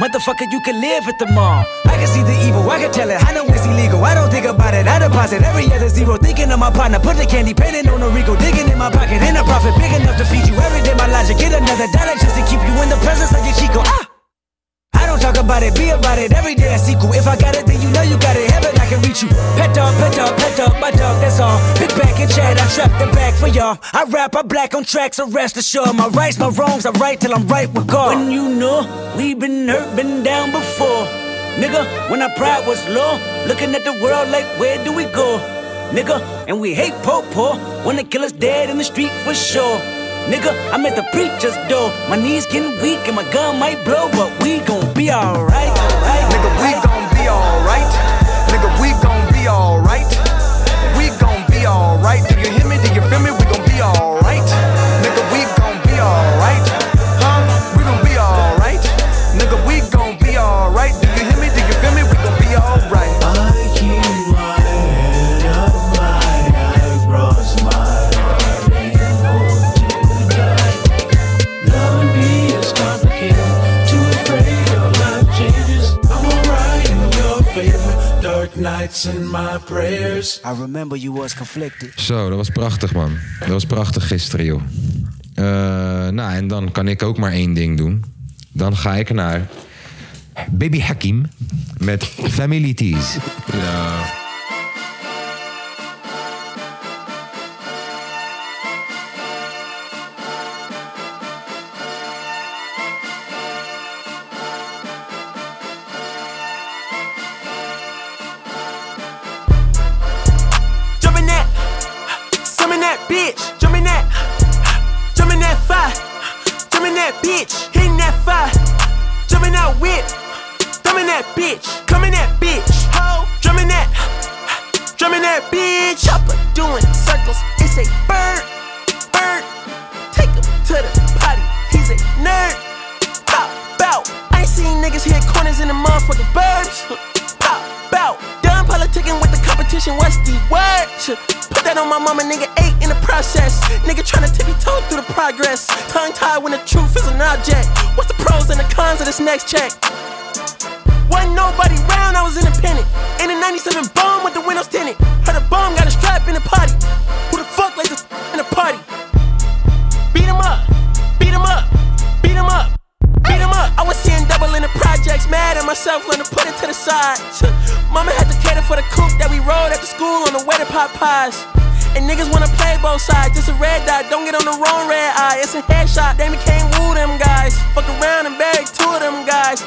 Speaker 14: motherfucker, you can live at the mall. I can see the evil, I can tell it. I know it's illegal. I don't think about it. I deposit every other zero. Thinking of my partner, put the candy painting on a Rico. Digging in my pocket, in a profit big enough to feed you. Every day, my logic, get another dollar just to keep you in the presence of your Chico. Ah! I don't talk about it, be about it. Every day a sequel. If I got it, then you know you got it. Heaven, I can reach you. Pet dog, pet dog, pet dog, my dog, that's all. Pick back and chat, I trap the back for y'all. I rap, I black on tracks, so rest assured. My rights, my wrongs, I right till I'm right with God. When you know, we been hurt, been down before. Nigga, when our pride was low, looking at the world like, where do we go? Nigga, and we hate po po. Wanna kill us dead in the street for sure. Nigga, I'm at the preacher's door. My knees getting weak and my gun might blow, but we gon' be alright.
Speaker 15: Nigga, we gon' be alright. Nigga, we gon' be alright. We gon' be alright. Do you hear me? Do you feel me? We gon' be alright. Nigga, we gon' be alright. Huh? We gon' be alright. Nigga, we gon' be alright. Do you hear me? Do you feel me? We gon' be alright.
Speaker 16: Nights in my prayers.
Speaker 14: I remember you was conflicted.
Speaker 2: Zo, dat was prachtig, man. Dat was prachtig gisteren, joh. Eh, nou, en dan kan ik ook maar één ding doen. Dan ga ik naar Baby Hakim met Family Tees. Ja.
Speaker 17: Jumping that, jumping that bitch, jumping that, jumping that fire, jumping that bitch, hitting that fire, jumping that whip, thumbing that bitch, coming that bitch, ho, drumming that, drumming that bitch, chopper doing circles, it's a bird, bird, take him to the potty, he's a nerd, pop, bout, I ain't seen niggas hit corners in the motherfucking burbs, pop, bout, done politicking with the competition, what's the word? Shit, Put that on my mama, nigga, eight in the process. Nigga tryna tippy toe through the progress. Tongue tied when the truth is an object. What's the pros and the cons of this next check? Wasn't nobody round, I was independent. In the 97 bomb with the windows tinted. Heard a bomb got a strap in the potty. Who the fuck like this in the party? Beat him up, beat him up, beat him up. Beat 'em up. I was seeing double in the projects, mad at myself, learned to put it to the side. Mama had to cater for the coupe that we rode after school on the way to pot pies. And niggas wanna play both sides, just a red dot, don't get on the wrong red eye. It's a headshot, they became woo them guys. Fuck around and buried two of them guys.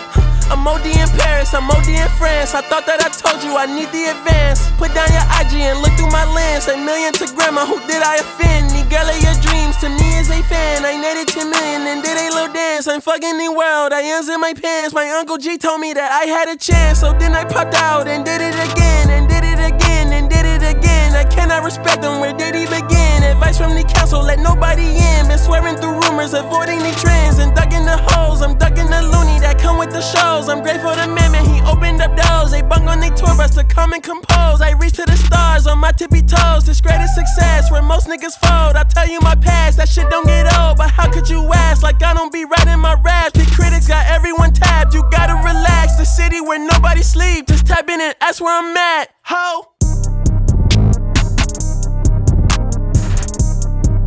Speaker 17: I'm OD in Paris, I'm OD in France. I thought that I told you I need the advance. Put down your IG and look through my lens. A million to grandma, who did I offend? The girl of your dreams to me is a fan. I netted 10 million and did a little dance. I'm fucking the world, I ends in my pants. My uncle G told me that I had a chance. So then I popped out and did it again and did it again and did it again. I cannot respect them, where did he begin? Advice from the council, let nobody in. Been swearing through rumors, avoiding the trends and ducking the hoes. I'm ducking the loony that come with the shows. I'm grateful to man, man, he opened up doors. They bung on their tour bus to come and compose. I reach to the stars on my tippy toes. This greatest success where most niggas fold. I tell you my past, that shit don't get old. But how could you ask? Like I don't be writing my raps. The critics got everyone tapped. You gotta relax. The city where nobody sleep. Just tap in and ask where I'm at. Ho.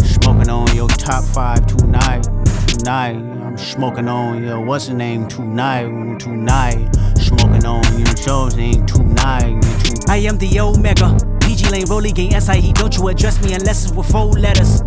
Speaker 18: Smoking on your top five tonight, tonight. I'm smoking on your what's the name tonight, tonight. Smoking on your show's name tonight, tonight.
Speaker 19: I am the Omega. PG Lane, Rolly Gang, SIE. Don't you address me unless it's with four letters.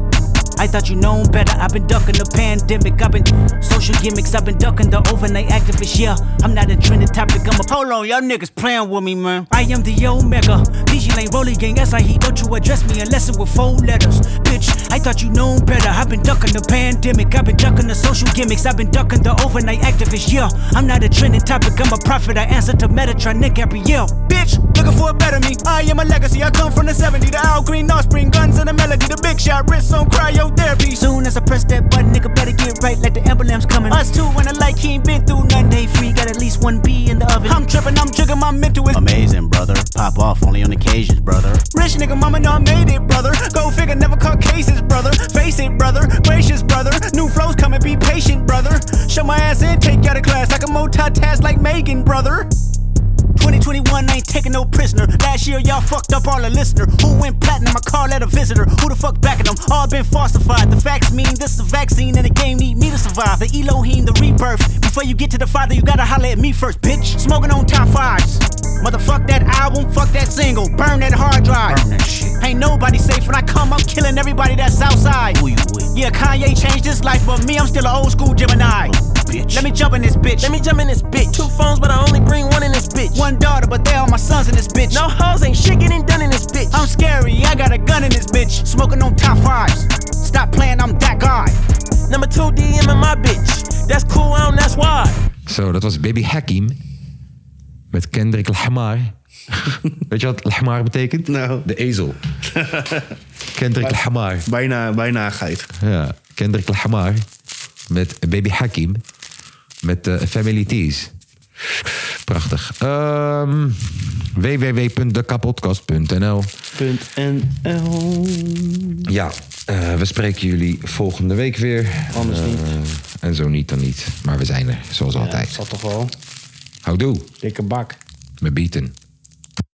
Speaker 19: I thought you known better. I've been ducking the pandemic. I've been social gimmicks. I've been ducking the overnight activists. Yeah, I'm not a trending topic. I'm a hold on, y'all niggas playing with me, man. I am the Omega. PG Lane, Rolly Gang, SIE. Don't you address me unless it's with four letters, bitch. I thought you known better. I've been ducking the pandemic. I've been ducking the social gimmicks. I've been ducking the overnight activists. Yeah, I'm not a trending topic. I'm a prophet. I answer to Metatronic every year,
Speaker 20: bitch. Looking for a better me. I am a legacy. I come from the 70. The Al Green offspring, guns and a melody. The big shot, wrist on cryotherapy.
Speaker 19: Soon as I press that button, nigga better get right like the emblem's coming.
Speaker 20: Us two when the light, he ain't been through nothing.
Speaker 19: Day free, got at least one B in the oven.
Speaker 20: I'm tripping, I'm jigging my mental is
Speaker 18: Amazing, brother. Pop off only on occasions, brother.
Speaker 20: Rich nigga, mama know I made it, brother. Go figure, never caught cases, brother. Face it, brother. Gracious, brother. New flows coming, be patient, brother. Shut my ass and take you out of class. I can multitask like Megan, brother.
Speaker 19: 2021 ain't taking no prisoner. Last year, y'all fucked up all a listener. Who went platinum? I call at a visitor. Who the fuck backing them? All been falsified. The facts mean this is a vaccine and the game need me to survive. The Elohim, the rebirth. Before you get to the father, you gotta holler at me first, bitch. Smoking on top fives. Motherfuck that album, fuck that single. Burn that hard drive. Ain't nobody safe when I come, I'm killing everybody that's outside. Yeah, Kanye changed his life, but me, I'm still an old school Gemini. Let me jump in this bitch. Let me jump in this bitch. Two phones, but I only bring one in this bitch. One daughter, but they all my sons in this bitch. No hoes ain't shit getting done in this bitch. I'm scary, I got a gun in this bitch. Smoking on top fives. Stop playing, I'm that guy. Number two DM in my bitch. That's cool, I don't, that's why.
Speaker 2: Zo, dat was Baby Hakim. Met Kendrick Lamar. Weet je wat Lamar betekent? Nou. De ezel. Kendrick Lamar.
Speaker 3: Bijna, bijna een geit.
Speaker 2: Ja, Kendrick Lamar. Met Baby Hakim. Met eh, Family Tees. Prachtig. Ehm www.dekapodcast.nl Ja, eh, we spreken jullie volgende week weer.
Speaker 3: Anders
Speaker 2: Eh,
Speaker 3: niet.
Speaker 2: En zo niet, dan niet. Maar we zijn er, zoals altijd.
Speaker 3: Dat toch wel.
Speaker 2: Houdoe.
Speaker 3: Dikke bak.
Speaker 2: Met bieten.